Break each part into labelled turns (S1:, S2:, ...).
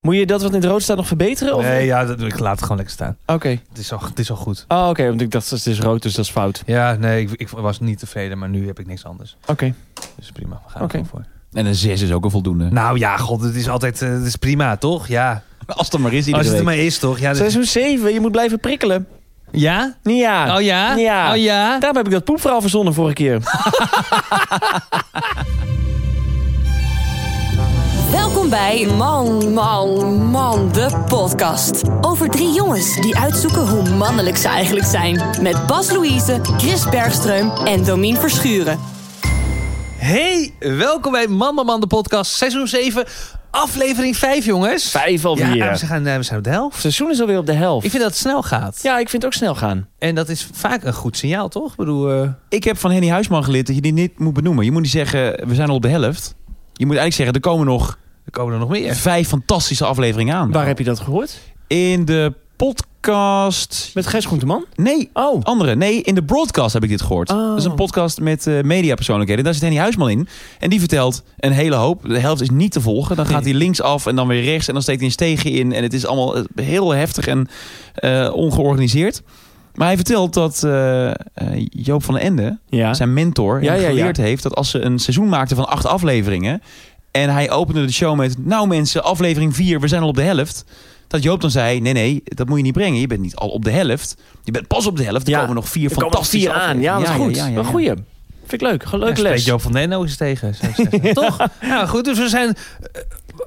S1: Moet je dat wat in het rood staat nog verbeteren? Of? Ah,
S2: Nee, ja, dat, ik laat het gewoon lekker staan.
S1: Oké.
S2: Het is al, het is al goed.
S1: Oh, oké. Want ik dacht, het is rood, dus dat is fout.
S2: Ja, nee, ik, ik was niet tevreden, maar nu heb ik niks anders.
S1: Oké.
S2: Dus prima, we gaan
S1: Oké.
S2: er gewoon voor.
S3: En een 6 is ook een voldoende.
S2: Nou ja, god, het is altijd, eh, het is prima, toch? Ja.
S3: als het er maar is iedere
S2: Als het er
S3: week.
S2: maar is, toch? Ja, dat-
S1: Seizoen 7, je moet blijven prikkelen.
S3: Ja?
S1: Nou, Ja.
S3: Oh ja?
S1: Ja.
S3: Oh ja?
S1: Daarom heb ik dat poepverhaal verzonnen vorige keer.
S4: Welkom bij Man, Man, Man, de podcast. Over drie jongens die uitzoeken hoe mannelijk ze eigenlijk zijn. Met Bas Louise, Chris Bergström en Domien Verschuren.
S3: Hey, welkom bij Man Man Man, de podcast, seizoen 7, aflevering 5, jongens.
S1: Vijf alweer.
S2: Ja, we zijn, eh, we zijn op de helft.
S1: Het seizoen is alweer op de helft.
S2: Ik vind dat het snel gaat.
S1: Ja, ik vind het ook snel gaan.
S2: En dat is vaak een goed signaal, toch? Ik bedoel, eh,
S3: Ik heb van Henny Huisman geleerd dat je die niet moet benoemen. Je moet niet zeggen, we zijn al op de helft. Je moet eigenlijk zeggen, er komen nog
S2: er komen er nog meer.
S3: vijf fantastische afleveringen aan.
S1: Waar heb je dat gehoord?
S3: In de podcast...
S1: Met Gijs Groenteman?
S3: Nee,
S1: Oh.
S3: andere. Nee, in de broadcast heb ik dit gehoord.
S1: Oh.
S3: Dat is een podcast met eh mediapersoonlijkheden. Daar zit Henny Huisman in. En die vertelt een hele hoop. De helft is niet te volgen. Dan gaat hij linksaf en dan weer rechts. En dan steekt hij een steegje in. En het is allemaal eh, heel heftig en eh, ongeorganiseerd. Maar hij vertelt dat eh, eh, Joop van den Ende,
S1: Ja.
S3: zijn mentor, hem
S1: Ja, ja, ja.
S3: geleerd heeft... dat als ze een seizoen maakten van acht afleveringen... en hij opende de show met... nou mensen, aflevering vier, we zijn al op de helft... dat Joop dan zei, nee, nee, dat moet je niet brengen. Je bent niet al op de helft. Je bent pas op de helft. Er
S1: Ja.
S3: komen nog vier
S1: Er komen nog
S3: fantastische
S1: vier aan. Ja, dat is goed.
S3: Ja, ja, ja,
S1: Een
S3: ja.
S1: goeie. Vind ik leuk. Gewoon Leuke
S2: Ja, spreekt
S1: les.
S2: Joop van den Ende ook eens tegen. zou ik zeggen. Toch? Nou goed, dus we zijn eh,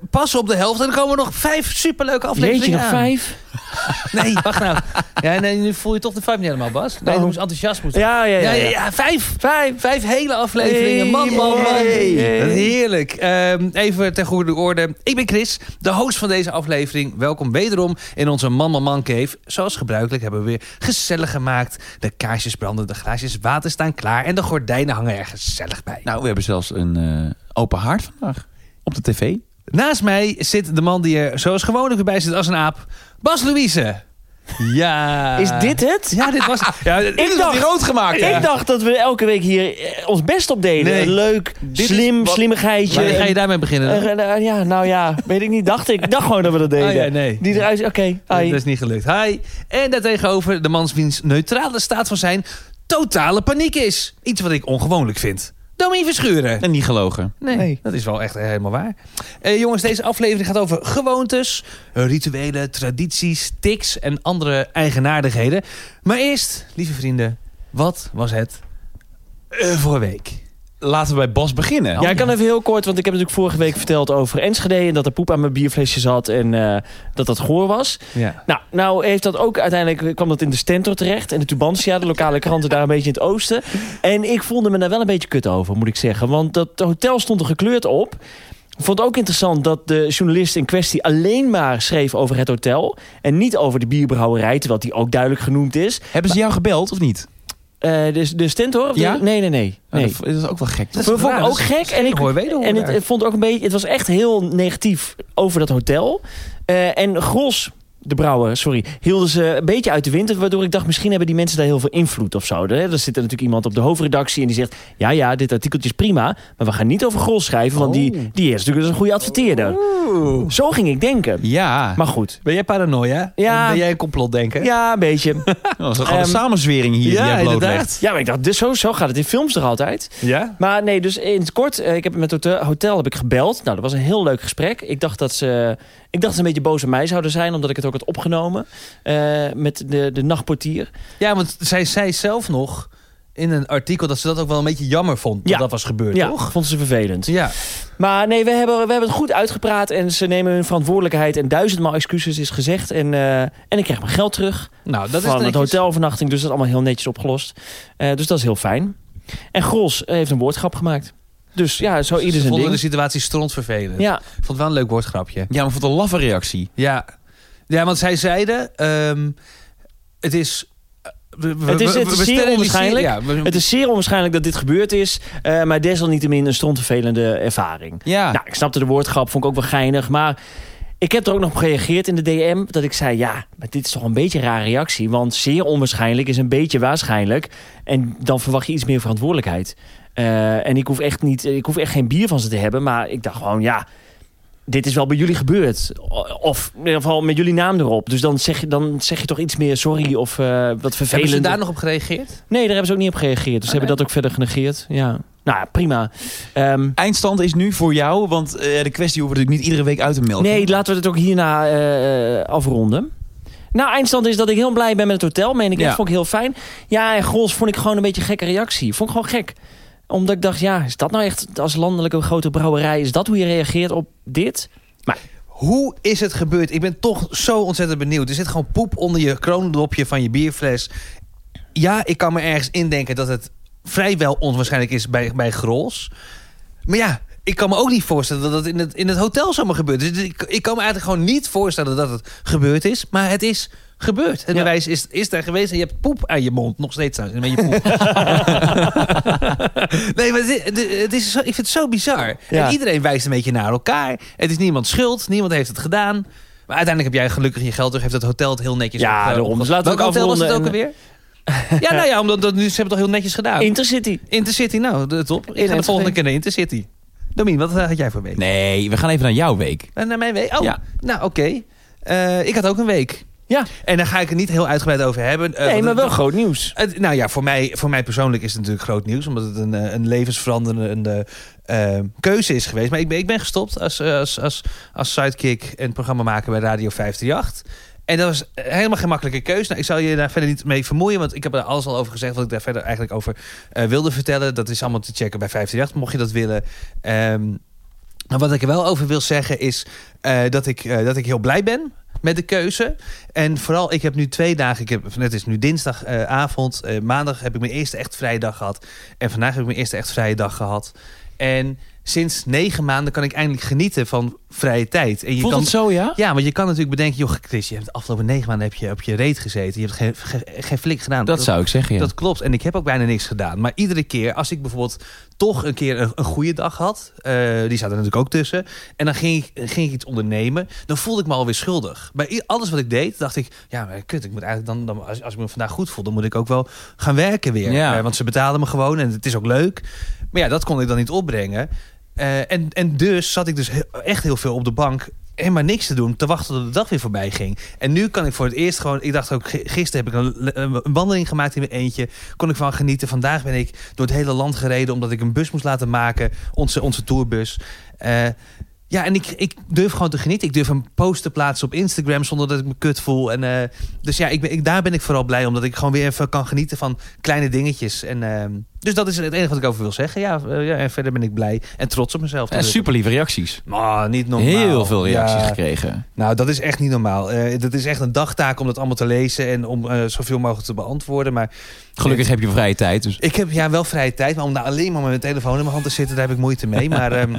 S2: pas op de helft. En er komen nog vijf superleuke afleveringen
S1: Jeetje, nog
S2: aan.
S1: vijf?
S2: Nee, wacht nou. Ja, nee, nu voel je toch de vibe niet helemaal, Bas. Nee,
S1: Oh.
S2: je moest enthousiast moeten.
S1: Ja, ja, ja.
S2: ja, ja, vijf. Vijf. Vijf hele afleveringen.
S1: Hey,
S2: man, man, man.
S1: hey, hey.
S2: Heerlijk. Ehm, even ten goede orde. Ik ben Chris, de host van deze aflevering. Welkom wederom in onze Man, Man, Man Cave. Zoals gebruikelijk hebben we weer gezellig gemaakt. De kaarsjes branden, de glaasjes water staan klaar... en de gordijnen hangen er gezellig bij.
S3: Nou, we hebben zelfs een eh, open haard vandaag. Op de tv.
S2: Naast mij zit de man die er zoals gewoonlijk weer bij zit als een aap. Bas Louise. Ja.
S1: Is dit het?
S2: Ja, dit was... Ja, dit is
S1: dacht-
S2: die rood gemaakt. hè?
S1: Ik dacht dat we elke week hier eh, ons best op deden.
S2: Nee.
S1: Leuk,
S2: Dit
S1: slim,
S2: is wat-
S1: slimmigheidje.
S2: Wanneer ga je daarmee beginnen? dan?
S1: Eh, eh, eh, ja, nou ja, weet ik niet. Dacht ik. Ik dacht gewoon dat we dat deden.
S2: Ah, ja, nee.
S1: Die eruit, oké. hi.
S2: eh, Dat is niet gelukt. Hi. En daartegenover de mans wiens neutrale staat van zijn totale paniek is. Iets wat ik ongewoonlijk vind. Domien Verschuren.
S3: En niet gelogen.
S2: Nee, dat is wel echt helemaal waar. Eh, jongens, deze aflevering gaat over gewoontes, eh, rituelen, tradities, tics en andere eigenaardigheden. Maar eerst, lieve vrienden, wat was het eh, voor week?
S3: Laten we bij Bas beginnen.
S1: ja, ik kan even heel kort, want ik heb natuurlijk vorige week verteld over Enschede... en dat er poep aan mijn bierflesje zat en eh, dat dat goor was.
S2: Ja.
S1: Nou, nou heeft dat ook uiteindelijk kwam dat in de Stentor terecht. En de Tubantia, de lokale kranten daar een beetje in het oosten. En ik voelde me daar wel een beetje kut over, moet ik zeggen. Want dat hotel stond er gekleurd op. Ik vond het ook interessant dat de journalist in kwestie alleen maar schreef over het hotel. En niet over de bierbrouwerij, terwijl die ook duidelijk genoemd is.
S3: Hebben ze jou gebeld of niet?
S1: Eh dus de Stentor? of de-
S3: Ja?
S1: Nee, nee, nee.
S3: Oh,
S1: nee.
S3: dat- Dat is ook wel gek.
S2: Dat
S1: Dat vond
S2: raar,
S1: ik
S2: dat
S1: ook
S2: is
S1: gek. En ik,
S2: Hoor wederhoor
S1: en het,
S2: daar.
S1: het vond ook een beetje, het was echt heel negatief over dat hotel. Eh, en Gros, de brouwer, sorry, hielden ze een beetje uit de winter. Waardoor ik dacht, misschien hebben die mensen daar heel veel invloed of zo. Er, er zit er natuurlijk iemand op de hoofdredactie en die zegt... ja, ja, dit artikeltje is prima, maar we gaan niet over Gros schrijven... want die, die is natuurlijk dus een goede adverteerder. Zo ging ik denken.
S3: Ja,
S1: Maar goed.
S2: Ben jij paranoia?
S1: Ja.
S2: En Ben jij een complotdenker?
S1: Ja, een beetje.
S3: Oh, dat is gewoon een
S1: Ehm,
S3: samenzwering hier
S2: ja,
S3: die jij blootlegt.
S2: inderdaad.
S1: Ja, maar ik dacht, dus zo, zo gaat het in films toch altijd?
S2: Ja?
S1: Maar nee, dus in het kort, eh, ik heb met het hotel, hotel heb ik gebeld. Nou, dat was een heel leuk gesprek. Ik dacht dat ze, ik dacht dat ze een beetje boos op mij zouden zijn, omdat ik het ook had opgenomen eh, met de, de nachtportier.
S2: Ja, want zij zei zelf nog in een artikel dat ze dat ook wel een beetje jammer vond
S1: Ja.
S2: dat dat was gebeurd,
S1: Ja,
S2: toch?
S1: vond ze vervelend.
S2: Ja.
S1: Maar nee, we hebben, we hebben het goed uitgepraat en ze nemen hun verantwoordelijkheid en duizendmaal excuses is gezegd. En, eh, en ik krijg mijn geld terug
S2: Nou, dat is
S1: van het
S2: netjes.
S1: hotelvernachting, dus dat is allemaal heel netjes opgelost. Eh, dus dat is heel fijn. En Gros eh, heeft een woordgrap gemaakt. Dus ja, zo
S2: Ze
S1: ieder zijn
S2: vonden de
S1: ding.
S2: situatie strontvervelend.
S1: Ja,
S2: Ik vond het wel een leuk woordgrapje.
S3: Ja, maar voor de laffe reactie.
S2: Ja, ja want zij zeiden... ehm, het is... eh, we- we-
S1: Het is-
S2: we-
S1: het
S2: we-
S1: is zeer
S2: we steriliseren-
S1: onwaarschijnlijk.
S2: Ja, we-
S1: Het is zeer onwaarschijnlijk dat dit gebeurd is, eh, maar desalniettemin een strontvervelende ervaring.
S2: Ah.
S3: Ja,
S1: Nou, ik snapte de woordgrap, vond ik ook wel geinig, maar ik heb er ook nog op gereageerd in de DM dat ik zei, ja, maar dit is toch een beetje een rare reactie, want zeer onwaarschijnlijk is een beetje waarschijnlijk en dan verwacht je iets meer verantwoordelijkheid. Eh, en ik hoef echt niet, ik hoef echt geen bier van ze te hebben, maar ik dacht gewoon, ja. dit is wel bij jullie gebeurd. Of in ieder geval met jullie naam erop. Dus dan zeg je, dan zeg je toch iets meer sorry of eh, wat
S2: Hebben
S1: vervelend.
S2: ze daar nog op gereageerd?
S1: Nee, daar hebben ze ook niet op gereageerd. Dus ze
S2: Oh,
S1: hebben dat ook verder genegeerd. Ja. Nou, ja, prima. Ehm,
S3: Eindstand is nu voor jou, want eh, de kwestie hoeven we natuurlijk niet iedere week uit te melken.
S1: nee, laten we het ook hierna eh, eh, afronden. Nou, eindstand is dat ik heel blij ben met het hotel. Meen ik,
S3: Ja.
S1: dat vond ik heel fijn. Ja, en Grols vond ik gewoon een beetje een gekke reactie. Vond ik gewoon gek. Omdat ik dacht, ja, is dat nou echt als landelijke grote brouwerij... is dat hoe je reageert op dit?
S2: Hoe is het gebeurd? Ik ben toch zo ontzettend benieuwd. Er zit gewoon poep onder je kroondopje van je bierfles. Ja, ik kan me ergens indenken dat het vrijwel onwaarschijnlijk is bij, bij Grols. Maar ja, ik kan me ook niet voorstellen dat dat in het, in het hotel zomaar gebeurt. Dus ik, ik kan me eigenlijk gewoon niet voorstellen dat het gebeurd is. Maar het is gebeurd. Het
S1: Ja.
S2: bewijs is, is daar geweest en je hebt poep aan je mond. Nog steeds trouwens, met je poep. nee, maar het is, het- het is zo, ik vind het zo bizar.
S1: Ja.
S2: En iedereen wijst een beetje naar elkaar. Het is niemand schuld, niemand heeft het gedaan. Maar uiteindelijk heb jij gelukkig je geld terug. Heeft het hotel het heel netjes
S1: Ja,
S2: opge-
S1: daarom. Dus laten we
S2: Welk
S1: ook
S2: hotel was het ook
S1: afronden
S2: alweer? ja, nou ja, omdat dat, nu, ze hebben het toch heel netjes gedaan.
S1: Intercity.
S2: Intercity, nou, de top. Ik ga de
S1: Enschede.
S2: volgende keer naar Intercity. Domien, wat eh, had jij voor week?
S3: Nee, we gaan even naar jouw week.
S2: Eh, Naar mijn week? Oh,
S3: Ja.
S2: nou oké. Eh, ik had ook een week.
S1: Ja.
S2: En daar ga ik het niet heel uitgebreid over hebben. Eh,
S1: Nee,
S2: want
S1: maar
S2: het-
S1: wel groot nieuws.
S2: het- nou ja, voor mij, voor mij persoonlijk is het natuurlijk groot nieuws. Omdat het een, eh, een levensveranderende eh, keuze is geweest. Maar ik ben, ik ben gestopt als, eh, als, als, als sidekick en programmamaker bij Radio 538. En dat was eh, helemaal geen makkelijke keuze. Nou, ik zal je daar verder niet mee vermoeien. Want ik heb er alles al over gezegd. Wat ik daar verder eigenlijk over eh, wilde vertellen. Dat is allemaal te checken bij 538. Mocht je dat willen. Ehm, maar wat ik er wel over wil zeggen is eh, dat, ik, eh, dat ik heel blij ben met de keuze. En vooral, ik heb nu twee dagen. Ik heb, het is nu dinsdagavond. eh, maandag heb ik mijn eerste echt vrije dag gehad. En vandaag heb ik mijn eerste echt vrije dag gehad. En sinds negen maanden kan ik eindelijk genieten van vrije tijd. En je
S3: Voelt
S2: kan,
S3: het zo, ja?
S2: Ja, want je kan natuurlijk bedenken, joh, Chris, je hebt de afgelopen negen maanden heb je op je reet gezeten. Je hebt geen, geen, geen flik gedaan.
S3: Dat zou ik zeggen, ja.
S2: Dat klopt. En ik heb ook bijna niks gedaan. Maar iedere keer, als ik bijvoorbeeld toch een keer een, een goede dag had, eh, die zat er natuurlijk ook tussen. En dan ging ik, ging ik iets ondernemen, dan voelde ik me alweer schuldig. Bij i- alles wat ik deed, dacht ik, ja, maar kut, ik moet eigenlijk dan, dan als, als ik me vandaag goed voel, dan moet ik ook wel gaan werken weer.
S3: Ja.
S2: Eh, want ze betalen me gewoon en het is ook leuk. Maar ja, dat kon ik dan niet opbrengen. Eh, en, en dus zat ik dus he- echt heel veel op de bank. Helemaal niks te doen, te wachten tot de dag weer voorbij ging. En nu kan ik voor het eerst gewoon. Ik dacht ook, gi- gisteren heb ik een, le- een wandeling gemaakt in mijn eentje. Kon ik van genieten. Vandaag ben ik door het hele land gereden omdat ik een bus moest laten maken. Onze, onze tourbus. Eh, ja, en ik, ik durf gewoon te genieten. Ik durf een post te plaatsen op Instagram zonder dat ik me kut voel. En, eh, dus ja, ik ben, ik, daar ben ik vooral blij om, omdat ik gewoon weer even kan genieten van kleine dingetjes. En, ehm, dus dat is het enige wat ik over wil zeggen. Ja, eh, ja, en verder ben ik blij en trots op mezelf.
S3: En super lieve Eh, reacties.
S2: Maar niet normaal.
S3: Heel veel reacties
S2: Ja.
S3: gekregen.
S2: Nou, dat is echt niet normaal. Eh, dat is echt een dagtaak om dat allemaal te lezen en om eh, zoveel mogelijk te beantwoorden. Maar
S3: Gelukkig heb je vrije tijd. Dus.
S2: ik heb ja, wel vrije tijd, maar om daar alleen maar met mijn telefoon in mijn hand te zitten, daar heb ik moeite mee. Maar ehm,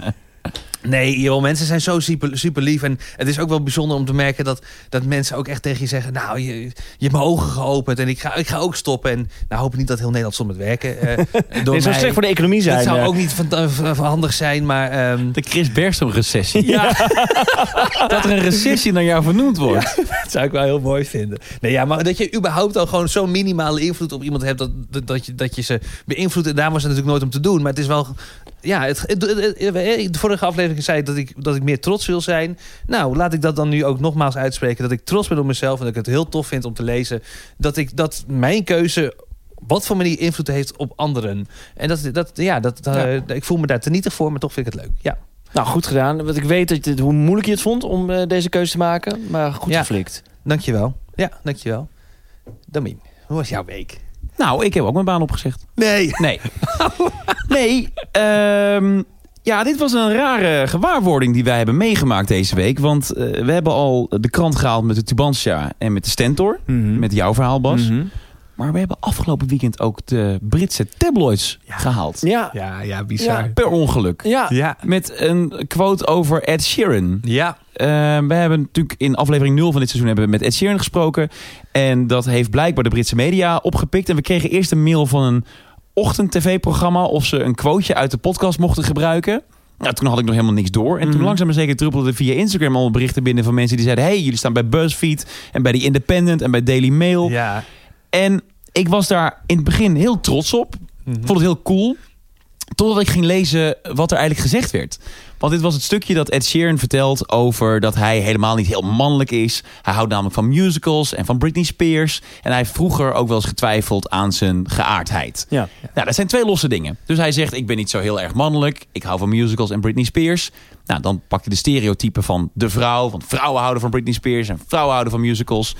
S2: nee, joh, mensen zijn zo super, super lief. En het is ook wel bijzonder om te merken dat, dat mensen ook echt tegen je zeggen: Nou, je, je hebt mijn ogen geopend en ik ga, ik ga ook stoppen. En nou, hoop ik niet dat heel Nederland stopt met werken. eh, door
S1: Dit zou
S2: mij.
S1: slecht voor de economie zijn.
S2: dat zou
S1: eh.
S2: ook niet van, van- van handig zijn, maar. ehm,
S3: De Chris Bergstrom recessie.
S1: Ja,
S3: Dat er een recessie naar jou vernoemd wordt.
S2: Dat zou ik wel heel mooi vinden. Nee, ja, maar dat je überhaupt al gewoon zo'n minimale invloed op iemand hebt... dat, dat, dat je, dat je ze beïnvloedt. En daar was het natuurlijk nooit om te doen. Maar het is wel... Ja, het, het- het- het- de vorige aflevering zei ik dat ik dat ik meer trots wil zijn. Nou, laat ik dat dan nu ook nogmaals uitspreken. Dat ik trots ben op mezelf en dat ik het heel tof vind om te lezen. Dat, ik, dat mijn keuze op wat voor manier invloed heeft op anderen. En dat, dat, ja, dat, eh, ik voel me daar te nietig voor, maar toch vind ik het leuk. Ja.
S1: nou goed gedaan. Want ik weet dat je, hoe moeilijk je het vond om eh, deze keuze te maken. Maar goed
S2: Ja.
S1: geflikt.
S2: Dankjewel. Ja, dankjewel. Damien, hoe was jouw week?
S3: Nou, ik heb ook mijn baan opgezegd.
S2: Nee.
S3: Nee. nee. ehm, ja, dit was een rare gewaarwording die wij hebben meegemaakt deze week. Want eh, we hebben al de krant gehaald met de Tubantia en met de Stentor.
S1: Mhm.
S3: Met jouw verhaal, Bas. Maar we hebben afgelopen weekend ook de Britse tabloids gehaald.
S1: Ja, ja.
S2: Ja, ja,
S1: bizar.
S3: Per ongeluk.
S2: Ja.
S3: Met een quote over Ed Sheeran.
S2: Ja.
S3: Eh, we hebben natuurlijk in aflevering 0 van dit seizoen hebben we met Ed Sheeran gesproken. En dat heeft blijkbaar de Britse media opgepikt. En we kregen eerst een mail van een ochtend-tv-programma... of ze een quoteje uit de podcast mochten gebruiken. Nou, toen had ik nog helemaal niks door. En toen
S1: Mhm.
S3: langzaam maar zeker druppelden via Instagram allemaal berichten binnen... van mensen die zeiden... hey, jullie staan bij BuzzFeed en bij The Independent en bij Daily Mail.
S2: Ja.
S3: En ik was daar in het begin heel trots op. Vond het heel cool. Totdat ik ging lezen wat er eigenlijk gezegd werd. Want dit was het stukje dat Ed Sheeran vertelt over dat hij helemaal niet heel mannelijk is. Hij houdt namelijk van musicals en van Britney Spears. En hij heeft vroeger ook wel eens getwijfeld aan zijn geaardheid.
S1: Ja.
S3: Nou, dat zijn twee losse dingen. Dus hij zegt, ik ben niet zo heel erg mannelijk. Ik hou van musicals en Britney Spears. Nou, dan pak je de stereotypen van de vrouw. Want vrouwen houden van Britney Spears en vrouwen houden van musicals.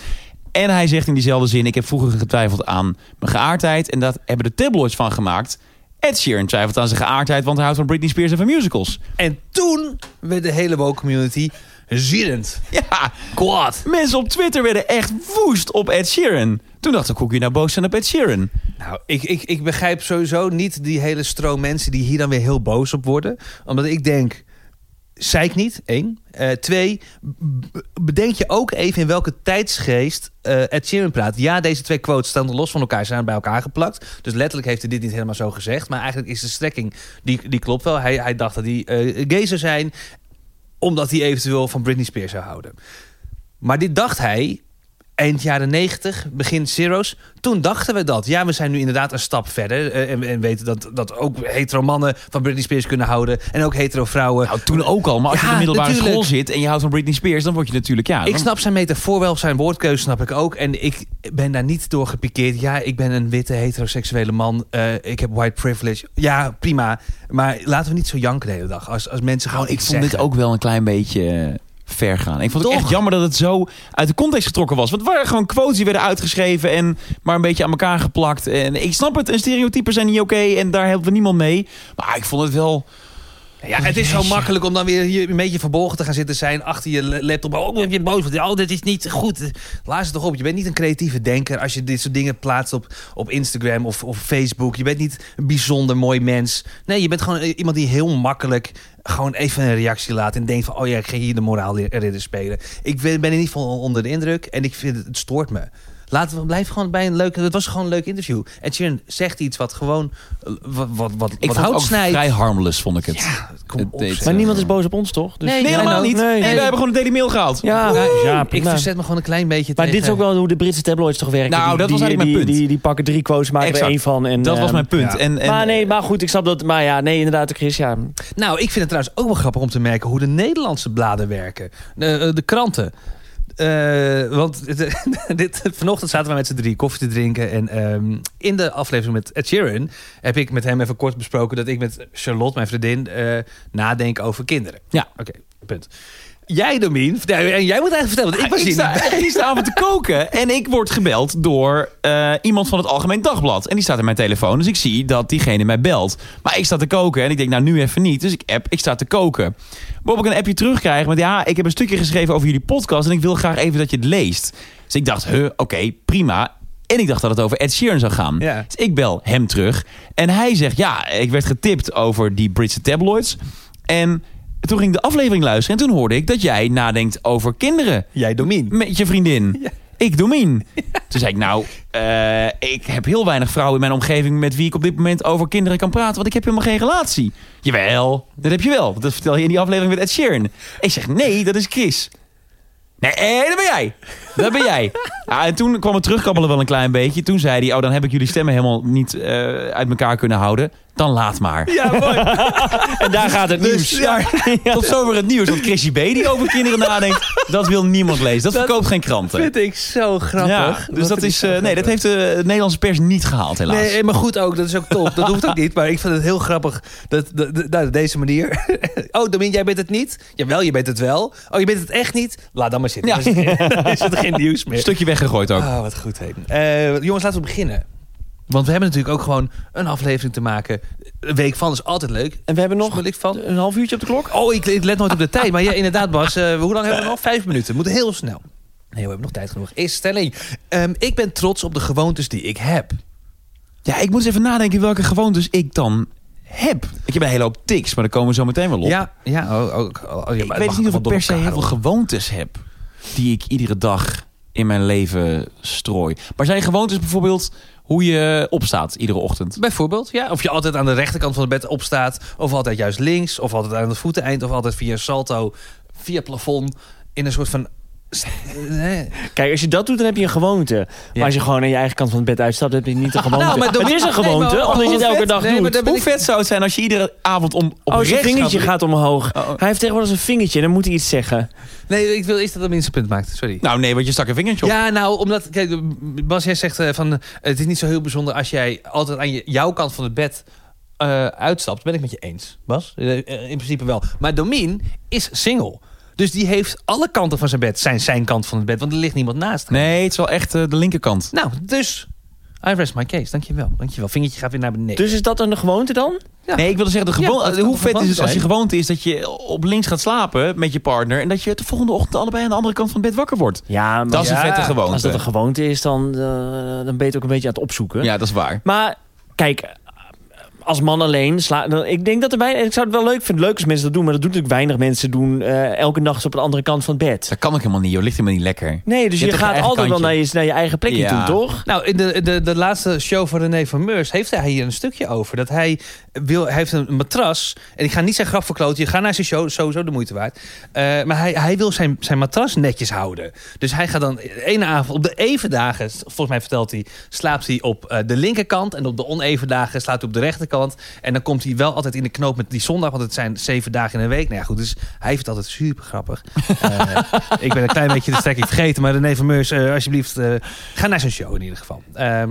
S3: En hij zegt in diezelfde zin, ik heb vroeger getwijfeld aan mijn geaardheid. En dat hebben de tabloids van gemaakt. Ed Sheeran twijfelt aan zijn geaardheid, want hij houdt van Britney Spears en van musicals.
S2: En toen werd de hele woke community zierend.
S3: Ja,
S2: Kwaad.
S3: mensen op Twitter werden echt woest op Ed Sheeran. Toen dacht ik, hoe kun je nou boos zijn op Ed Sheeran?
S2: Nou, ik, ik, ik begrijp sowieso niet die hele stroom mensen die hier dan weer heel boos op worden. Omdat ik denk, zeik niet, één. Eh, twee, b- bedenk je ook even in welke tijdsgeest eh Ed Sheeran praat. Ja, deze twee quotes staan los van elkaar, zijn bij elkaar geplakt. Dus letterlijk heeft hij dit niet helemaal zo gezegd. Maar eigenlijk is de strekking, die, die klopt wel. Hij, hij dacht dat hij eh gay zou zijn, omdat hij eventueel van Britney Spears zou houden. Maar dit dacht hij eind jaren 90, begin zero's. Toen dachten we dat. Ja, we zijn nu inderdaad een stap verder. eh, En, en weten dat, dat ook hetero mannen van Britney Spears kunnen houden. En ook hetero vrouwen.
S3: Nou, toen ook al, maar als je
S2: Ja,
S3: op de middelbare
S2: natuurlijk.
S3: school zit en je houdt van Britney Spears, dan word je natuurlijk, ja...
S2: Ik
S3: dan-
S2: snap zijn metafoor wel, zijn woordkeuze snap ik ook. En ik ben daar niet door gepikeerd. Ja, ik ben een witte heteroseksuele man. eh, ik heb white privilege. Ja, prima. Maar laten we niet zo janken de hele dag. Als, als mensen gewoon
S3: Nou, ik
S2: iets
S3: vond dit
S2: zeggen.
S3: ook wel een klein beetje eh, ver gaan. Ik vond het
S2: Toch?
S3: echt jammer dat het zo uit de context getrokken was. Want het waren gewoon quotes die werden uitgeschreven en maar een beetje aan elkaar geplakt. En ik snap het, en stereotypen zijn niet oké en daar helpen we niemand mee. Maar ik vond het wel...
S2: Ja, het is zo
S3: Jeetje.
S2: makkelijk om dan weer hier een beetje verborgen te gaan zitten zijn achter je la- laptop. Oh, ben je boos? Want, Oh, dit is niet goed. Laat het toch op. Je bent niet een creatieve denker als je dit soort dingen plaatst op, op Instagram of, of Facebook. Je bent niet een bijzonder mooi mens. Nee, je bent gewoon eh, iemand die heel makkelijk gewoon even een reactie laat en denkt van, oh ja, ik ga hier de moraalridder spelen. Ik ben ben in ieder geval onder de indruk en ik vind het, het stoort me. Laten we blijven gewoon bij een leuke. Het was gewoon een leuk interview. En Sheeran zegt iets wat gewoon. eh, Wat, wat, wat, wat
S3: Ik vond het
S2: hout
S3: ook
S2: snijdt.
S3: vrij harmless, vond ik het.
S2: Ja, kom
S3: Het
S2: op,
S3: deed-
S2: zeg.
S1: Maar niemand is boos op ons, toch? Dus-
S2: Nee,
S3: Nee, helemaal
S1: nou,
S3: niet. Nee,
S1: nee.
S3: wij hebben gewoon een Daily Mail gehaald.
S1: Ja, ja,
S2: ik
S1: prima.
S2: verzet me gewoon een klein beetje
S1: Maar
S2: tegen...
S1: dit is ook wel hoe de Britse tabloids toch werken.
S3: Nou,
S1: Die-
S3: dat was
S1: die-
S3: eigenlijk
S1: die-
S3: mijn punt.
S1: Die, die pakken drie quotes, maken
S3: Exact.
S1: er één van. En,
S3: Dat was
S1: ehm,
S3: mijn punt.
S2: ja.
S3: En, en,
S1: maar nee, maar goed, ik snap dat. Maar ja, nee, inderdaad, Chris, ja.
S2: Nou, ik vind het trouwens ook wel grappig om te merken... hoe de Nederlandse bladen werken. De, de kranten. Eh, want het- dit, vanochtend zaten we met z'n drie koffie te drinken. En ehm, in de aflevering met Ed Sheeran heb ik met hem even kort besproken... dat ik met Charlotte, mijn vriendin, eh, nadenk over kinderen.
S3: Ja.
S2: Oké, punt. Jij, Domien, vertel- en jij moet eigenlijk vertellen, want Ah, ik was
S3: Ah, ik
S2: hier
S3: sta
S2: niet bij.
S3: echt gisteravond te koken en ik word gebeld door eh, iemand van het Algemeen Dagblad. En die staat in mijn telefoon, dus ik zie dat diegene mij belt. Maar ik sta te koken en ik denk, nou nu even niet. Dus ik app, ik sta te koken. Waarop ik een appje terugkrijg met, ja, ik heb een stukje geschreven over jullie podcast... en ik wil graag even dat je het leest. Dus ik dacht, huh, oké, prima. En ik dacht dat het over Ed Sheeran zou gaan.
S2: Ja.
S3: Dus ik bel hem terug. En hij zegt, ja, ik werd getipt over die Britse tabloids. En toen ging ik de aflevering luisteren. En toen hoorde ik dat jij nadenkt over kinderen.
S2: Jij, Domien.
S3: Met je vriendin. Ik Domien. Toen zei ik, nou, eh, ik heb heel weinig vrouwen in mijn omgeving... met wie ik op dit moment over kinderen kan praten... want ik heb helemaal geen relatie. Jawel, dat heb je wel. want Dat vertel je in die aflevering met Ed Sheeran. Ik zeg, nee, dat is Chris. Nee, eh, dat ben jij. Dat ben jij. Ah, en toen kwam het terugkabbelen wel een klein beetje. Toen zei hij, oh, dan heb ik jullie stemmen helemaal niet eh, uit elkaar kunnen houden. Dan laat maar.
S2: Ja, mooi. Dus
S1: En daar gaat het nieuws.
S3: daar- Tot zover het nieuws. Want Chrissy B. die over kinderen nadenkt, dat wil niemand lezen. Dat,
S2: Dat
S3: verkoopt geen kranten.
S2: vind ik zo grappig.
S3: Ja, dus dat
S2: vind ik
S3: is,
S2: zo
S3: eh, nee, dat
S2: grappig.
S3: heeft de Nederlandse pers niet gehaald, helaas.
S2: Nee, maar goed ook. Dat is ook top. Dat hoeft ook niet. Maar ik vind het heel grappig dat, dat, dat- nou, deze manier. Oh, Domin, jij bent het niet? Jawel, je bent het wel. Oh, je bent het echt niet? Laat dan maar zitten.
S3: Ja.
S2: Dan is het geen- dan is het geen nieuws
S3: Een
S2: meer.
S3: stukje weggegooid ook.
S2: Ah, wat goed heen. jongens, laten we beginnen. Want we hebben natuurlijk ook gewoon een aflevering te maken. Een week van is altijd leuk.
S1: En we hebben nog
S2: Smul ik van.
S1: een half uurtje op de klok.
S2: Oh, ik, ik let nooit op de tijd. Maar ja, inderdaad, Bas. eh, hoe lang hebben we nog? Vijf minuten. We moeten heel snel. Nee, we hebben nog tijd genoeg. Eerste stelling. Ehm, ik ben trots op de gewoontes die ik heb.
S3: Ja, ik moet eens even nadenken welke gewoontes ik dan heb. Ik heb een hele hoop tics, maar daar komen we zo meteen wel op.
S2: Ja, ja. Oh, oh, oh, ja, maar het
S3: ik weet
S2: mag
S3: niet of ik
S2: allemaal
S3: per se
S2: door
S3: heel
S2: elkaar
S3: veel
S2: hoor.
S3: gewoontes heb... die ik iedere dag in mijn leven strooi. Maar zijn gewoontes bijvoorbeeld hoe je opstaat iedere ochtend?
S2: Bijvoorbeeld, ja. Of je altijd aan de rechterkant van het bed opstaat. Of altijd juist links. Of altijd aan het voeteneind. Of altijd via een salto. Via het plafond. In een soort van Nee.
S1: Kijk, als je dat doet, dan heb je een gewoonte. Maar
S2: Ja.
S1: als je gewoon aan je eigen kant van het bed uitstapt, heb je niet een gewoonte.
S2: Nou, maar Dominique-
S1: het is een
S2: nee, maar
S1: gewoonte,
S2: hoe
S1: omdat je het
S2: vet-
S1: elke dag
S2: nee, maar
S1: doet.
S2: dat-
S3: Hoe vet zou het zijn als je iedere avond om op
S1: Oh, zijn
S3: rechts
S1: vingertje
S3: gaat-
S1: gaat omhoog.
S3: Oh, oh.
S1: Hij heeft tegenwoordig zijn vingertje, dan moet hij iets zeggen.
S2: nee, ik wil eerst dat het minste punt maakt. Sorry.
S3: Nou nee, want je stak een vingertje op.
S2: Ja, nou, omdat, kijk, Bas, jij zegt eh, van, eh, het is niet zo heel bijzonder als jij altijd aan je, jouw kant van het bed eh, uitstapt. Ben ik met je eens, Bas? Eh, eh, in principe wel. Maar Domien is single. Dus die heeft alle kanten van zijn bed, zijn, zijn kant van het bed, want er ligt niemand naast. hem.
S3: Nee, het is wel echt eh, de linkerkant.
S2: Nou, dus, I rest my case. Dankjewel, dankjewel. Vingertje gaat weer naar beneden.
S1: Dus is dat een gewoonte dan?
S2: Ja.
S3: Nee, ik wilde zeggen, de
S2: Ja,
S3: gewo-
S2: dat kan
S3: hoe
S2: een
S3: vet is het
S2: gewoonte
S3: als je
S2: zijn.
S3: gewoonte is dat je op links gaat slapen met je partner... en dat je de volgende ochtend allebei aan de andere kant van het bed wakker wordt.
S1: Ja, maar
S3: Dat is een
S2: Ja,
S3: vette gewoonte.
S1: als dat een gewoonte is, dan, eh, dan ben je het ook een beetje aan het opzoeken.
S3: Ja, dat is waar.
S1: Maar kijk, als man alleen sla, dan- Ik denk dat er bij. Ik zou het wel leuk vinden. Leuk als mensen dat doen, maar dat doen natuurlijk weinig mensen doen. eh, elke nacht op een andere kant van het bed.
S3: Dat kan ik helemaal niet, joh. Ligt helemaal niet lekker.
S1: Nee, dus
S3: Je
S1: je,
S3: hebt toch
S1: gaat
S3: je eigen
S1: altijd wel
S3: kantje.
S1: naar je, naar je eigen plekje
S3: Ja.
S1: toe, toch?
S2: Nou, in de, de, de laatste show van René van Meurs heeft hij hier een stukje over. Dat hij, wil, hij heeft een matras. En ik ga niet zijn grap verkloten. Je gaat naar zijn show, sowieso de moeite waard. Eh, maar hij, hij wil zijn, zijn matras netjes houden. Dus hij gaat dan ene avond op de even dagen, s- volgens mij vertelt hij, slaapt hij op eh, de linkerkant. En op de oneven dagen slaapt hij op de rechterkant. En dan komt hij wel altijd in de knoop met die zondag, want het zijn zeven dagen in een week. Nou ja, goed, dus hij heeft het altijd super grappig. Eh, ik ben een klein beetje de strekking vergeten, maar René van Meurs, eh, alsjeblieft, eh, ga naar zijn show in ieder geval. Ehm,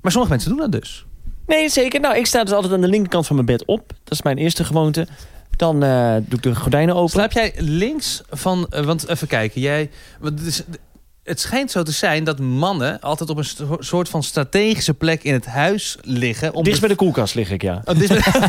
S2: maar sommige mensen doen dat dus.
S1: Nee, zeker. Nou, ik sta dus altijd aan de linkerkant van mijn bed op. Dat is mijn eerste gewoonte. Dan eh, doe ik de gordijnen open.
S2: Slaap jij links van, eh, want even kijken, jij, want het, is- het schijnt zo te zijn dat mannen altijd op een sto- soort van strategische plek in het huis liggen. Om
S1: Dicht bij de koelkast lig ik, ja.
S2: Oh, dicht bij-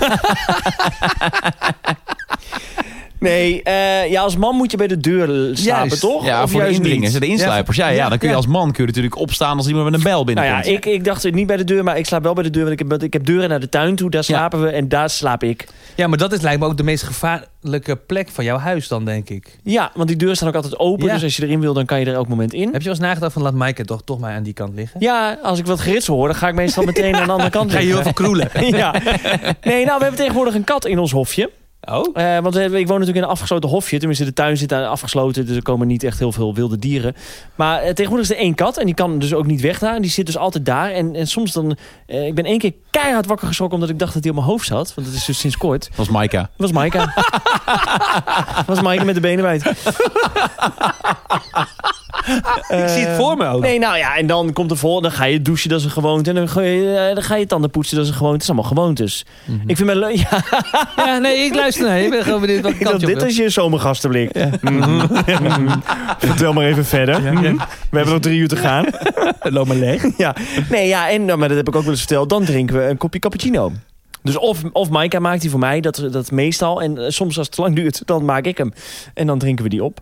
S1: Nee, eh, ja, als man moet je bij de deur slapen,
S2: Juist.
S1: toch?
S3: Ja,
S1: Of
S3: voor de
S1: juist
S3: indringers,
S1: niet?
S3: de insluipers. Ja, ja,
S2: Ja,
S3: dan kun je
S2: ja.
S3: als man kun je natuurlijk opstaan als iemand met een bel
S1: Nou
S3: binnenkomt.
S1: ja, ik, ik dacht niet bij de deur, maar ik slaap wel bij de deur. Want ik heb, want ik heb deuren naar de tuin toe, daar slapen we en daar slaap ik.
S2: Ja, maar dat is lijkt me ook de meest gevaarlijke plek van jouw huis dan, denk ik.
S1: Ja, want die deuren staan ook altijd open.
S2: Ja.
S1: Dus als je erin wil, dan kan je er elk moment in.
S2: Heb je wel eens nagedacht van, laat Maaike toch, toch maar aan die kant liggen?
S1: Ja, als ik wat geritsel hoor, dan ga ik meestal meteen aan de andere kant
S2: Ga je
S1: liggen.
S2: heel veel kroelen.
S1: Ja. Nee, nou, we hebben tegenwoordig een kat in ons hofje.
S2: Oh?
S1: Eh, want we- ik woon natuurlijk in een afgesloten hofje. Tenminste, de tuin zit daar afgesloten. Dus er komen niet echt heel veel wilde dieren. Maar eh, tegenwoordig is er één kat. En die kan dus ook niet weg daar. En die zit dus altijd daar. En, en soms dan... eh, ik ben één keer keihard wakker geschrokken... omdat ik dacht dat hij op mijn hoofd zat. Want dat is dus sinds kort.
S3: Dat was Maika.
S1: Dat was Maaike. Dat was Maaike met de benen wijd.
S2: ik zie het voor me ook.
S1: Nee, nou ja, en dan komt er vol. Dan ga je douchen, dat is een gewoonte. En dan ga je, eh, dan ga je tanden poetsen, dat is een gewoonte. Het is allemaal gewoontes. Mhm. Ik vind het leuk. Ja,
S2: Ja, nee, ik luister naar je. Ik ben gewoon benieuwd wat
S1: ik dacht,
S2: kant je op
S1: dit
S2: wil.
S1: is je zomergastenblik. Mhm. Mhm. Vertel maar even verder. Mhm. We hebben nog drie uur te gaan. Loop maar leeg. Ja. Nee, ja, en, nou, maar dat heb ik ook wel eens verteld. Dan drinken we een kopje cappuccino. Dus of, of Maika maakt die voor mij, dat, dat meestal. En eh, soms als het te lang duurt, dan maak ik hem. En dan drinken we die op.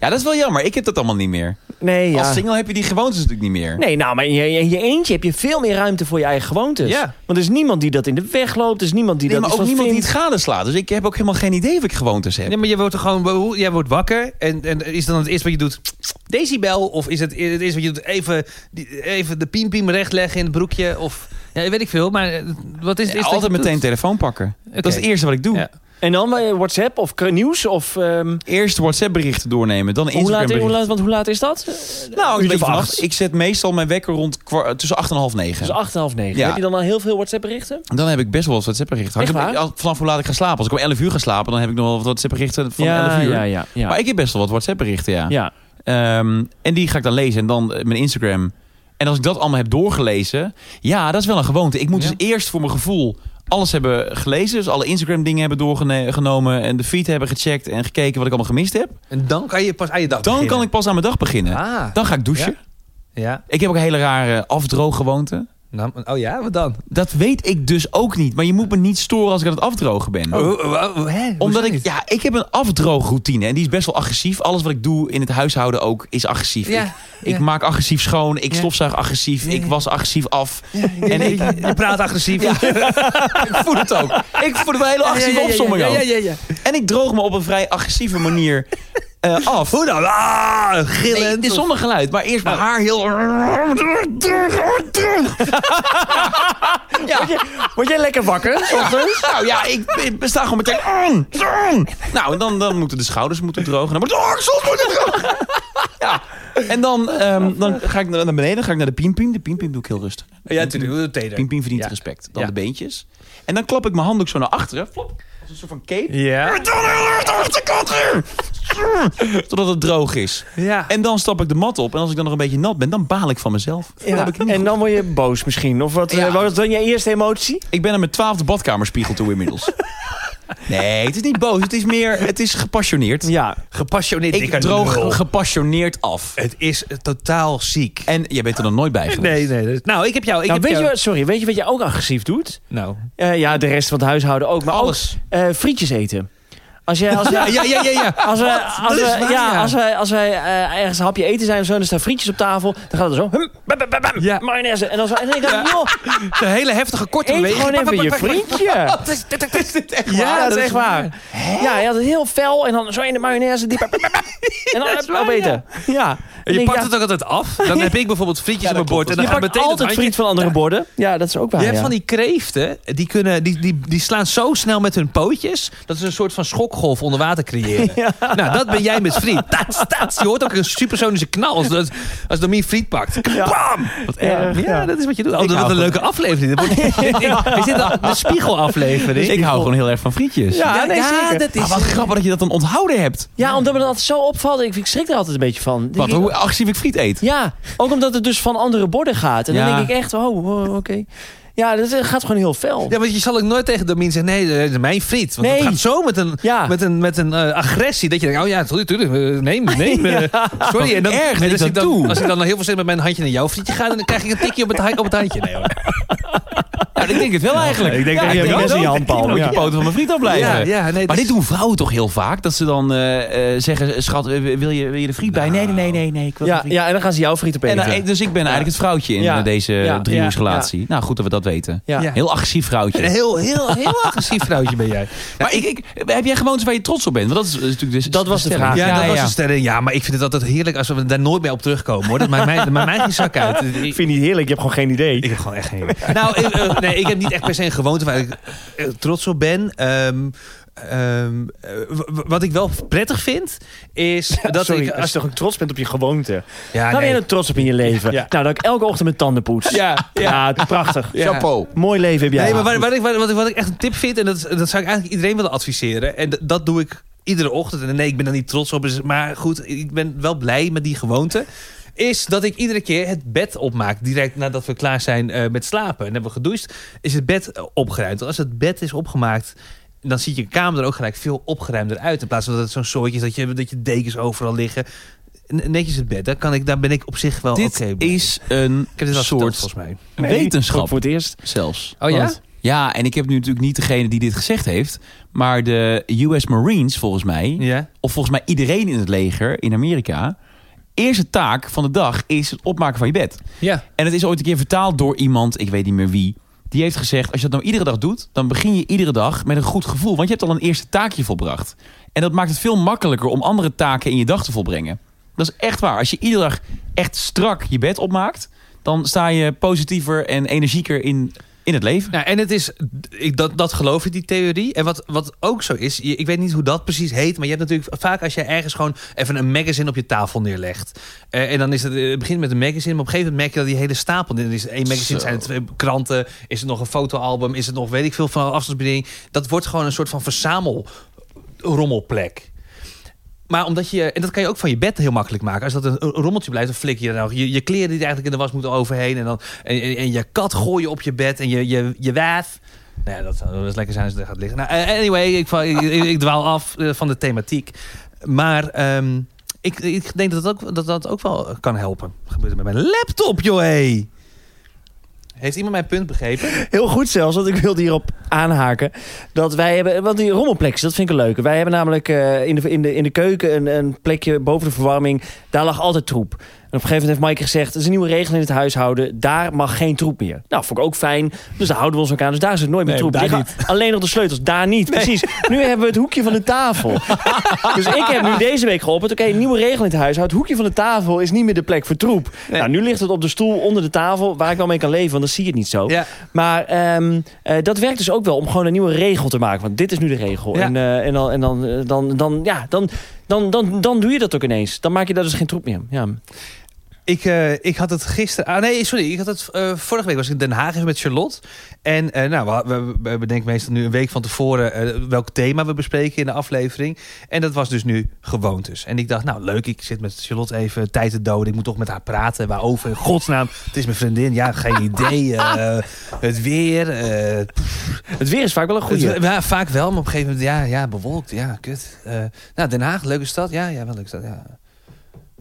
S3: Ja, dat is wel jammer. Ik heb dat allemaal niet meer.
S1: Nee, ja.
S3: Als single heb je die gewoontes natuurlijk niet meer.
S1: Nee, nou, maar in je, in je eentje heb je veel meer ruimte voor je eigen gewoontes.
S2: Ja.
S1: Want er is niemand die dat in de weg loopt. Er is niemand die
S3: Nee,
S1: dat
S3: maar
S1: iets
S3: ook
S1: van
S3: niemand die het
S1: vindt.
S3: gadeslaat. Dus ik heb ook helemaal geen idee of ik gewoontes heb.
S2: Nee, maar je wordt er gewoon, jij wordt wakker en, en is dan het eerste wat je doet decibel? Of is het e- het eerste wat je doet even, die- even de piempiem recht leggen in het broekje? Of ja, weet ik veel, maar eh, wat is het
S3: Ja,
S2: eerste
S3: altijd
S2: wat je
S3: meteen
S2: doet?
S3: telefoon pakken. Dat is
S2: Oké.
S3: het eerste wat ik doe.
S2: Ja.
S1: En dan eh, WhatsApp of k- nieuws of... ehm,
S3: Eerst WhatsApp berichten doornemen, dan
S1: hoe,
S3: Instagram
S1: laat, hoe,
S3: berichten.
S1: laat, want hoe laat is dat?
S3: Nou,
S1: Uurtje
S3: ik,
S1: of
S3: weet
S1: acht?
S3: acht. ik zet meestal mijn wekker rond kwa- tussen 8 en half
S1: Dus
S3: 9.
S1: acht en half negen.
S3: Ja.
S1: Heb je dan al heel veel WhatsApp berichten?
S3: Dan heb ik best wel wat WhatsApp berichten.
S1: Echt waar?
S3: vanaf hoe laat ik ga slapen. Als ik om 11 uur ga slapen, dan heb ik nog wel wat WhatsApp berichten van 11 uur.
S1: ja, ja. ja.
S3: Maar ik heb best wel wat WhatsApp berichten, ja.
S1: ja.
S3: Ehm, en die ga ik dan lezen en dan eh, mijn Instagram. En als ik dat allemaal heb doorgelezen, ja, dat is wel een gewoonte. Ik moet
S2: Ja.
S3: dus eerst voor mijn gevoel alles hebben gelezen. Dus alle Instagram dingen hebben doorgenomen en de feed hebben gecheckt en gekeken wat ik allemaal gemist heb.
S2: En dan kan je pas aan je dag
S3: Dan kan ik pas aan mijn dag beginnen.
S2: Ah,
S3: Dan ga ik douchen.
S2: ja.
S3: Ik heb ook een hele rare afdrooggewoonte.
S2: Nou, oh ja, wat dan?
S3: Dat weet ik dus ook niet. Maar je moet me niet storen als ik aan het afdrogen ben. Oh,
S2: Hoe- hoe- hoe- hè? Oh, Hoezo
S3: Omdat ik,
S2: niet?
S3: ja, ik heb een afdroogroutine en die is best wel agressief. Alles wat ik doe in het huishouden ook is agressief.
S2: Ja,
S3: ik,
S2: ja.
S3: ik maak agressief schoon, ik
S2: Ja.
S3: stofzuig agressief,
S2: Ja,
S3: ik
S2: ja.
S3: was agressief af.
S2: en
S3: En
S2: ik,
S3: ik-
S2: je praat agressief.
S3: Ja. ik voel het ook. Ik voel het wel een hele agressieve
S2: Ja, ja, ja,
S3: opzomming
S2: ja,
S3: ook.
S2: ja, ja, ja.
S3: En ik droog me op een vrij agressieve manier eh, af.
S2: Hoe dan? Ah,
S3: Nee,
S2: gillend. Oh.
S3: het is zonder geluid, maar eerst mijn haar heel...
S1: Word, jij, word jij lekker wakker? 's ochtends?
S3: Nou ja, ik, ik sta gewoon meteen... Nou, en dan, dan moeten de schouders moeten drogen. Dan Oh, moet de oksels moeten drogen. Ja. En dan, ehm, dan ga ik naar naar beneden, dan ga ik naar de piempiem. De piempiem doe ik heel rustig.
S2: Oh Ja, natuurlijk. Teder.
S3: Piempiem verdient
S2: Ja.
S3: respect. Dan
S2: Ja.
S3: de beentjes. En dan klap ik mijn handdoek zo naar achteren. Flop. Als een soort van cape.
S1: Ja.
S3: Totdat het droog is.
S2: Ja.
S3: En dan stap ik de mat op. En als ik dan nog een beetje nat ben, dan baal ik van mezelf. Dat heb ik, niet
S1: En
S3: goed.
S1: dan word je boos misschien. Of wat,
S3: Ja.
S1: eh, was dan je eerste emotie?
S3: ik ben aan mijn twaalfde badkamerspiegel toe inmiddels. nee, het is niet boos. Het is meer, het is gepassioneerd.
S1: Ja.
S2: Gepassioneerd.
S3: Ik
S2: dikke lul.
S3: droog gepassioneerd af.
S2: Het is eh, totaal ziek.
S3: En jij bent er dan nooit bij geweest.
S2: Nee, nee. dat is- Nou, ik heb jou. Ik
S1: Nou,
S2: heb
S1: weet je,
S2: jou-
S1: wat- sorry, weet je wat je ook agressief doet?
S2: Nou.
S1: Eh, ja, de rest van het huishouden ook. Maar
S3: Alles.
S1: ook eh, frietjes eten. Als jij... Als,
S2: Ah, Ja, ja, ja, ja.
S1: Als wij, als,
S2: Dat is
S1: wij-
S2: waar,
S1: ja,
S2: ja.
S1: als wij, als wij eh, ergens een hapje eten zijn of zo, en er staan frietjes op tafel, dan gaat het zo. Hum, bam, bam, bam, bam,
S2: Ja.
S1: Mayonaise. En dan zo. En dan denk ik, joh,
S2: Een hele heftige korte
S1: eet
S2: beweging.
S1: gewoon even je
S2: Oh,
S1: frietje.
S2: Ja, dat is waar.
S1: Ja, hij had het heel fel en dan zo in de mayonaise. Die, bam, bam, bam, bam. en dan heb je opeten. Ja.
S2: En
S1: Dan denk
S2: je
S1: ik,
S2: pakt
S1: ja,
S2: het ook altijd af. Dan heb ik bijvoorbeeld frietjes op mijn bord. En dan
S1: je
S2: gaat
S1: pakt
S2: meteen
S1: altijd
S2: het handje-
S1: friet van andere borden. Ja, dat is ook waar.
S2: Je hebt
S1: ja.
S2: van die kreeften, die, kunnen, die, die, die slaan zo snel met hun pootjes... dat ze een soort van schokgolf onder water creëren. Nou, dat ben jij met friet. Tats, tats. Je hoort ook een supersonische knal als, als, als Domien friet pakt. Bam! Wat erg.
S1: erg,
S2: Ja,
S1: ja.
S2: dat is wat je doet. Oh,
S3: Ik
S2: dat
S3: hou
S2: wordt een
S3: van-
S2: leuke aflevering. Dat wordt, Is dit de, de spiegelaflevering?
S3: Dus ik hou gewoon heel erg van frietjes.
S1: Ja, nee, zeker.
S2: dat
S3: Maar wat grappig dat je dat dan onthouden hebt.
S1: Ja, omdat me dat altijd zo opvalt. Ik, ik schrik er altijd een beetje van. Dan
S3: Wat,
S1: denk ik,
S3: hoe agressief ik friet eet.
S1: Ja, ook omdat het dus van andere borden gaat. En
S3: Ja.
S1: dan denk ik echt, oh, oh, oké. Ja, dat eh, gaat gewoon heel fel.
S2: Ja, want je zal ook nooit tegen Domien zeggen... nee, dat is mijn friet. Want het
S1: Nee.
S2: gaat zo met een,
S1: Ja.
S2: met een, met een eh, agressie... dat je denkt, oh ja, sorry, tuurlijk, eh, neem, neem. eh, sorry. En dan,
S3: Erg dat
S2: en
S3: ik
S2: als,
S3: dat
S2: ik dan,
S3: doe.
S2: als ik dan heel veel zin met mijn handje naar jouw frietje ga... dan krijg ik een tikje op het, hand- op het handje. Nee, hoor.
S3: Ja, ik denk het wel eigenlijk.
S1: ik denk dat je
S3: het
S1: best in je
S3: ook.
S1: handpalm,
S3: Dan moet je
S1: ja.
S3: poten van mijn friet afblijven.
S2: Ja, ja, nee, dat
S3: maar
S2: is-
S3: dit doen vrouwen toch heel vaak? Dat ze dan eh, eh, zeggen, schat, eh, wil je, wil je de friet bij? Nee, nee, nee, nee, nee ik wil
S1: Nou. Ja,
S3: geen friet.
S1: ja, en dan gaan ze jouw friet opeten.
S3: En, eh, dus ik ben eigenlijk het vrouwtje in
S1: Ja.
S3: eh, deze
S1: Ja.
S3: driehoeksrelatie. Nou, goed dat we dat weten.
S1: Ja.
S2: Ja.
S3: Heel agressief vrouwtje.
S2: Een heel, heel, heel agressief vrouwtje ben jij.
S3: maar ik, ik, heb jij gewoontes waar je trots op bent? Want dat is, eh, natuurlijk dus
S1: Dat was de
S3: stelling.
S1: vraag.
S2: Ja,
S1: Ja,
S2: dat was een sterren. Ja, maar ik vind het altijd heerlijk als we daar nooit meer op terugkomen. Hoor. Dat maakt mij, dat maakt mij geen zak uit.
S1: Ik vind het niet heerlijk, je hebt gewoon geen idee.
S2: Ik heb gewoon echt geen idee. Nou, ik, eh, nee, ik heb niet echt per se een gewoonte waar ik eh, trots op ben. Ehm, ehm, eh, w- w- wat ik wel prettig vind, is dat
S1: Sorry,
S2: ik...
S1: als je toch ook trots bent op je gewoonte.
S2: ja,
S1: Waar ben je
S2: nee.
S1: nou trots op in je leven?
S2: Ja.
S1: Nou, dat ik elke ochtend mijn tanden poets.
S3: Ja,
S1: Ja, prachtig.
S2: Ja.
S3: chapeau.
S1: Mooi leven heb jij.
S2: Nee, maar wat, wat, ik, wat, ik- wat ik echt een tip vind, en dat, dat zou ik eigenlijk iedereen willen adviseren. En d- dat doe ik iedere ochtend. En nee, ik ben daar niet trots op. dus- Maar goed, ik ben wel blij met die gewoonte. Is dat ik iedere keer het bed opmaak. Direct nadat we klaar zijn eh, met slapen. En hebben we gedoucht, is het bed eh, opgeruimd. Als het bed is opgemaakt, dan ziet je kamer er ook gelijk veel opgeruimder uit. In plaats van dat het zo'n soortje is dat je, dat je dekens overal liggen. N- Netjes het bed, daar, kan ik, daar ben ik op zich wel oké
S3: Dit
S2: mee.
S3: is een
S2: Ik heb dit al verteld,
S3: soort
S2: volgens mij.
S1: Nee, ook
S3: wetenschap
S1: Voor het eerst.
S3: zelfs.
S2: Oh ja?
S1: Want-
S3: Ja, en ik heb nu natuurlijk niet degene die dit gezegd heeft, maar de US Marines volgens mij,
S2: Ja.
S3: of volgens mij iedereen in het leger in Amerika, eerste taak van de dag is het opmaken van je bed.
S2: Ja.
S3: En het is ooit een keer vertaald door iemand, ik weet niet meer wie, die heeft gezegd, als je dat nou iedere dag doet, dan begin je iedere dag met een goed gevoel, want je hebt al een eerste taakje volbracht. En dat maakt het veel makkelijker om andere taken in je dag te volbrengen. Dat is echt waar. Als je iedere dag echt strak je bed opmaakt, dan sta je positiever en energieker in, in het leven.
S2: Nou, en het is, ik, dat, dat geloof ik, die theorie. En wat, wat ook zo is, je- ik weet niet hoe dat precies heet, maar je hebt natuurlijk vaak als je ergens gewoon even een magazine op je tafel neerlegt. Eh, en dan is het, eh, het begint met een magazine, maar op een gegeven moment merk je dat die hele stapel. Er is één magazine,
S3: Zo.
S2: zijn het twee kranten, is het nog een fotoalbum, is het nog weet ik veel van afstandsbediening. Dat wordt gewoon een soort van verzamelrommelplek. Maar omdat je, en dat kan je ook van je bed heel makkelijk maken. Als dat een een rommeltje blijft, dan flik je er nog. Je, je kleren die er eigenlijk in de was moeten overheen. En, dan, en, en, en je kat gooi je op je bed. En je, je, je wijf. Nou, ja, dat zou wel eens lekker zijn als het er gaat liggen. Nou, eh, anyway, ik, val- ik, ik, ik dwaal af eh, van de thematiek. Maar ehm, ik, ik denk dat dat, ook, dat dat ook wel kan helpen. Wat gebeurt er met mijn laptop, joh? hé? Heeft iemand mijn punt begrepen?
S1: Heel goed zelfs, want ik wilde hierop aanhaken. Dat wij hebben, want die rommelplekjes, dat vind ik een leuke. Wij hebben namelijk eh, in, de, in, de, in de keuken een, een plekje boven de verwarming. Daar lag altijd troep. op een gegeven moment heeft Mike gezegd... er is een nieuwe regel in het huishouden. Daar mag geen troep meer. Nou, vond ik ook fijn. Dus daar houden we ons elkaar. Dus daar zit nooit meer
S3: Nee,
S1: troep.
S3: daar
S1: Liggen Alleen nog de sleutels. Daar niet. Precies. Nu hebben we het hoekje van de tafel. dus ik heb nu deze week geopperd... oké, een nieuwe regel in het huishouden. Het hoekje van de tafel is niet meer de plek voor troep. Nou, nu ligt het op de stoel onder de tafel... waar ik wel mee kan leven, want dan zie je het niet zo.
S2: Ja.
S1: Maar ehm, eh, dat werkt dus ook wel om gewoon een nieuwe regel te maken. Want dit is nu de regel.
S2: Ja.
S1: En, eh, en, dan, en dan, eh, dan, dan, ja, dan, dan, dan, dan doe je dat ook ineens. Dan maak je daar dus geen troep meer. Ja.
S2: Ik, eh, ik had het gisteren. Ah, nee, sorry. Ik had het, eh, vorige week was ik in Den Haag even met Charlotte. En eh, nou, we, we, we bedenken meestal nu een week van tevoren eh, welk thema we bespreken in de aflevering. En dat was dus nu gewoontes. En ik dacht, nou leuk, ik zit met Charlotte even tijd te doden. Ik moet toch met haar praten. Waarover? In godsnaam, het is mijn vriendin. Ja, geen idee. eh, het weer. eh,
S1: Het weer is vaak wel een
S2: het-
S1: goede.
S2: ja, vaak wel, maar op een gegeven moment, ja, ja bewolkt, ja, kut. Eh, nou, Den Haag, leuke stad. Ja, ja, wel een leuke stad, ja.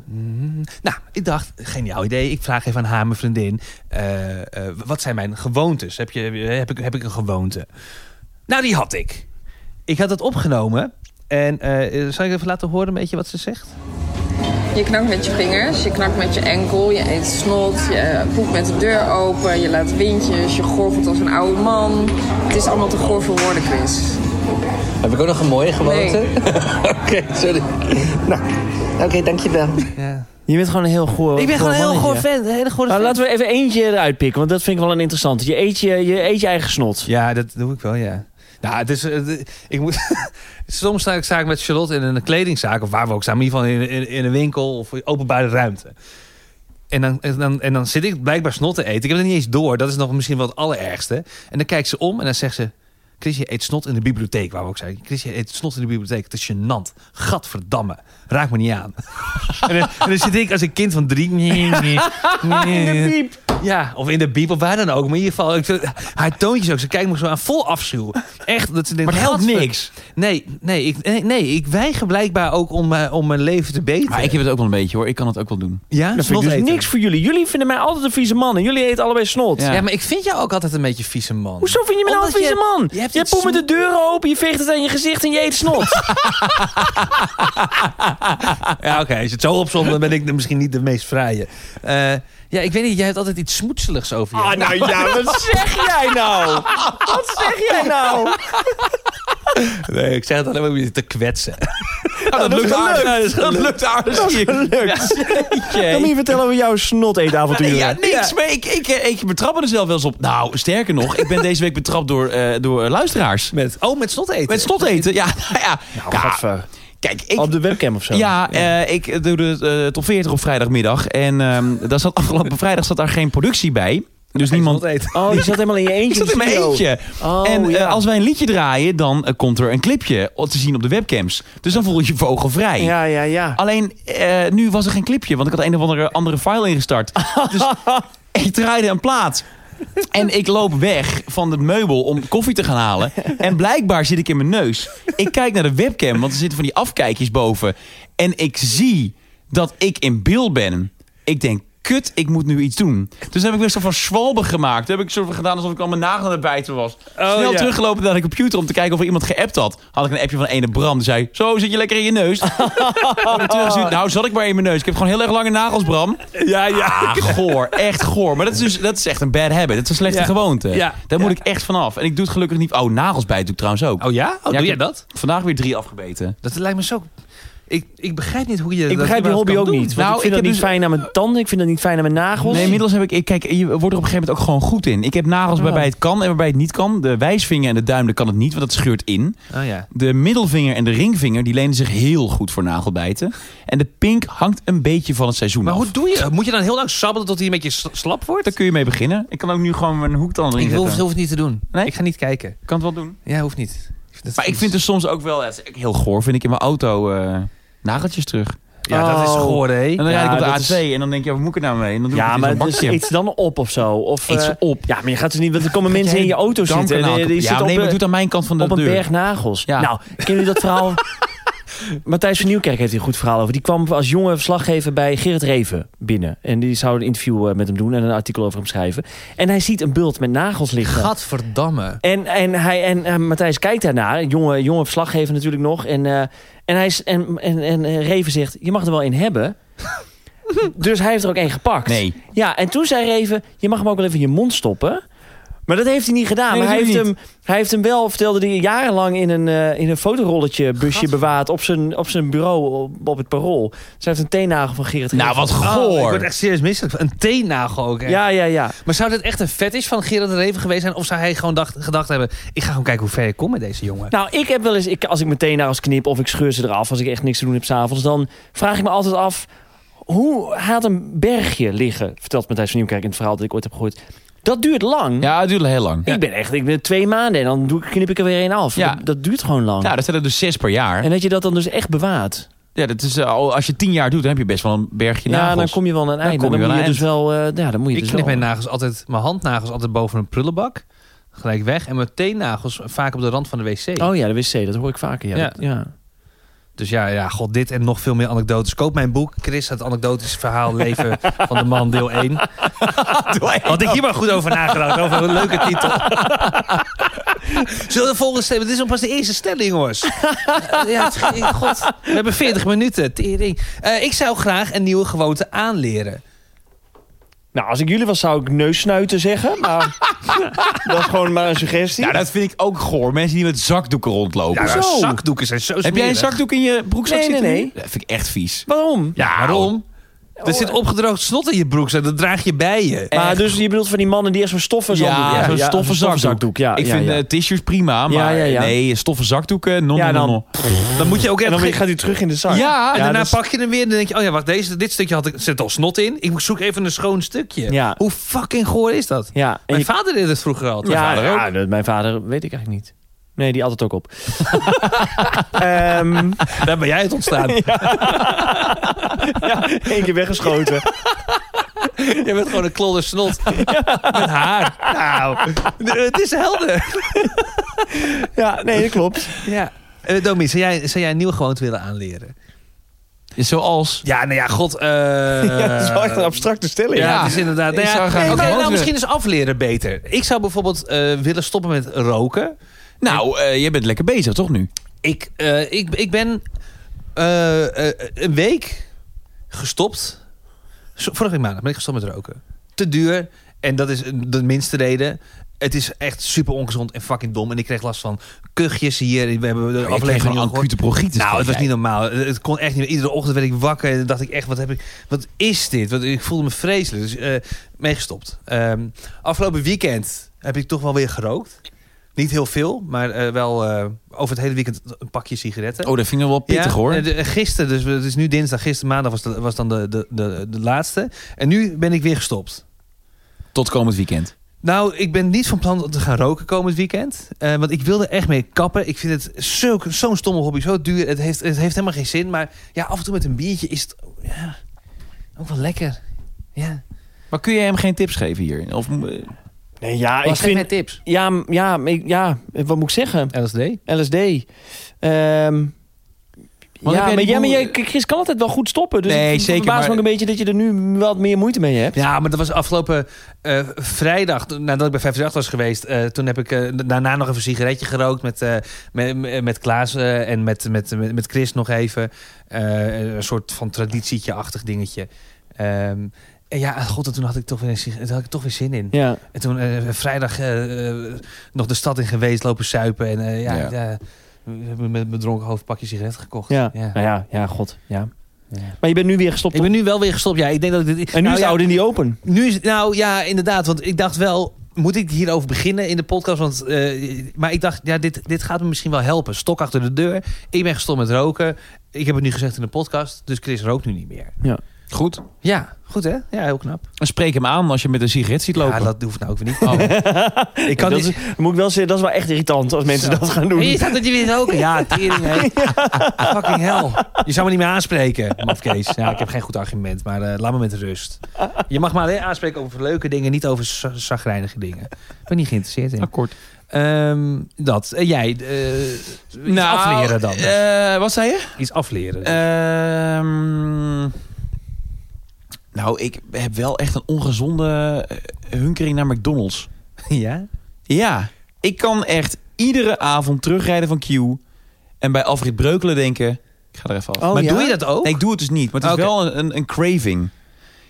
S2: Mm, nou, ik dacht, geniaal idee. Ik vraag even aan haar, mijn vriendin. eh, eh, wat zijn mijn gewoontes? Heb, je, heb, ik, heb ik een gewoonte? Nou, die had ik. Ik had het opgenomen. En eh, zal ik even laten horen een beetje wat ze zegt?
S5: Je knakt met je vingers, je knakt met je enkel, je eet snot, je eh, poept met de deur open, je laat windjes, je gorgelt als een oude man. Het is allemaal te goor voor woorden, Chris.
S6: Heb ik ook nog een mooie gewoonte?
S5: Nee.
S6: Oké, sorry. Nou, oké, dankjewel.
S2: Ja.
S1: Je bent gewoon een heel goor.
S2: Ik ben gewoon een heel
S1: mannetje.
S2: goor fan. Een hele goor
S1: Nou, laten we even eentje eruit pikken, want dat vind ik wel een interessante. Je eet je, je, eet je eigen snot.
S2: Ja, dat doe ik wel, ja. Nou, het is, eh, de- ik moet, soms sta ik, sta ik met Charlotte in een kledingzaak, of waar we ook staan, maar in ieder geval in, in, in een winkel of openbare ruimte. En dan, en, dan, en dan zit ik blijkbaar snot te eten. Ik heb het niet eens door, dat is nog misschien wel het allerergste. En dan kijkt ze om en dan zegt ze, Chris, je eet snot in de bibliotheek, waar we ook zijn. Chris, je eet snot in de bibliotheek, het is gênant. Gadverdamme, raak me niet aan. en, dan, en dan zit ik als een kind van drie... Ja, of in de biep of waar dan ook. Maar in ieder geval, ik vind, haar toontjes ook. Ze kijkt me zo aan vol afschuw. Echt, dat ze denkt,
S3: Maar het helpt
S2: "Gadver-"
S3: niks.
S2: Nee, nee, ik, nee, nee, ik weiger blijkbaar ook om, eh, om mijn leven te beteren.
S3: Maar ik heb het ook wel een beetje hoor. Ik kan het ook wel doen.
S2: ja,
S1: Dat vind ik dus niks voor jullie. Jullie vinden mij altijd een vieze man en jullie eten allebei snot.
S3: Ja.
S2: Ja. maar ik vind jou ook altijd een beetje vieze man.
S1: Hoezo vind je me nou een
S2: Omdat
S1: vieze
S2: je-
S1: man?
S2: je
S1: Je,
S2: hebt iets
S1: poept met de deuren open, je veegt het aan je gezicht en je eet snot.
S2: Ja, oké, als je het zo opzomt, dan ben ik misschien niet de meest vrije. Eh, ja, ik weet niet, jij hebt altijd iets smoetseligs over je.
S1: Ah, nou ja, wat zeg jij nou? Wat zeg jij nou?
S2: Nee, ik zeg het alleen maar om je te kwetsen.
S3: Oh, dat,
S1: lukt aardig.
S3: Dat lukt aardig. Dat
S1: Gelukt. Kan je vertellen over jouw snot eetavonturen?
S3: Ja, niks. Maar ik, ik, eh, ik betrap me er zelf wel eens op. Nou, sterker nog, ik ben deze week betrapt door, eh, door eh, luisteraars.
S2: Met, oh, met snot eten.
S3: Met stot eten. Ja, nou ja. Ja,
S1: Gadver.
S3: kijk,
S2: Oh,
S3: ik, oh,
S1: Op de webcam of zo?
S3: Ja, eh, ik doe de eh, top 40 op vrijdagmiddag. En ehm, daar zat, afgelopen vrijdag zat daar geen productie bij. Dus niemand...
S2: Snot eten.
S1: Oh, je zat helemaal in je
S3: Ik
S1: eentje.
S3: zat in mijn
S1: de studio.
S3: eentje.
S1: Oh,
S3: en eh,
S1: ja.
S3: als wij een liedje draaien, dan eh, komt er een clipje te zien op de webcams. Dus dan voel je je vogelvrij.
S1: Ja, ja, ja.
S3: Alleen, eh, nu was er geen clipje, want ik had een of andere, andere file ingestart. Dus ik draaide een plaat. En ik loop weg van het meubel om koffie te gaan halen. En blijkbaar zit ik in mijn neus. Ik kijk naar de webcam, want er zitten van die afkijkjes boven. En ik zie dat ik in beeld ben. Ik denk, kut, ik moet nu iets doen. Dus heb ik weer zo van zwalbe gemaakt. Heb ik zo van gedaan alsof ik al mijn nagel aan het bijten was. Snel
S1: ja.
S3: teruggelopen naar de computer om te kijken of er iemand geappt had. Had ik een appje van ene Bram. Die zei, zo zit je lekker in je neus. Heb ik teruggestuurd, nou zat ik maar in mijn neus. Ik heb gewoon heel erg lange nagels, Bram.
S1: Ja,
S3: Ah, goor. Echt goor. Maar dat is, dus, dat is echt een bad habit. Dat is een slechte
S2: Ja.
S3: gewoonte.
S2: Ja.
S3: Daar moet ik echt vanaf. En ik doe het gelukkig niet... Oh, nagels bijten doe ik trouwens ook.
S2: Oh ja? Oh,
S3: Ja,
S2: doe
S3: ik-
S2: jij dat?
S3: Vandaag weer drie afgebeten.
S2: Dat lijkt me zo... Ik, ik begrijp niet hoe je
S1: Ik begrijp die hobby ook niet. Want
S3: Nou,
S1: ik vind
S3: ik
S1: dat
S3: heb
S1: niet
S3: dus-
S1: fijn aan mijn tanden. Ik vind dat niet fijn aan mijn nagels.
S3: Nee, inmiddels heb ik, ik... Kijk, je wordt er op een gegeven moment ook gewoon goed in. Ik heb nagels
S2: Oh.
S3: waarbij het kan en waarbij het niet kan. De wijsvinger en de duim, dat kan het niet, want dat scheurt in.
S2: Oh ja.
S3: De middelvinger en de ringvinger, die lenen zich heel goed voor nagelbijten. En de pink hangt een beetje van het seizoen
S2: Maar
S3: af.
S2: hoe doe je dat? Moet je dan heel lang sabbelen tot hij een beetje sl- slap wordt?
S3: Daar kun je mee beginnen. Ik kan ook nu gewoon mijn hoektand erin
S2: Ik hoef,
S3: zetten.
S2: hoef het niet te doen.
S3: Nee?
S2: Ik ga niet kijken.
S3: kan het wel doen.
S2: Ja, hoeft niet. Ik vind het
S3: Maar ik
S2: vies.
S3: vind er soms ook wel... Het is heel goor, vind ik in mijn auto... eh, nageltjes terug.
S2: Ja, dat is
S1: Oh.
S2: goor, hè?
S3: En dan
S1: Ja,
S3: rijd ik op
S1: dat
S3: de A2 en dan denk je, wat moet ik er nou mee? En dan doe ik
S1: Ja,
S3: het
S1: maar
S3: in zo'n
S1: het is
S3: bakje.
S1: iets dan op of zo. Of,
S3: Iets
S1: eh,
S3: op.
S1: Ja, maar je gaat dus niet... Want er komen mensen
S3: jij
S1: in je auto
S3: Dank
S1: zitten. en,
S3: er nou
S1: eh,
S3: op.
S1: die
S3: Ja,
S1: zit op
S3: nee, maar
S1: een-
S3: doet aan mijn kant van de
S1: op een
S3: deur.
S1: berg nagels.
S3: Ja.
S1: Nou, kennen jullie dat verhaal? Matthijs van Nieuwkerk heeft hier een goed verhaal over. Die kwam als jonge verslaggever bij Gerrit Reven binnen. En die zou een interview eh, met hem doen en een artikel over hem schrijven. En hij ziet een bult met nagels liggen.
S2: Gadverdamme.
S1: En, en, hij, en, eh, Matthijs kijkt daarnaar, een jonge, jonge verslaggever natuurlijk nog. En, eh, en, hij, is- en, en, en eh, Reven zegt, je mag er wel een hebben. Dus hij heeft er ook één gepakt.
S3: Nee.
S1: Ja, en toen zei Reven, je mag hem ook wel even in je mond stoppen. Maar dat heeft hij niet gedaan.
S3: Nee,
S1: maar hij heeft,
S3: natuurlijk
S1: hem, hij heeft hem wel, vertelde hij, jarenlang in een, eh, in een fotorolletje busje bewaard... op zijn, op zijn bureau op, op het parool. Dus hij heeft een teennagel van Gerrit
S3: Nou,
S1: Reven.
S3: wat
S2: Oh, ik
S3: goor.
S2: word echt serieus misselijk. Een teennagel ook. echt.
S1: Ja, ja, ja.
S2: Maar zou dit echt een fetish van Gerard de Reven geweest zijn? Of zou hij gewoon dacht, gedacht hebben... ik ga gewoon kijken hoe ver ik kom met deze jongen.
S1: Nou, ik heb wel eens, ik, als ik mijn teennagels knip of ik scheur ze eraf... als ik echt niks te doen heb s'avonds, dan vraag ik me altijd af... hoe hij had een bergje liggen, vertelt Matthijs van Nieuwkerk in het verhaal dat ik ooit heb gehoord. Dat duurt lang.
S3: Ja, het duurde heel lang.
S1: Ik ben echt, ik ben twee maanden en dan doe ik- knip ik er weer één af.
S3: Ja.
S1: Dat, dat duurt gewoon lang.
S3: Ja, dat zijn er dus zes per jaar.
S1: En dat je dat dan dus echt bewaart.
S3: Ja, dat is, eh, al- als je tien jaar doet, dan heb je best wel een bergje
S1: Ja,
S3: nagels.
S1: dan kom je wel aan een einde.
S3: kom je
S1: Dan,
S3: wel
S1: moet je
S3: aan
S1: dus wel, eh, ja, dan moet je
S2: ik
S1: dus
S2: knip
S1: wel-
S2: mijn nagels altijd, mijn handnagels altijd boven een prullenbak. Gelijk weg. En mijn teennagels vaak op de rand van de wc.
S1: Oh ja, de wc, dat hoor ik vaker. Ja,
S2: Ja.
S1: Dat- ja.
S2: Dus ja, ja, god, dit en nog veel meer anekdotes. Koop mijn boek, Chris, het anekdotische verhaal Leven van de Man, deel 1. Had ik hier maar goed over nagedacht, over een leuke titel. Zullen we de volgende stelling? Dit is nog pas de eerste stelling, jongens. Ja, het- god, we hebben 40 minuten. Tering. Eh, ik zou graag een nieuwe gewoonte aanleren.
S1: Nou, als ik jullie was, zou ik neussnuiten zeggen. Maar dat is gewoon maar een suggestie.
S3: Nou, dat vind ik ook goor. Mensen die met zakdoeken rondlopen.
S2: Ja, nou,
S1: Hoezo?
S2: zakdoeken zijn zo
S3: heb jij een
S2: smerig.
S3: zakdoek in je broekzak
S1: Nee, nee,
S3: zitten?
S1: nee.
S3: nu? Dat vind ik echt vies.
S1: Waarom?
S2: Ja, oh. waarom? Er zit opgedroogd snot in je broek, zo, dat draag je bij je.
S1: Maar dus je bedoelt van die mannen die echt zo'n stoffen
S3: Ja, zo'n
S1: ja,
S3: stoffen
S1: zo'n
S3: zakdoek.
S1: Ja,
S3: ik
S1: ja,
S3: vind
S1: ja.
S3: eh, tissues prima, maar eh,
S1: Ja, ja, ja.
S3: nee, stoffen zakdoeken, non,
S1: Ja,
S3: non,
S1: dan-
S3: non.
S2: Dan moet je ook
S1: en
S2: echt
S1: dan gaat hij terug in de zak.
S2: Ja, en daarna
S1: dat is-
S2: pak je hem weer en dan denk je... oh ja, wacht, deze, dit stukje had ik, zit al snot in. Ik zoek even een schoon stukje.
S1: Ja.
S2: Hoe fucking goor is dat?
S1: Ja, en
S2: Mijn
S1: je-
S2: vader deed het vroeger altijd.
S1: ja,
S3: vader ook.
S1: ja, dat- mijn vader weet ik eigenlijk niet. Nee, die had het ook op. Ehm
S2: Daar ben jij het ontstaan.
S1: ja, één keer weggeschoten.
S2: Jij bent gewoon een klodder snot. Met haar. Nou, het is helder.
S1: Ja, nee, dat klopt.
S2: Ja. Eh Domi, zou jij, zou jij een nieuwe gewoonte willen aanleren?
S3: Zoals...
S2: Ja, nou ja, god. eh,
S1: Ja, dat is wel echt een abstracte stelling.
S2: Ja,
S3: Ja.
S2: het is inderdaad. Nou
S3: Ik
S2: ja,
S3: zou graag
S2: oké,
S3: een gewoonte
S2: nou,
S3: willen.
S2: misschien is afleren beter. Ik zou bijvoorbeeld eh, willen stoppen met roken.
S3: Nou, eh, jij bent lekker bezig, toch nu?
S2: Ik, eh, ik, ik ben eh, eh, een week gestopt. Zo- Vorige week maandag ben ik gestopt met roken. Te duur. En dat is de minste reden. Het is echt super ongezond en fucking dom. En ik kreeg last van kuchjes hier. We hebben de
S3: Ik kreeg
S2: aflevering
S3: gewoon
S2: al gehoord.
S3: acute bronchitis.
S2: Nou, het was
S3: kreeg
S2: niet
S3: jij.
S2: normaal. Het het kon echt niet. meer. Iedere ochtend werd ik wakker en dacht ik echt, wat heb ik? Wat is dit? Wat, ik voelde me vreselijk. Dus eh, meegestopt. Ehm, afgelopen weekend heb ik toch wel weer gerookt. Niet heel veel, maar eh, wel eh, over het hele weekend een pakje sigaretten.
S3: Oh, dat vind ik wel pittig,
S2: Ja,
S3: hoor.
S2: eh, de- eh, gisteren, dus het is nu dinsdag, gisteren maandag was, de- was dan de, de, de, de laatste. En nu ben ik weer gestopt.
S3: Tot komend weekend.
S2: Nou, ik ben niet van plan om te gaan roken komend weekend. Eh, want ik wilde echt mee kappen. Ik vind het zulk- zo'n stomme hobby, zo duur. Het heeft, het heeft helemaal geen zin. Maar ja, af en toe met een biertje is het ja, ook wel lekker. Ja.
S3: Maar kun je hem geen tips geven hier? Of, eh,
S1: Nee, ja, ik
S2: Wat zijn
S1: vind...
S2: mijn tips?
S1: Ja, m- ja, m- ik- ja, wat moet ik zeggen?
S2: LSD?
S1: LSD. Ehm
S3: Want
S1: ja,
S3: heb
S1: maar,
S3: jij die
S1: ja, maar
S3: moe-
S1: jij, Chris kan altijd wel goed stoppen. Dus
S3: Nee,
S1: ik
S3: zeker,
S1: verbaas me
S3: maar-
S1: ook een beetje dat je er nu wat meer moeite mee hebt.
S2: Ja, maar dat was afgelopen eh, vrijdag, toen- nadat ik bij 538 was geweest. eh, toen heb ik eh, daarna nog even een sigaretje gerookt met, eh, met, met- met Klaas eh, en met, met, met, met Chris nog even. Eh, een soort van traditietje-achtig dingetje. Ehm, en ja, god, en toen had ik toch weer, een sig- toen had ik toch weer zin in.
S1: Ja.
S2: En toen eh, vrijdag eh, eh, nog de stad in geweest, lopen suipen. En eh, ja,
S3: Ja.
S2: ja. we hebben met mijn dronken hoofd een pakje sigaret gekocht.
S1: Ja.
S2: Ja.
S1: Nou ja, ja, god. Ja.
S2: Ja.
S1: Maar je bent nu weer gestopt.
S2: Ik ben nu wel weer gestopt. Ja, ik denk dat ik dit...
S1: En nu
S2: Nou
S1: is het
S2: ja,
S1: oude in die open.
S2: nu is, nou ja, inderdaad. Want ik dacht wel, moet ik hierover beginnen in de podcast? Want, eh, maar ik dacht, ja, dit, dit gaat me misschien wel helpen. Stok achter de deur. Ik ben gestopt met roken. Ik heb het nu gezegd in de podcast. Dus Chris rookt nu niet meer.
S3: goed.
S2: Ja, goed hè? Ja, heel knap.
S3: Dan spreek hem aan als je met een sigaret ziet lopen.
S2: Ja, dat hoeft nou ook weer niet. ik
S1: Ja,
S2: kan
S1: dat,
S2: niet...
S1: is, moet ik wel zeggen, dat is wel echt irritant als mensen
S2: Zo.
S1: dat gaan doen.
S2: Hey, je staat dat je weer roken. Ja, tering hè. Fucking hell. Je zou me niet meer aanspreken, mafkees. Ja, ik heb geen goed argument, maar eh, laat me met rust. Je mag me alleen aanspreken over leuke dingen, niet over za- zagrijnige dingen. Ik ben niet geïnteresseerd in.
S3: Akkoord.
S2: Ehm, dat. En jij, eh, iets afleren dan.
S3: Nou, eh, wat zei je?
S2: iets afleren.
S3: Ehm, nou, ik heb wel echt een ongezonde eh, hunkering naar McDonald's.
S2: ja?
S3: Ja, ik kan echt iedere avond terugrijden van Q en bij Alfred Breukelen denken: ik ga er even af.
S1: Oh,
S2: maar
S1: ja?
S2: doe je dat ook?
S3: Nee, ik doe het dus niet, maar het
S2: Oké.
S3: is wel een, een, een craving.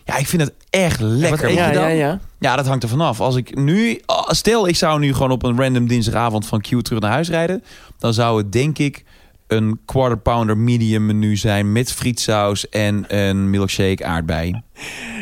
S3: Ja, ik vind het echt lekker.
S1: Ja,
S3: man.
S1: ja, ja.
S3: Ja, dat hangt er vanaf. Als ik nu, ah, stel ik zou nu gewoon op een random dinsdagavond van Q terug naar huis rijden, dan zou het denk ik een quarter pounder medium menu zijn met frietsaus en een milkshake aardbei.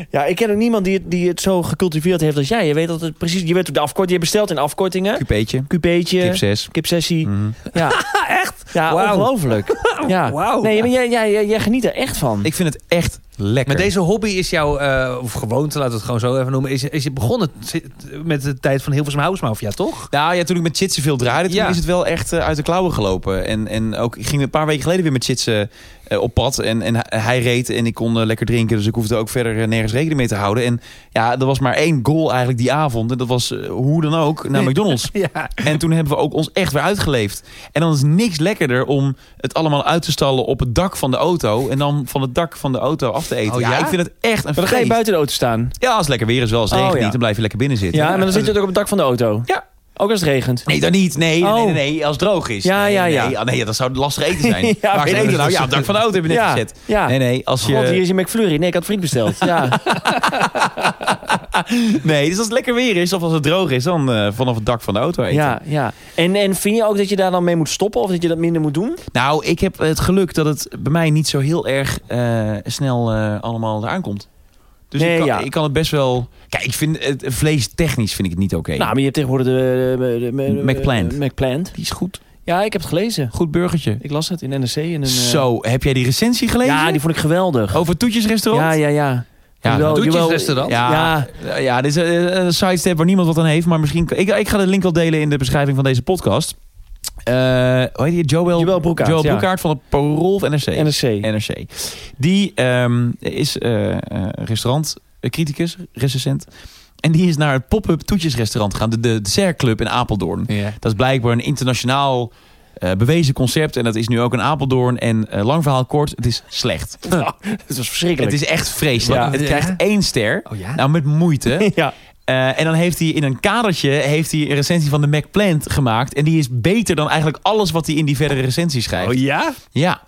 S1: Ja, ik ken ook niemand die het, die het zo gecultiveerd heeft als jij. Je weet dat het precies. Je weet ook de afkorting. Je bestelt in afkortingen.
S3: Cupeetje,
S1: Cupeetje.
S3: kip 6.
S1: Kipsessie. Ja. echt? Ja,
S2: Wauw.
S1: ongelooflijk. Ja.
S2: Wauw.
S1: Nee, maar jij, jij, jij, jij geniet er echt van.
S3: Ik vind het echt lekker.
S2: Maar deze hobby is jouw, eh, of gewoonte, laten we het gewoon zo even noemen, is, is je begonnen t- met de tijd van Hilversum Housemafia, toch?
S3: Nou ja, toen ik met Chitsen veel draaide, toen
S2: Ja.
S3: is het wel echt eh, uit de klauwen gelopen. En, en ook, ik ging een paar weken geleden weer met Chitsen eh, op pad. En, en hij- hij reed en ik kon eh, lekker drinken. Dus ik hoefde ook verder eh, nergens rekening mee te houden. En ja, er was maar één goal eigenlijk die avond. En dat was eh, hoe dan ook naar McDonald's.
S2: Ja.
S3: En toen hebben we ook ons echt weer uitgeleefd. En dan is niks lekkerder om het allemaal uit te stallen op het dak van de auto. En dan van het dak van de auto af te eten.
S2: Oh ja?
S3: ik vind het echt een
S1: Maar dan ga je
S3: feest.
S1: buiten de auto staan.
S3: Ja, als het lekker weer is wel. Als het
S1: Oh,
S3: regent
S1: ja.
S3: niet, dan blijf je lekker binnen zitten.
S1: Ja, maar dan zit je ook op het dak van de auto.
S3: Ja.
S1: Ook als het regent.
S3: Nee, dan niet. Nee,
S1: Oh.
S3: nee, nee, nee, als het droog is.
S1: Ja,
S3: nee,
S1: ja,
S3: nee.
S1: ja.
S3: Ah, nee, dat zou lastig eten zijn.
S1: Ja,
S3: Waar
S1: weet
S3: geen
S1: ik.
S3: eten nou? Ja, op het dak van de auto heb je net
S1: Ja,
S3: gezet.
S1: ja.
S3: Nee, nee, als je...
S1: God, hier is je McFlurry. Nee, ik had friet besteld. Ja.
S3: Nee, dus als het lekker weer is of als het droog is, dan eh, vanaf het dak van de auto eten.
S1: ja, ja. En, en vind je ook dat je daar dan mee moet stoppen? Of dat je dat minder moet doen?
S3: Nou, ik heb het geluk dat het bij mij niet zo heel erg eh, snel eh, allemaal eraan komt. Dus
S1: Nee,
S3: ik, kan,
S1: ja.
S3: ik kan het best wel... Kijk, ik vind het vleestechnisch vind ik het niet oké.
S1: Nou, maar je hebt tegenwoordig de... de, de- de- de-
S3: McPlant.
S1: McPlant.
S3: die is goed.
S1: Ja, ik heb het gelezen.
S3: Goed burgertje.
S1: Ik las het in NRC. In een, eh,
S3: Zo, heb jij die recensie gelezen? Oh,
S1: Ja, die vond ik geweldig.
S3: Over toetjesrestaurant?
S1: Ja, ja, ja.
S3: Ja,
S1: Jawel, jawel.
S2: Toetjesrestaurant?
S3: Oh, Ja, ja. dit is eh, een sidestep waar niemand wat aan heeft. Maar misschien... Ik, ik ga de link wel delen in de beschrijving van deze podcast. Eh hoe heet die? Joel,
S1: Joël Broekaert,
S3: Joël
S1: ja.
S3: Broekaert van het Parool of NRC.
S1: NRC.
S3: NRC. Die ehm, is eh, eh, restaurant, eh, criticus, recensent. En die is naar het pop-up toetjesrestaurant gegaan. De, de Dessert Club in Apeldoorn.
S2: Ja.
S3: Dat is blijkbaar een internationaal eh, bewezen concept. En dat is nu ook in Apeldoorn. En eh, lang verhaal kort, het is slecht.
S1: Het was verschrikkelijk.
S3: Het is echt vreselijk.
S1: Ja.
S3: Het
S2: Ja.
S3: krijgt één ster.
S2: Oh ja?
S3: Nou, met moeite.
S1: Ja.
S3: Eh, en dan heeft hij in een kadertje heeft hij een recensie van de Mac Plant gemaakt. En die is beter dan eigenlijk alles wat hij in die verdere recensie schrijft.
S2: Oh ja?
S3: Ja.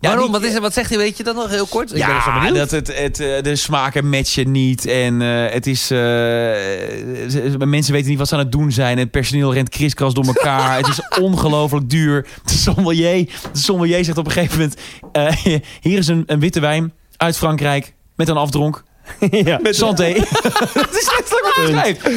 S3: Ja,
S2: Waarom?
S3: die-
S2: wat, is er, wat zegt hij, weet je dat nog heel kort? Ik ben zo
S3: ja,
S2: benieuwd.
S3: dat het, het, eh, de smaken matchen niet. En eh, het is. eh, ze- mensen weten niet wat ze aan het doen zijn. Het personeel rent kriskras door elkaar. het is ongelooflijk duur. De sommelier, de sommelier zegt op een gegeven moment: eh, Hier is een, een witte wijn uit Frankrijk. Met een afdronk.
S1: ja.
S3: Met santé. dat is letterlijk wat hij schrijft.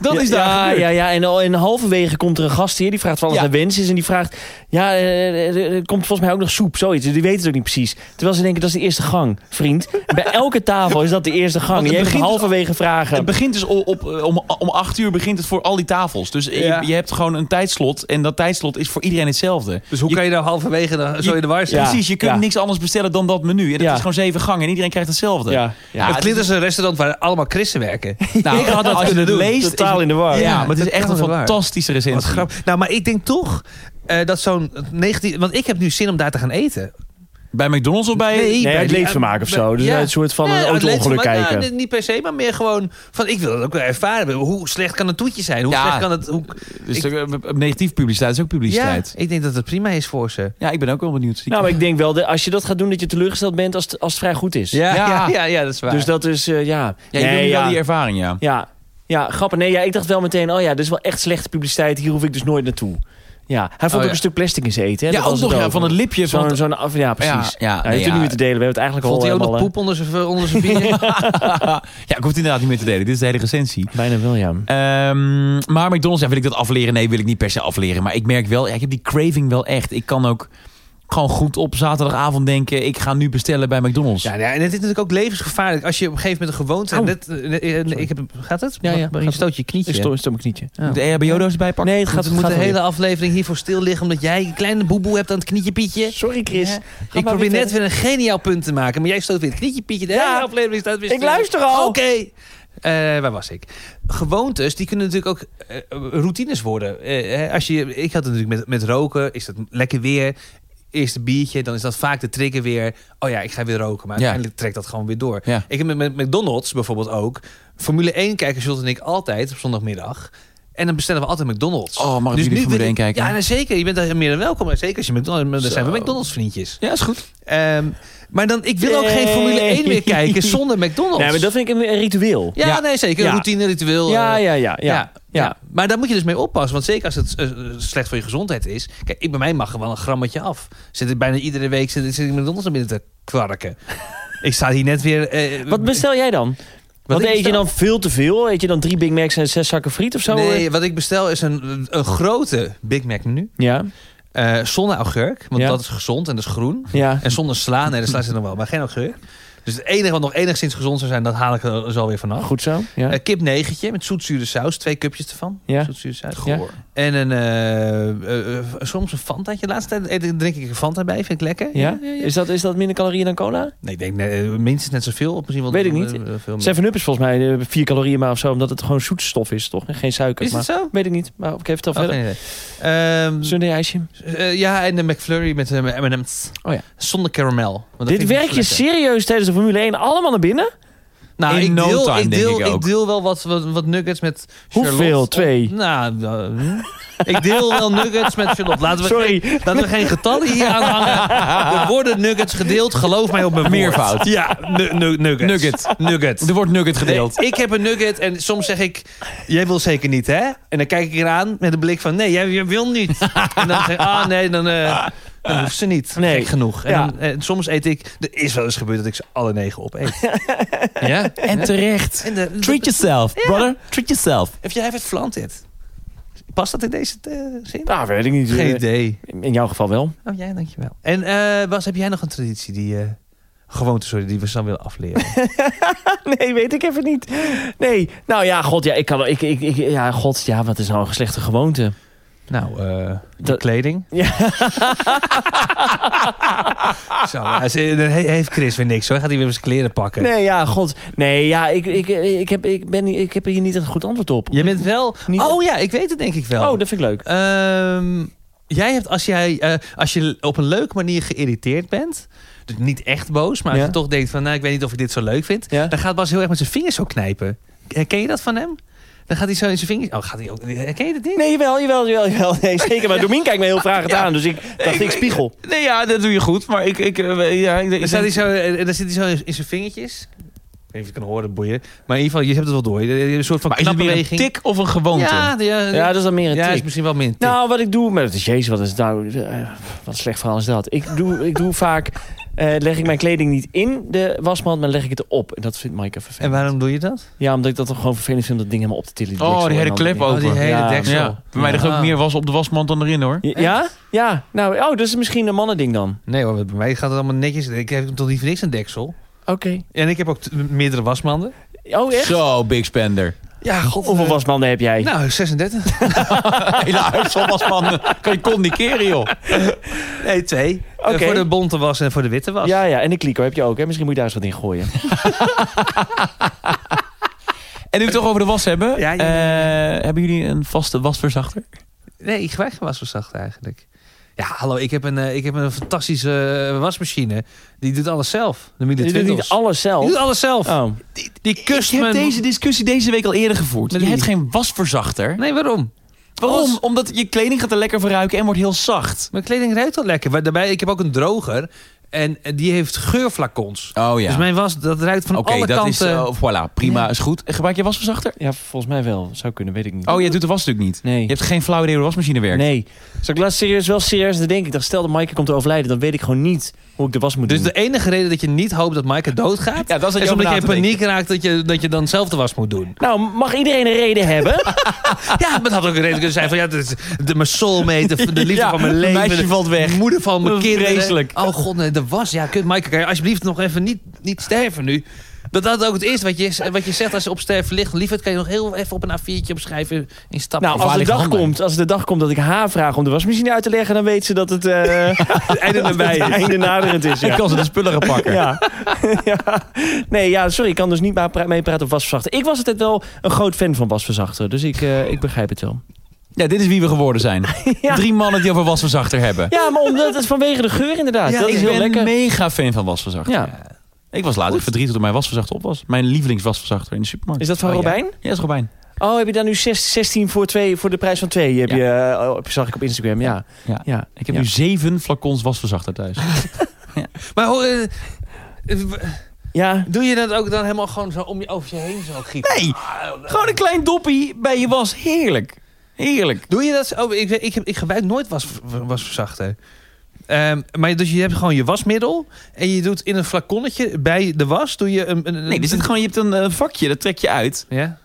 S3: Dat is daar.
S1: ja,
S3: gebeurd.
S1: ja, ja, en, al- en halverwege komt er een gast hier. Die vraagt van alles
S3: Ja.
S1: naar wens is. En die vraagt... Ja, eh, er er komt volgens mij ook nog soep. Zoiets. Dus Die weten het ook niet precies. Terwijl ze denken, dat is de eerste gang, vriend. Bij elke tafel is dat de eerste gang.
S3: het
S1: En Jij hebt
S3: begint dus-
S1: halverwege vragen.
S3: Het begint dus op, op, eh, om, om acht uur begint het voor al die tafels. Dus je-
S2: Ja.
S3: je, hebt gewoon een tijdslot. En dat tijdslot is voor iedereen hetzelfde.
S2: Dus hoe kan je nou halverwege dan, zo in de war staan?
S1: Ah, Ja.
S3: Precies, je kunt niks anders bestellen dan dat menu. En dat
S1: Ja.
S3: is gewoon zeven gangen en iedereen krijgt hetzelfde.
S1: ja.
S3: Ja,
S2: het klinkt als een restaurant waar allemaal christen werken.
S3: Nou, als je het leest... is
S1: Totaal
S3: het-
S1: in de war.
S3: Ja,
S2: Ja,
S3: maar het is
S2: totaal
S3: echt een
S2: in de war.
S3: fantastische
S2: Wat
S3: recensie.
S2: grappig. Nou, maar ik denk toch eh, dat zo'n 19... Want ik heb nu zin om daar te gaan eten.
S3: Bij McDonald's of bij...
S2: Nee,
S1: Nee,
S2: bij
S1: het
S2: die-
S1: leedvermaak of
S2: bij-
S1: zo. Dus
S2: ja.
S1: een soort van
S2: Nee,
S1: een
S2: uit
S1: auto-ongeluk
S2: leedvermaak,
S1: kijken.
S2: nou, niet per se, maar meer gewoon van ik wil dat ook wel ervaren. Hoe slecht kan het toetje zijn? Hoe
S3: Ja.
S2: slecht kan het... Hoe...
S3: Dus eh, negatief publiciteit is ook
S2: Ja,
S3: publiciteit. Ja.
S2: ik denk dat het prima is voor ze.
S3: ik ben ook wel benieuwd.
S1: Nou, maar ik denk wel, dat als je dat gaat doen, dat je teleurgesteld bent als het, als het vrij goed is.
S2: Ja,
S3: Ja.
S2: ja, ja, ja, dat is waar.
S1: Dus dat is, eh, ja.
S3: ja, je wil
S1: Nee,
S3: nu wel
S1: ja.
S3: die ervaring, ja.
S1: Ja, ja grappig. Nee, ja, ik dacht wel meteen, oh ja, dit is wel echt slechte publiciteit. Hier hoef ik dus nooit naartoe. Ja, hij vond
S2: Oh,
S1: ook
S2: ja.
S1: een stuk plastic in zijn eten. Hè?
S3: Ja,
S1: Dat
S3: ook
S1: was
S3: nog
S1: het
S3: ja, van het lipje. Van
S1: Zo'n,
S3: het-
S1: zo'n af, ja, precies.
S3: Ja, ja,
S1: Ja,
S3: nee,
S1: heeft
S3: ja.
S1: er niet meer te delen. We hebben het eigenlijk
S2: Vond hij
S1: al
S2: ook nog
S1: helemaal,
S2: poep onder zijn, onder zijn bier?
S3: ja, ik hoef het inderdaad niet meer te delen. Dit is de hele recensie.
S1: eh, Bijna wel, ja.
S3: Ehm, maar McDonald's, ja, wil ik dat afleren? Nee, wil ik niet per se afleren. Maar ik merk wel, ja, ik heb die craving wel echt. Ik kan ook gewoon goed op zaterdagavond denken... ik ga nu bestellen bij McDonald's.
S2: Ja, ja, en het is natuurlijk ook levensgevaarlijk. Als je op een gegeven moment een gewoonte...
S1: Au.
S2: net, eh, eh, eh, ik heb, gaat het?
S1: Ja, ja,
S2: Maar je
S1: gaat-
S2: stoot je knietje.
S1: Ik stoor, stoor mijn knietje.
S2: Ja.
S3: Moet de EHBO-doos erbij pakken?
S1: Nee, het gaat,
S2: we
S1: het
S2: moeten de
S1: gaat wel
S2: hele aflevering hiervoor stil liggen... omdat jij een kleine boeboe hebt aan het knietje Pietje.
S1: weer. Sorry, Chris.
S2: Ja.
S1: Ga maar
S2: Ik probeer
S1: weer
S2: net
S1: verder.
S2: weer een geniaal punt te maken... maar jij stoot weer het knietje Pietje. De
S1: Ja,
S2: hele aflevering staat weer
S1: ik
S2: stil.
S1: luister al.
S2: Oké. Eh, waar was ik? Gewoontes, die kunnen natuurlijk ook eh, routines worden. Eh, hè, als je, ik had het natuurlijk met, met roken, is dat lekker weer. Eerst een biertje, dan is dat vaak de trigger weer. Oh ja, ik ga weer roken, maar
S3: Ja.
S2: uiteindelijk trekt dat gewoon weer door.
S3: Ja.
S2: Ik heb met, met McDonald's bijvoorbeeld ook. Formule 1 kijken Jules en ik altijd op zondagmiddag. En dan bestellen we altijd McDonald's.
S3: Oh, mag ik jullie Formule
S2: wil
S3: 1 kijken?
S2: Ja, nou, zeker. Je bent daar meer dan welkom. Zeker als je McDonald's... Dan zijn we McDonald's vriendjes.
S3: Ja, is goed.
S2: Ehm, maar dan, ik wil ook geen Formule 1 meer kijken zonder McDonald's.
S1: Nee, maar dat vind ik een een ritueel.
S2: Ja,
S3: Ja.
S2: nee, zeker.
S1: Ja.
S2: Routine, ritueel.
S1: Ja,
S2: eh,
S1: ja, ja, ja.
S2: ja, ja. Maar daar moet je dus mee oppassen. Want zeker als het eh, slecht voor je gezondheid is. Kijk, ik, bij mij mag er wel een grammetje af. Zit ik bijna iedere week zit, zit ik McDonald's naar binnen te kwarken. ik sta hier net weer... eh,
S1: Wat bestel jij dan? Want
S2: ik
S1: eet je
S2: bestel?
S1: dan veel te veel? Eet je dan drie Big Macs en zes zakken friet of zo?
S2: Nee, wat ik bestel is een, een grote Big Mac menu.
S1: Ja,
S2: Eh, zonder augurk, want
S1: Ja.
S2: dat is gezond en dat is groen.
S1: ja.
S2: En zonder sla, nee, de sla zit nog wel, maar geen augurk. Dus het enige wat nog enigszins gezond zou zijn, dat haal ik er zo weer vanaf.
S1: Nou, Goed zo. Ja.
S2: Eh, kip negentje met zoetzure saus, twee cupjes ervan.
S1: Ja.
S2: Zoetzure saus.
S1: Ja.
S2: En een, eh, eh, eh, soms een Fantaatje. De laatste tijd eet- drink ik een Fanta bij, vind ik lekker.
S1: Ja? Is, dat, is dat minder calorieën dan cola?
S2: Nee, ik denk nee, eh, minstens net zoveel. Of misschien wel
S1: Weet ik niet.
S2: eh, eh, veel meer.
S1: Seven Up is volgens mij eh, vier calorieën maar of zo, omdat het gewoon zoetstof is, toch? Geen suiker.
S2: Is
S1: maar,
S2: het zo?
S1: Weet ik niet, maar oké, vertel
S2: Oh,
S1: verder.
S2: geen idee. Ehm,
S1: Sunday ijsje.
S2: eh, ja, en de McFlurry met eh, met M&M's.
S1: Oh ja.
S2: Zonder caramel. want dat vind
S1: Dit
S2: ik
S1: werk
S2: niet
S1: je
S2: zo lekker.
S1: serieus tijdens de Formule 1 allemaal naar binnen?
S2: Nou,
S3: In
S2: ik
S3: no
S2: deel,
S3: time,
S2: ik
S3: denk
S2: deel,
S3: ik ook.
S2: deel wel wat, wat, wat nuggets met Charlotte.
S1: Hoeveel? Twee?
S2: Nou, eh, hm. ik deel wel nuggets met Charlotte. Laten we,
S1: Sorry.
S2: Geen, laten we geen getallen hier aan hangen. Er worden nuggets gedeeld. Geloof mij op mijn woord.
S3: Meervoud.
S2: Ja, nu- nu- nuggets.
S3: Nugget.
S2: Nugget.
S3: Er wordt nugget gedeeld.
S2: Nee, ik heb een nugget en soms zeg ik, jij wil zeker niet, hè? En dan kijk ik eraan met een blik van, nee, jij, jij wil niet. en dan zeg ik, ah nee, dan, eh, dan hoeft ze niet.
S1: Nee.
S2: Nee. genoeg. En,
S1: Ja.
S2: dan- en soms eet ik, er is wel eens gebeurd dat ik ze alle negen opeet. ja?
S3: En terecht.
S2: En de,
S3: Treat yourself, brother. Treat yourself.
S2: Heb jij even het vlant dit? Past dat in deze eh, zin?
S1: Nou, weet ik niet.
S2: Geen idee.
S1: In jouw geval wel.
S2: Oh, jij, dankjewel. En eh Bas, heb jij nog een traditie die... eh, gewoonte, sorry, die we zo willen afleren?
S1: Nee, weet ik even niet. Nee, nou ja, god, ja, ik kan, ik, ik, ik, ja, god, ja, wat is nou een slechte gewoonte?
S2: nou, eh,
S1: Dat-
S2: kleding.
S1: Ja.
S2: Zo, ja, ze- dan he- heeft Chris weer niks hoor. Gaat hij weer zijn kleren pakken.
S1: Nee, ja, god. Nee, ja, ik, ik, ik, heb, ik, ben, niet- ik heb hier niet een goed antwoord op.
S2: Je bent wel...
S1: Niet-
S2: Oh ja, ik weet het denk ik wel.
S1: Oh, dat vind ik leuk.
S2: Ehm, jij hebt, als, jij, eh, als je op een leuke manier geïrriteerd bent... Dus niet echt boos, maar als
S1: Ja.
S2: je toch denkt van... Nou, ik weet niet of ik dit zo leuk vind.
S1: Ja.
S2: Dan gaat Bas heel erg met zijn vingers zo knijpen. Herken je dat van hem? Dan gaat hij zo in zijn vingers... Oh, gaat hij ook... Herken je dat niet?
S1: Nee, jawel, jawel, jawel, jawel. Nee, zeker. Maar Domien kijkt me heel vragend aan, dus ik dacht, ik spiegel.
S3: Nee, ja, dat doe je goed. Maar ik... ik eh, ja, ik,
S2: Dan, staat hij zo, eh, dan zit hij zo in zijn vingertjes. Ik weet niet of je kan horen, boeien. Maar in ieder geval, je hebt het wel door. Je- je- Een soort van
S3: maar is het
S2: knappe
S3: meer een
S2: beweging.
S3: tik of een gewoonte?
S2: Ja, ja,
S1: Ja, dat is dan meer een
S2: Ja, is
S1: tik.
S2: misschien wel min. tik.
S1: Nou, wat ik doe, maar dat is jezus, wat is nou, eh, wat een slecht verhaal is dat? Ik doe, ik doe vaak, eh, leg ik mijn kleding niet in de wasmand, maar leg ik het erop. En dat vindt Maaike vervelend.
S2: en waarom doe je dat?
S1: Ja, omdat ik dat toch gewoon vervelend vind om dat ding helemaal op te tillen.
S3: Oh,
S1: deksel
S3: die
S1: en
S3: hele
S1: dan-
S3: klep
S2: Oh,
S3: open.
S2: die hele
S1: Ja.
S2: deksel.
S3: Ja. Bij mij ligt ook
S2: Ah.
S3: meer was op de wasmand dan erin, hoor.
S1: Ja? Ja? Ja. Nou, oh, dat is misschien een mannending dan.
S2: Nee hoor, bij mij gaat het allemaal netjes. Ik heb toch niet voor niks een deksel.
S1: Oké.
S2: En ik heb ook t- meerdere wasmanden.
S1: Oh, echt?
S3: Zo, big spender.
S2: Ja, god.
S1: Hoeveel wasmanden heb jij?
S2: Nou, 36.
S3: Hele huis vol wasmanden. Kan je kon niet keren, joh.
S2: Nee, twee.
S1: Oké.
S2: Eh, Voor de bonte was en voor de witte was.
S1: ja, ja. En de kliko heb je ook, hè? Misschien moet je daar eens wat in gooien.
S3: En nu we het toch over de was hebben.
S2: Ja, ja,
S3: eh, hebben jullie een vaste wasverzachter?
S2: Nee, ik gebruik geen wasverzacht eigenlijk. Ja, hallo, ik heb een, eh, ik heb een fantastische eh, wasmachine. Die doet alles zelf. De
S1: Je doet niet alles
S2: Die
S1: zelf.
S2: doet alles zelf.
S1: Oh.
S2: Die, die kust
S3: Ik heb
S2: mijn-
S3: deze discussie deze week al eerder gevoerd.
S2: Met
S3: je
S2: wie?
S3: hebt geen wasverzachter.
S2: Nee, waarom?
S3: Waarom?
S2: Als-
S3: Omdat je kleding gaat er lekker van ruiken en wordt heel zacht.
S2: Mijn kleding ruikt al lekker. Maar daarbij, ik heb ook een droger. En eh, die heeft geurflacons.
S3: Oh ja.
S2: Dus mijn was, dat ruikt van
S3: Oké,
S2: alle
S3: dat
S2: kanten.
S3: is... eh, voilà, prima, is goed. En Gebruik je wasverzachter?
S1: Ja, volgens mij wel. Zou kunnen, weet ik niet.
S3: Oh, jij doet de was natuurlijk niet.
S1: Nee.
S3: Je hebt geen flauw idee hoe de wasmachine werkt.
S1: Nee. Zou ik laatst serieus wel serieus te denken? Ik dacht, stel dat Maaike komt te overlijden, dan weet ik gewoon niet hoe ik de was moet
S2: Dus
S1: doen.
S2: de enige reden dat je niet hoopt dat Maaike doodgaat...
S3: Ja, dat is dat je
S2: is
S3: over
S2: omdat
S3: na
S2: je in
S3: te denken.
S2: paniek raakt dat je, dat je dan zelf de was moet doen.
S1: Nou, mag iedereen een reden hebben?
S2: Ja, maar dat had ook een reden kunnen zijn van... Ja, dat is de, mijn soulmate, de, de liefde
S3: Ja,
S2: van mijn
S3: een
S2: leven.
S3: meisje
S2: de
S3: valt weg.
S2: moeder van mijn
S3: Wat
S2: kinderen.
S3: vreselijk.
S2: Oh god, nee, de was. Ja, kut, Maaike, kan je alsjeblieft nog even niet, niet sterven nu? Dat dat ook het eerste wat je, wat je zegt als ze op sterven ligt. Lieverd, kan je nog heel even op een A4'tje opschrijven in stappen.
S1: Nou,
S3: waar
S1: als de,
S3: ligt de
S1: dag
S3: hand bij?
S1: komt, als de dag komt dat ik haar vraag om de wasmachine uit te leggen, dan weet ze dat het eh,
S2: het einde
S1: het einde naderend is.
S3: Ik
S1: Ja.
S3: kan ze de spullen gaan pakken.
S1: Ja. ja. Nee, ja, sorry, ik kan dus niet maar pra- meepraten op wasverzachter. Ik was altijd wel een groot fan van wasverzachter, dus ik, eh, ik begrijp het wel.
S3: Ja, dit is wie we geworden zijn.
S1: Ja.
S3: Drie mannen die over wasverzachter hebben.
S1: Ja, maar omdat het vanwege de geur inderdaad. dat
S3: ik
S1: is heel
S3: ben
S1: lekker.
S3: mega fan van wasverzachter.
S1: Ja.
S3: Ik was laatst verdrietig toen mijn wasverzachter op was. Mijn lievelingswasverzachter in de supermarkt.
S1: Is dat van
S2: Oh, ja.
S1: Robijn?
S3: Ja, dat is Robijn.
S1: Oh, heb je daar nu zes- 16 voor, twee, voor de prijs van twee? Heb
S3: Ja.
S1: je, eh, oh, zag ik op Instagram, ja.
S3: Ja.
S1: ja.
S3: Ik heb
S1: Ja.
S3: nu zeven flacons wasverzachter thuis. oh.
S2: Maar hoe, eh, eh,
S1: Ja,
S2: doe je dat ook dan helemaal gewoon zo om je, over je heen zo gieten?
S3: Nee, gewoon een klein doppie bij je was. Heerlijk. Heerlijk.
S2: Doe je dat? zo- Oh, ik, ik, heb- ik gebruik nooit was, wasverzachter. Ehm, maar dus je hebt gewoon je wasmiddel en je doet in een flaconnetje bij de was doe je een. een
S3: Nee, er zit gewoon, je hebt een eh, vakje, dat trek je uit.
S2: Ja.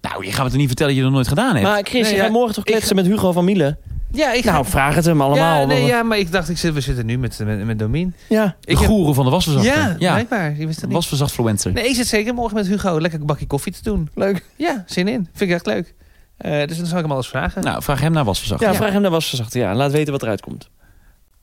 S3: Nou, je gaat me toch niet vertellen dat je dat nooit gedaan hebt?
S1: maar Chris,
S2: Nee,
S1: je
S2: ja,
S1: gaat morgen toch
S2: ik
S1: kletsen met Hugo van Miele?
S2: Ja, ik
S1: Nou, vraag het hem allemaal.
S2: Ja, nee,
S1: want-
S2: ja, maar ik dacht, ik zit, we zitten nu met, met, met Domien.
S1: ja.
S3: de
S2: Ik heb-
S3: goeren van de wasverzachter.
S2: ja, blijkbaar. Je wist dat niet.
S3: wasverzachtfluencer.
S2: Nee, ik zit zeker morgen met Hugo lekker een bakje koffie te doen.
S1: Leuk.
S2: Ja, zin in. Vind ik echt leuk. Eh, dus dan zal ik hem alles vragen.
S3: Nou, vraag hem naar wasverzachter.
S1: Ja, vraag hem naar wasverzachter. Ja, laat weten wat eruit komt.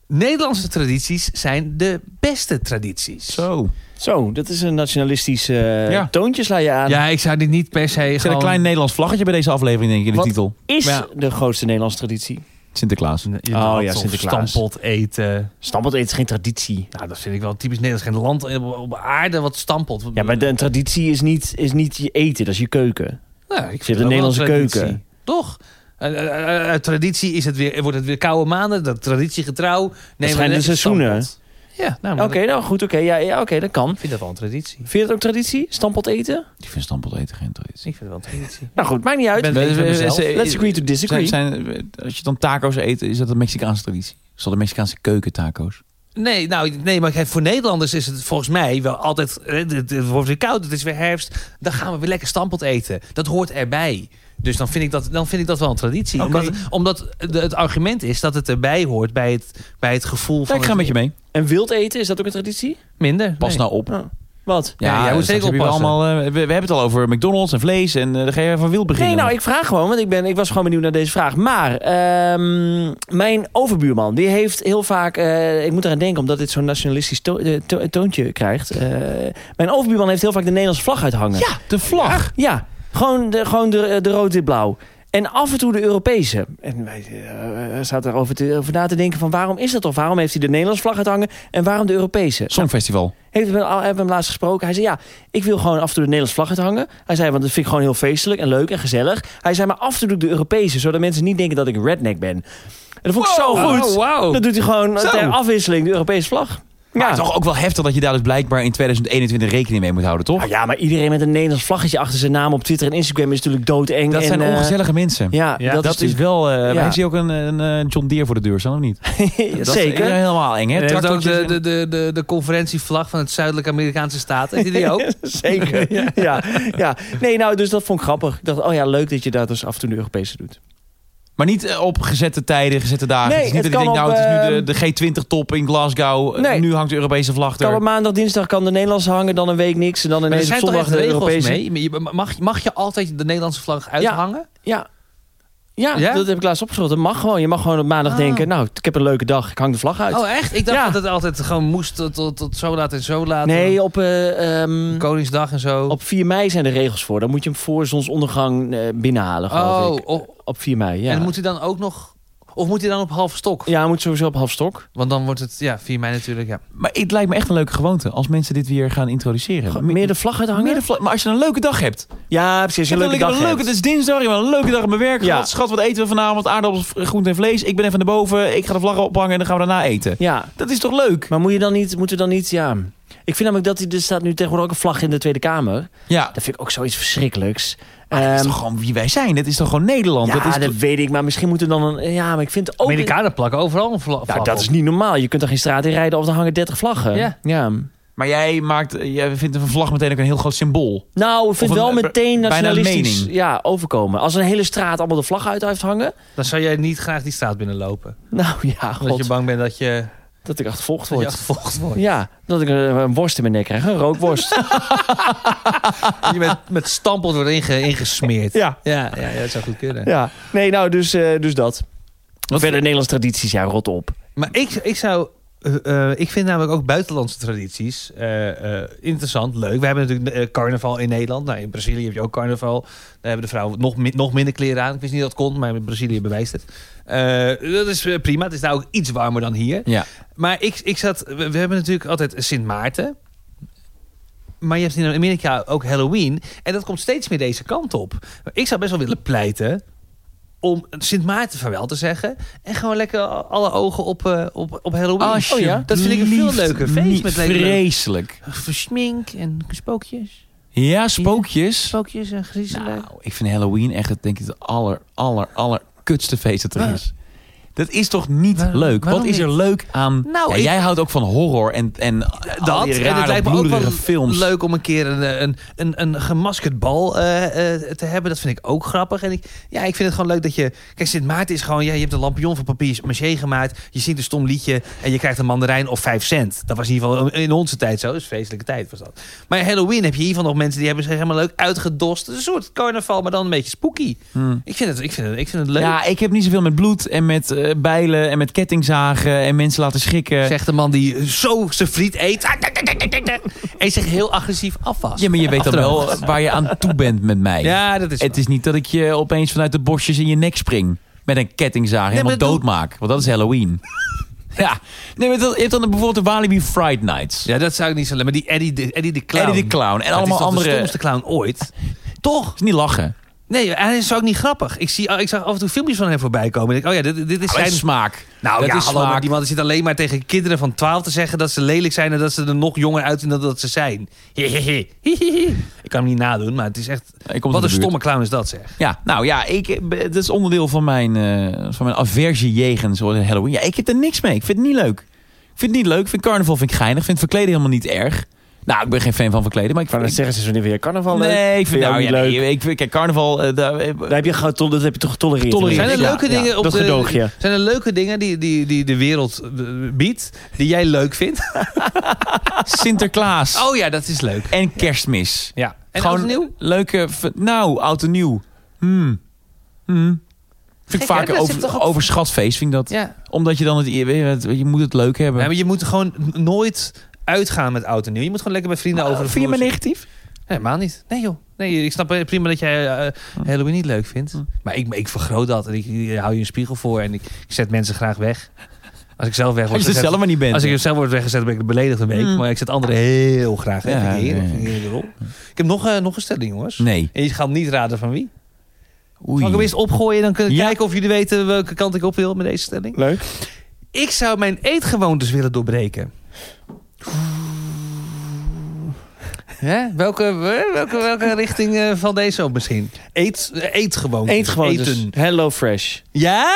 S2: Nederlandse tradities zijn de beste tradities.
S3: Zo.
S1: Zo, dat is een nationalistisch eh,
S3: Ja.
S1: toontje sla je aan.
S2: Ja, ik zou dit niet per se
S3: Er zit
S2: gewoon...
S3: een klein Nederlands vlaggetje bij deze aflevering, denk ik, in de
S1: Wat?
S3: titel.
S1: Is
S2: Maar ja.
S1: de grootste Nederlandse traditie.
S3: Sinterklaas.
S2: Je
S1: Oh
S2: had
S1: ja,
S2: zo'n
S1: Sinterklaas.
S2: Stampot eten.
S1: Stampot eten is geen traditie.
S2: Nou, dat vind ik wel typisch Nederlands. Geen land op, op aarde wat stampot.
S1: Ja, maar de, een traditie is niet, is niet je eten, dat is je keuken.
S2: Nou, ik
S1: de
S2: vind het ook wel een
S1: Nederlandse
S2: traditie.
S1: keuken.
S2: Toch? Eh, eh, eh, Uit traditie is het weer, wordt het weer koude maanden. Dat traditiegetrouw. nemen we
S1: schijnen
S2: net
S1: de
S2: een
S1: seizoenen.
S2: stampot. Ja, nou,
S1: Oké,
S2: maar dat-
S1: nou goed, oké. ja, ja, oké, dat kan.
S2: ik vind dat wel een traditie.
S1: Vind je dat ook traditie? Stampot eten?
S3: Ik vind stampot eten geen traditie.
S2: Ik vind het wel een traditie.
S1: Nou goed, maakt niet uit.
S2: Ben- ben- ben- mezelf.
S1: Let's agree to disagree.
S3: Zijn, zijn- eh, als je dan taco's eet, is dat een Mexicaanse traditie? Is dat de Mexicaanse keuken taco's?
S2: Nee, nou, nee, maar kijk, voor Nederlanders is het volgens mij wel altijd... eh, Het het wordt weer koud, het is weer herfst. Dan gaan we weer lekker stampot eten. Dat hoort erbij. Dus dan vind ik dat, dan vind ik dat wel een traditie. Omdat, omdat de- het argument is dat het erbij hoort bij het, bij het gevoel van...
S3: Ja, ik ga
S2: het-
S3: met je mee.
S1: En wild eten, is dat ook een traditie?
S2: Minder.
S3: Pas
S2: nee.
S3: nou op.
S1: Wat?
S2: Ja, jij moet
S3: straks
S2: zeker
S3: heb je wel
S2: oppassen.
S3: allemaal, eh, we, we hebben het al over McDonald's en vlees en eh dan ga je van wild beginnen.
S1: Nee, nou, ik vraag gewoon, want ik, ben, ik was gewoon benieuwd naar deze vraag. Maar ehm, mijn overbuurman, die heeft heel vaak... eh, ik moet eraan denken, omdat dit zo'n nationalistisch to- eh, to- toontje krijgt. eh, mijn overbuurman heeft heel vaak de Nederlandse vlag uithangen.
S3: Ja, de vlag.
S1: Ja, gewoon de, gewoon de, de rood, wit, blauw. En af en toe de Europese. En wij eh, zaten erover te, over na te denken van waarom is dat toch? Waarom heeft hij de Nederlandse vlag uithangen en waarom de Europese? Nou,
S3: Songfestival.
S1: Heeft hem, al- hebben we hem laatst gesproken. Hij zei, ja, ik wil gewoon af en toe de Nederlandse vlag uithangen. Hij zei, want dat vind ik gewoon heel feestelijk en leuk en gezellig. Hij zei, maar af en toe doe ik de Europese, zodat mensen niet denken dat ik een redneck ben. En dat vond ik zo goed.
S2: Oh, wauw.
S1: Dat doet hij gewoon
S3: Zo.
S1: ter afwisseling, de Europese vlag.
S3: Maar toch ook wel heftig dat je daar dus blijkbaar in 2021 rekening mee moet houden, toch?
S1: Nou ja, maar iedereen met een Nederlands vlaggetje achter zijn naam op Twitter en Instagram is natuurlijk doodeng.
S3: dat
S1: en,
S3: zijn
S1: eh,
S3: ongezellige mensen.
S1: Ja,
S2: Ja,
S1: dat,
S3: Dat, is,
S1: is dus- natuurlijk-
S3: wel... eh
S1: Ja.
S3: Heeft hij ook een, een eh, John Deere voor de deur staan, of niet? Dat is
S1: Zeker.
S3: helemaal eng, hè?
S2: En heeft ook
S3: Tractortjes
S2: de,
S3: en-
S2: de, de, de, de conferentievlag van het Zuidelijke Amerikaanse staat. Heeft hij die ook?
S1: Zeker. ja. Ja. Nee, nou, dus dat vond ik grappig. Ik dacht, oh ja, leuk dat je daar dus af en toe de Europese doet.
S3: Maar niet eh, op gezette tijden, gezette dagen.
S1: Nee,
S3: het is niet
S1: het
S3: dat ik
S1: kan
S3: denk,
S1: op,
S3: nou, het is nu
S1: ehm,
S3: de, de G20-top in Glasgow. Eh,
S1: Nee.
S3: Nu hangt de Europese vlag
S1: Kan
S3: er.
S1: op maandag, dinsdag kan de Nederlandse hangen, dan een week niks. En dan
S2: Maar er
S1: ineens op
S2: zijn toch
S1: dus zondag
S2: echt
S1: de
S2: regels
S1: Europese.
S2: mee? Je- Mag, mag je altijd de Nederlandse vlag uithangen?
S1: Ja. Ja,
S2: Ja?
S1: dat heb ik laatst opgeschreven. Dat mag gewoon. Je mag gewoon op maandag
S2: Ah.
S1: denken, nou, ik heb een leuke dag. Ik hang de vlag uit.
S2: Oh, echt? Ik dacht
S1: Ja.
S2: dat het altijd gewoon moest tot, tot, tot zo laat en zo laat.
S1: nee, op, eh, ehm,
S2: Koningsdag en zo.
S1: op 4 mei zijn de regels voor. Dan moet je hem voor zonsondergang eh, binnenhalen, geloof
S2: oh,
S1: ik.
S2: o-
S1: Op 4 mei, ja.
S2: en moet hij dan ook nog... Of moet hij dan op half stok?
S1: Ja, hij moet sowieso op half stok.
S2: Want dan wordt het... Ja, 4 mei natuurlijk, ja.
S3: Maar het lijkt me echt een leuke gewoonte als mensen dit weer gaan introduceren.
S1: Gewoon Meer de vlag uithangen?
S3: Meer de vlag- maar als je een leuke dag hebt.
S1: Ja, precies. Als je
S3: Ik
S1: een
S3: heb
S1: leuke dag
S3: een leuke,
S1: hebt.
S3: het is dinsdag, ik heb een leuke dag op mijn werk.
S1: Ja.
S3: gehad. Schat, wat eten we vanavond? Aardappels, v- groente en vlees. Ik ben even naar boven, ik ga de vlag ophangen en dan gaan we daarna eten.
S1: Ja,
S3: Dat is toch leuk?
S1: Maar moet je dan niet, moeten we dan niet, ja... Ik vind namelijk dat hij- er staat nu tegenwoordig ook een vlag in de Tweede Kamer.
S3: Ja,
S1: Dat vind ik ook zoiets verschrikkelijks.
S3: maar Ah, dat is
S1: Ehm,
S3: toch gewoon wie wij zijn? Dat is toch gewoon Nederland?
S1: ja,
S3: dat is
S1: dat,
S3: toch-
S1: weet ik, maar misschien moeten we dan een... Ja, maar ik vind ook...
S2: Amerikanen plakken overal een vla- vlag
S1: Nou, dat is
S2: op.
S1: niet normaal. Je kunt er geen straat in rijden of er hangen 30 vlaggen.
S2: Ja.
S3: Maar jij, maakt, jij vindt een vlag meteen ook een heel groot symbool.
S1: Nou, ik vind
S3: Of een- eh,
S1: wel meteen
S3: bijna een
S1: nationalistisch
S3: mening.
S1: ja, overkomen. Als een hele straat allemaal de vlag uit heeft hangen...
S2: Dan zou jij niet graag die straat binnenlopen.
S1: Nou ja, god,
S2: Omdat je bang bent dat je,
S1: dat ik achtervolgd
S2: dat je
S1: word.
S2: achtervolgd wordt.
S1: Ja, dat ik een, een worst in mijn nek krijg. Een rookworst.
S2: Dat je met, met stampot wordt inge- ingesmeerd.
S1: ja.
S2: Ja, ja, ja, dat zou goed kunnen.
S1: ja. Nee, nou, dus, eh, dus dat.
S3: Wat-
S1: Verder Nederlandse tradities, ja, rot op.
S2: Maar ik, ik zou. eh, eh, ik vind namelijk ook buitenlandse tradities eh, eh, interessant, leuk. We hebben natuurlijk eh, carnaval in Nederland. Nou, in Brazilië heb je ook carnaval. Daar hebben de vrouwen nog, min- nog minder kleren aan. Ik wist niet dat het kon, maar in Brazilië bewijst het. Eh, dat is eh, prima. Het is daar ook iets warmer dan hier.
S3: Ja.
S2: Maar ik, ik zat. We, we hebben natuurlijk altijd Sint Maarten. Maar je hebt in Amerika ook Halloween. En dat komt steeds meer deze kant op. Ik zou best wel willen pleiten om Sint Maarten vaarwel te zeggen. En gewoon lekker alle ogen op, eh, op, op Halloween. Oh
S3: Alsjeblieft
S2: dat vind ik een veel leuker feest.
S3: Oh, niet.
S2: Met leuke
S3: Vreselijk.
S2: verschmink en spookjes.
S3: Ja, spookjes.
S2: Spookjes en griezelen.
S3: Nou, ik vind Halloween echt het, denk ik, het aller, aller, aller kutste feest dat er
S2: Waar-
S3: is. Dat is toch niet
S2: Waar-
S3: leuk? Wat
S2: waarom
S3: is er
S2: niet?
S3: leuk aan...
S2: Nou,
S3: ja,
S2: ik-
S3: jij houdt ook van horror en, en al
S2: dat.
S3: die
S2: en het
S3: rare,
S2: lijkt me ook wel
S3: bloederige films.
S2: leuk om een keer een, een, een, een gemaskerd bal eh, eh, te hebben. Dat vind ik ook grappig. En ik, ja, ik vind het gewoon leuk dat je... Kijk, Sint Maarten is gewoon... Ja, je hebt een lampion van papier maché gemaakt. Je zingt een stom liedje en je krijgt een mandarijn of vijf cent. Dat was in ieder geval in onze tijd zo. Dat is een feestelijke tijd was dat. Maar Halloween heb je hiervan nog mensen die hebben zich helemaal leuk uitgedost. Het is een soort carnaval, maar dan een beetje spooky. Ik, vind het, ik, vind het, ik vind het leuk.
S3: Hmm. Ja, ik heb niet zoveel met bloed en met eh, bijlen en met kettingzagen en mensen laten schrikken.
S2: Zegt de man die Eh, zo zijn friet eet. Ah, En zich heel agressief afvast.
S3: Ja, maar je weet dan
S2: Afdroogt.
S3: wel waar je aan toe bent met mij.
S2: Ja, dat is
S3: Het is niet dat ik je opeens vanuit de bosjes in je nek spring. Met een kettingzaag helemaal
S2: maar dat
S3: doodmaak. Want dat is Halloween. ja. Nee, maar dat, je hebt dan bijvoorbeeld de Walibi Fright Nights.
S2: Ja, dat zou ik niet zo leuk. Maar die Eddie de, Eddie de Clown.
S3: Eddie de Clown. En
S2: Dat
S3: allemaal
S2: is toch
S3: andere...
S2: de stomste clown ooit. Toch?
S3: is niet lachen.
S2: Nee, hij is ook niet grappig. Ik, zie, ik zag af en toe filmpjes van hem voorbij komen. Ik denk, oh ja, dit, dit is
S3: Zijn
S2: zijn...
S3: smaak.
S2: Nou
S3: dat
S2: ja,
S3: is
S2: hallo, maar
S3: smaak.
S2: die man zit alleen maar tegen kinderen van 12 te zeggen... dat ze lelijk zijn en dat ze er nog jonger uitzien dan dat ze zijn. Hehehe. Hihihi. Ik kan hem niet nadoen, maar het is echt...
S3: Hij komt uit de
S2: Wat een
S3: buurt.
S2: stomme clown is dat, zeg.
S3: Ja, nou ja, ik, eh, dat is onderdeel van mijn, eh, van mijn aversie jegens Halloween. Ja, ik heb er niks mee. Ik vind het niet leuk. Ik vind het niet leuk. Ik vind carnaval vind ik geinig. Ik vind verkleden helemaal niet erg. Nou, ik ben geen fan van verkleden, maar ik
S1: Ik wou
S3: vind...
S1: net zeggen, ze is nu weer carnaval leuk.
S3: Nee, ik vind,
S1: jou
S3: nou,
S1: niet
S3: ja,
S1: leuk.
S3: nee, ik vind, kijk, carnaval... eh, daar, eh,
S1: Dat heb je, gauw tol- dat heb je toch getolereerd?
S3: Tolereerd.
S2: Zijn er
S1: Ja,
S2: leuke
S1: ja.
S2: dingen op
S1: dat
S2: de,
S1: gedoog je.
S2: Zijn er leuke dingen die, die, die de wereld eh, biedt, die jij leuk vindt?
S3: Sinterklaas
S2: Oh ja, dat is leuk.
S3: en kerstmis.
S2: Ja. En
S3: Gewoon
S2: Oud en nieuw?
S3: Leuke... v- Nou, oud en nieuw. Hmm. Hmm. Vind
S2: Gek,
S3: ik
S2: hè?
S3: vaak
S2: Dat
S3: een
S2: zit toch
S3: over,
S2: op-
S3: overschat feest, vind ik dat.
S2: Ja.
S3: Omdat je dan het... Je, weet het, je moet het leuk hebben.
S2: Ja, maar je moet gewoon n- nooit uitgaan met oud en nieuw. Je moet gewoon lekker bij vrienden over de
S3: vind je me
S2: vloer
S3: negatief?
S2: zitten. Nee, helemaal niet. Nee joh. Nee, ik snap prima dat jij eh,
S3: Hm.
S2: Halloween niet leuk vindt. Maar ik, ik vergroot dat en ik, ik hou je een spiegel voor en ik, ik zet mensen graag weg. Als ik zelf weg word
S3: Als je er
S2: gezet-
S3: zelf maar niet bent.
S2: als ik er zelf word weggezet, ben ik beledigd een week.
S3: Mm.
S2: Maar ik zet anderen heel graag weg.
S3: Ja,
S2: Vind ik heerlijk.
S3: nee.
S2: Vind ik heerlijk erop. Ik heb nog, eh, nog een stelling, jongens.
S3: Nee.
S2: En je gaat niet raden van wie.
S3: Oei.
S2: Kan ik hem eerst opgooien? Dan kunnen we
S3: Ja.
S2: kijken of jullie weten welke kant ik op wil met deze stelling.
S1: Leuk.
S2: Ik zou mijn eetgewoontes willen doorbreken. Hè? Welke, eh, welke, welke richting eh, van deze op misschien? Eet, eh, eetgewoontes.
S1: Eet gewoon dus.
S2: Eten.
S1: Hello Fresh.
S2: Ja,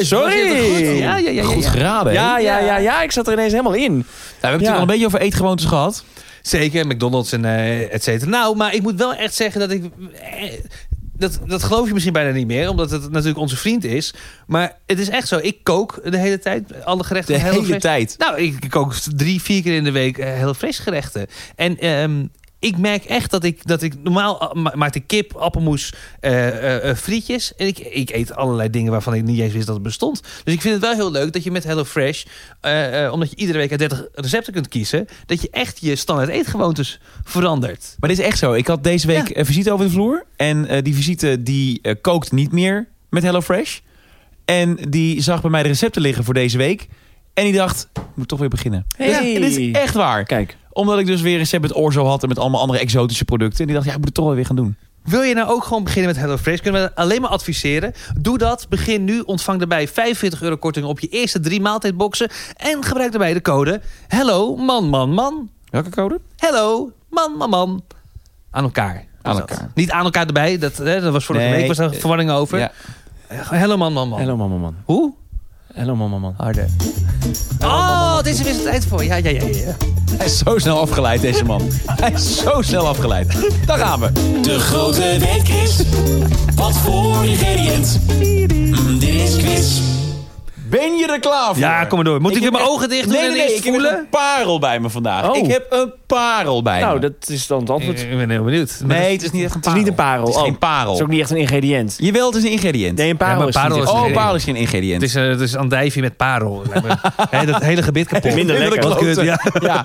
S1: Sorry.
S2: was je het goed? Ja, ja, ja, ja,
S3: Goed
S2: ja.
S3: geraden. hè?
S1: Ja, ja, ja, ja, ik zat er ineens helemaal in.
S3: Nou, we hebben het
S1: Ja.
S3: al een beetje over eetgewoontes gehad.
S2: Zeker, McDonald's en eh et cetera. Nou, maar ik moet wel echt zeggen dat ik... eh, dat, dat geloof je misschien bijna niet meer, omdat het natuurlijk onze vriend is. Maar het is echt zo. Ik kook de hele tijd. Alle
S3: De
S2: gerechten. van
S3: hele
S2: HelloFresh.
S3: tijd.
S2: Nou, ik kook drie, vier keer in de week eh, heel fris gerechten. En ehm, ik merk echt dat ik, dat ik normaal ah, ma- maakte kip, appelmoes, eh, eh, eh, frietjes. En ik, ik eet allerlei dingen waarvan ik niet eens wist dat het bestond. Dus ik vind het wel heel leuk dat je met HelloFresh, eh, eh, omdat je iedere week uit 30 recepten kunt kiezen, dat je echt je standaard eetgewoontes verandert.
S3: Maar dit is echt zo. Ik had deze week een visite over de vloer. En eh, die visite die eh, kookt niet meer met HelloFresh. En die zag bij mij de recepten liggen voor deze week. En die dacht, ik moet toch weer beginnen.
S1: Hey.
S3: Dus- en dit is echt waar.
S1: Kijk.
S3: Omdat ik dus weer een recept met orzo had en met allemaal andere exotische producten. En die dacht, ja, ik moet het toch wel weer gaan doen.
S2: Wil je nou ook gewoon beginnen met HelloFresh? Kunnen we alleen maar adviseren. Doe dat. Begin nu. Ontvang daarbij 45 euro korting op je eerste drie maaltijdboxen. En gebruik daarbij de code Hello Man Man Man.
S3: Welke code?
S2: Hello Man Man Man. Aan elkaar.
S3: Aan
S2: Dus dat.
S3: elkaar.
S2: Niet aan elkaar erbij. Dat, hè, dat was vorige
S3: Nee,
S2: week was daar
S3: eh,
S2: verwarring over.
S3: Ja.
S2: Hello Man Man Man.
S1: Hello mama man.
S2: Hoe?
S1: Hello mama man.
S3: Harder.
S2: Oh, dit is er weer tijd voor. Ja, ja, ja, ja, ja.
S3: Hij is zo snel afgeleid, deze man. Hij is zo snel afgeleid. Daar gaan we.
S7: De grote weetquiz. Wat voor ingrediënt? Mm, dit is quiz.
S3: Ben je er klaar voor?
S2: Ja, kom maar door. Moet ik, weer
S3: heb
S2: mijn
S3: echt-
S2: ogen dicht doen
S3: Nee, nee,
S2: en
S3: nee,
S2: eerst
S3: ik
S2: voelen?
S3: heb echt een parel bij me vandaag.
S1: Oh.
S3: Ik heb een parel bij me.
S1: Nou, dat is dan het antwoord.
S2: Ik ben heel benieuwd. Maar
S3: Nee, het is niet echt
S1: Het
S3: een
S1: is
S3: parel.
S1: niet een parel.
S3: Het is
S1: Oh,
S3: geen parel.
S1: Het is ook niet echt een ingrediënt.
S3: Jawel, het is een ingrediënt.
S1: Nee, een parel
S2: Ja, maar
S1: is niet
S2: parel
S1: echt
S2: is
S1: een
S3: oh,
S2: ingrediënt.
S3: parel is geen ingrediënt.
S2: Het is, eh, het is andijvie met parel. Lijkt me- Hè, dat hele gebit kapot.
S1: Minder
S2: Wat
S1: lekker.
S2: kut,
S3: kloten.
S2: ja.
S3: Ja.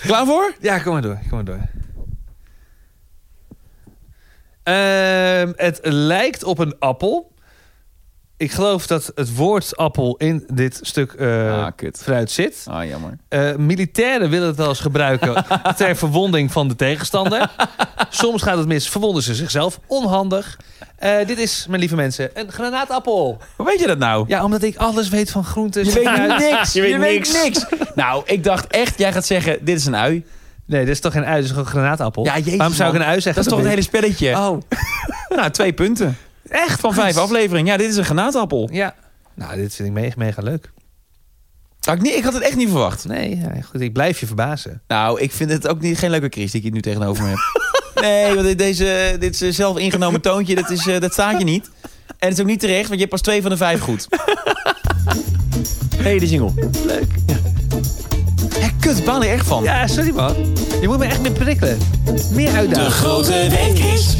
S3: Klaar voor?
S2: Ja, kom maar door. Kom maar door. Ehm, het lijkt op een appel. Ik geloof dat het woord appel in dit stuk eh,
S3: Ah, kut.
S2: fruit zit.
S3: Ah, jammer.
S2: Eh, militairen willen het wel eens gebruiken ter verwonding van de tegenstander. Soms gaat het mis, verwonden ze zichzelf. Onhandig. Eh, dit is, mijn lieve mensen, een granaatappel.
S3: Hoe weet je dat nou?
S2: Ja, omdat ik alles weet van groenten.
S3: Je weet
S2: fruit.
S3: niks.
S1: Je weet niks.
S3: nou, ik dacht echt, jij gaat zeggen, dit is een ui.
S2: Nee, dit is toch geen ui, dit is gewoon een granaatappel.
S3: Ja, jezus,
S2: Waarom zou ik
S3: man.
S2: een ui
S3: Dat
S2: zeggen?
S3: is toch het hele spelletje?
S2: Oh,
S3: Nou, twee punten. Echt? Van vijf afleveringen. Ja, dit is een granaatappel.
S2: ja. Nou, dit vind ik mega, mega leuk.
S3: Had ik, niet, ik had het echt niet verwacht.
S2: Nee, ja, goed, ik blijf je verbazen.
S3: Nou, ik vind het ook niet, geen leuke Chris die ik hier nu tegenover me heb. Nee, want dit- deze, dit is zelf ingenomen toontje, dat, is, eh, dat staat je niet. En het is ook niet terecht, want je hebt pas twee van de vijf goed.
S1: Hey, de jingle.
S3: Hé, kut, baal je echt van.
S2: Ja, sorry man. Je moet me echt meer prikkelen. Meer
S7: De
S2: uitdagen.
S7: grote week is.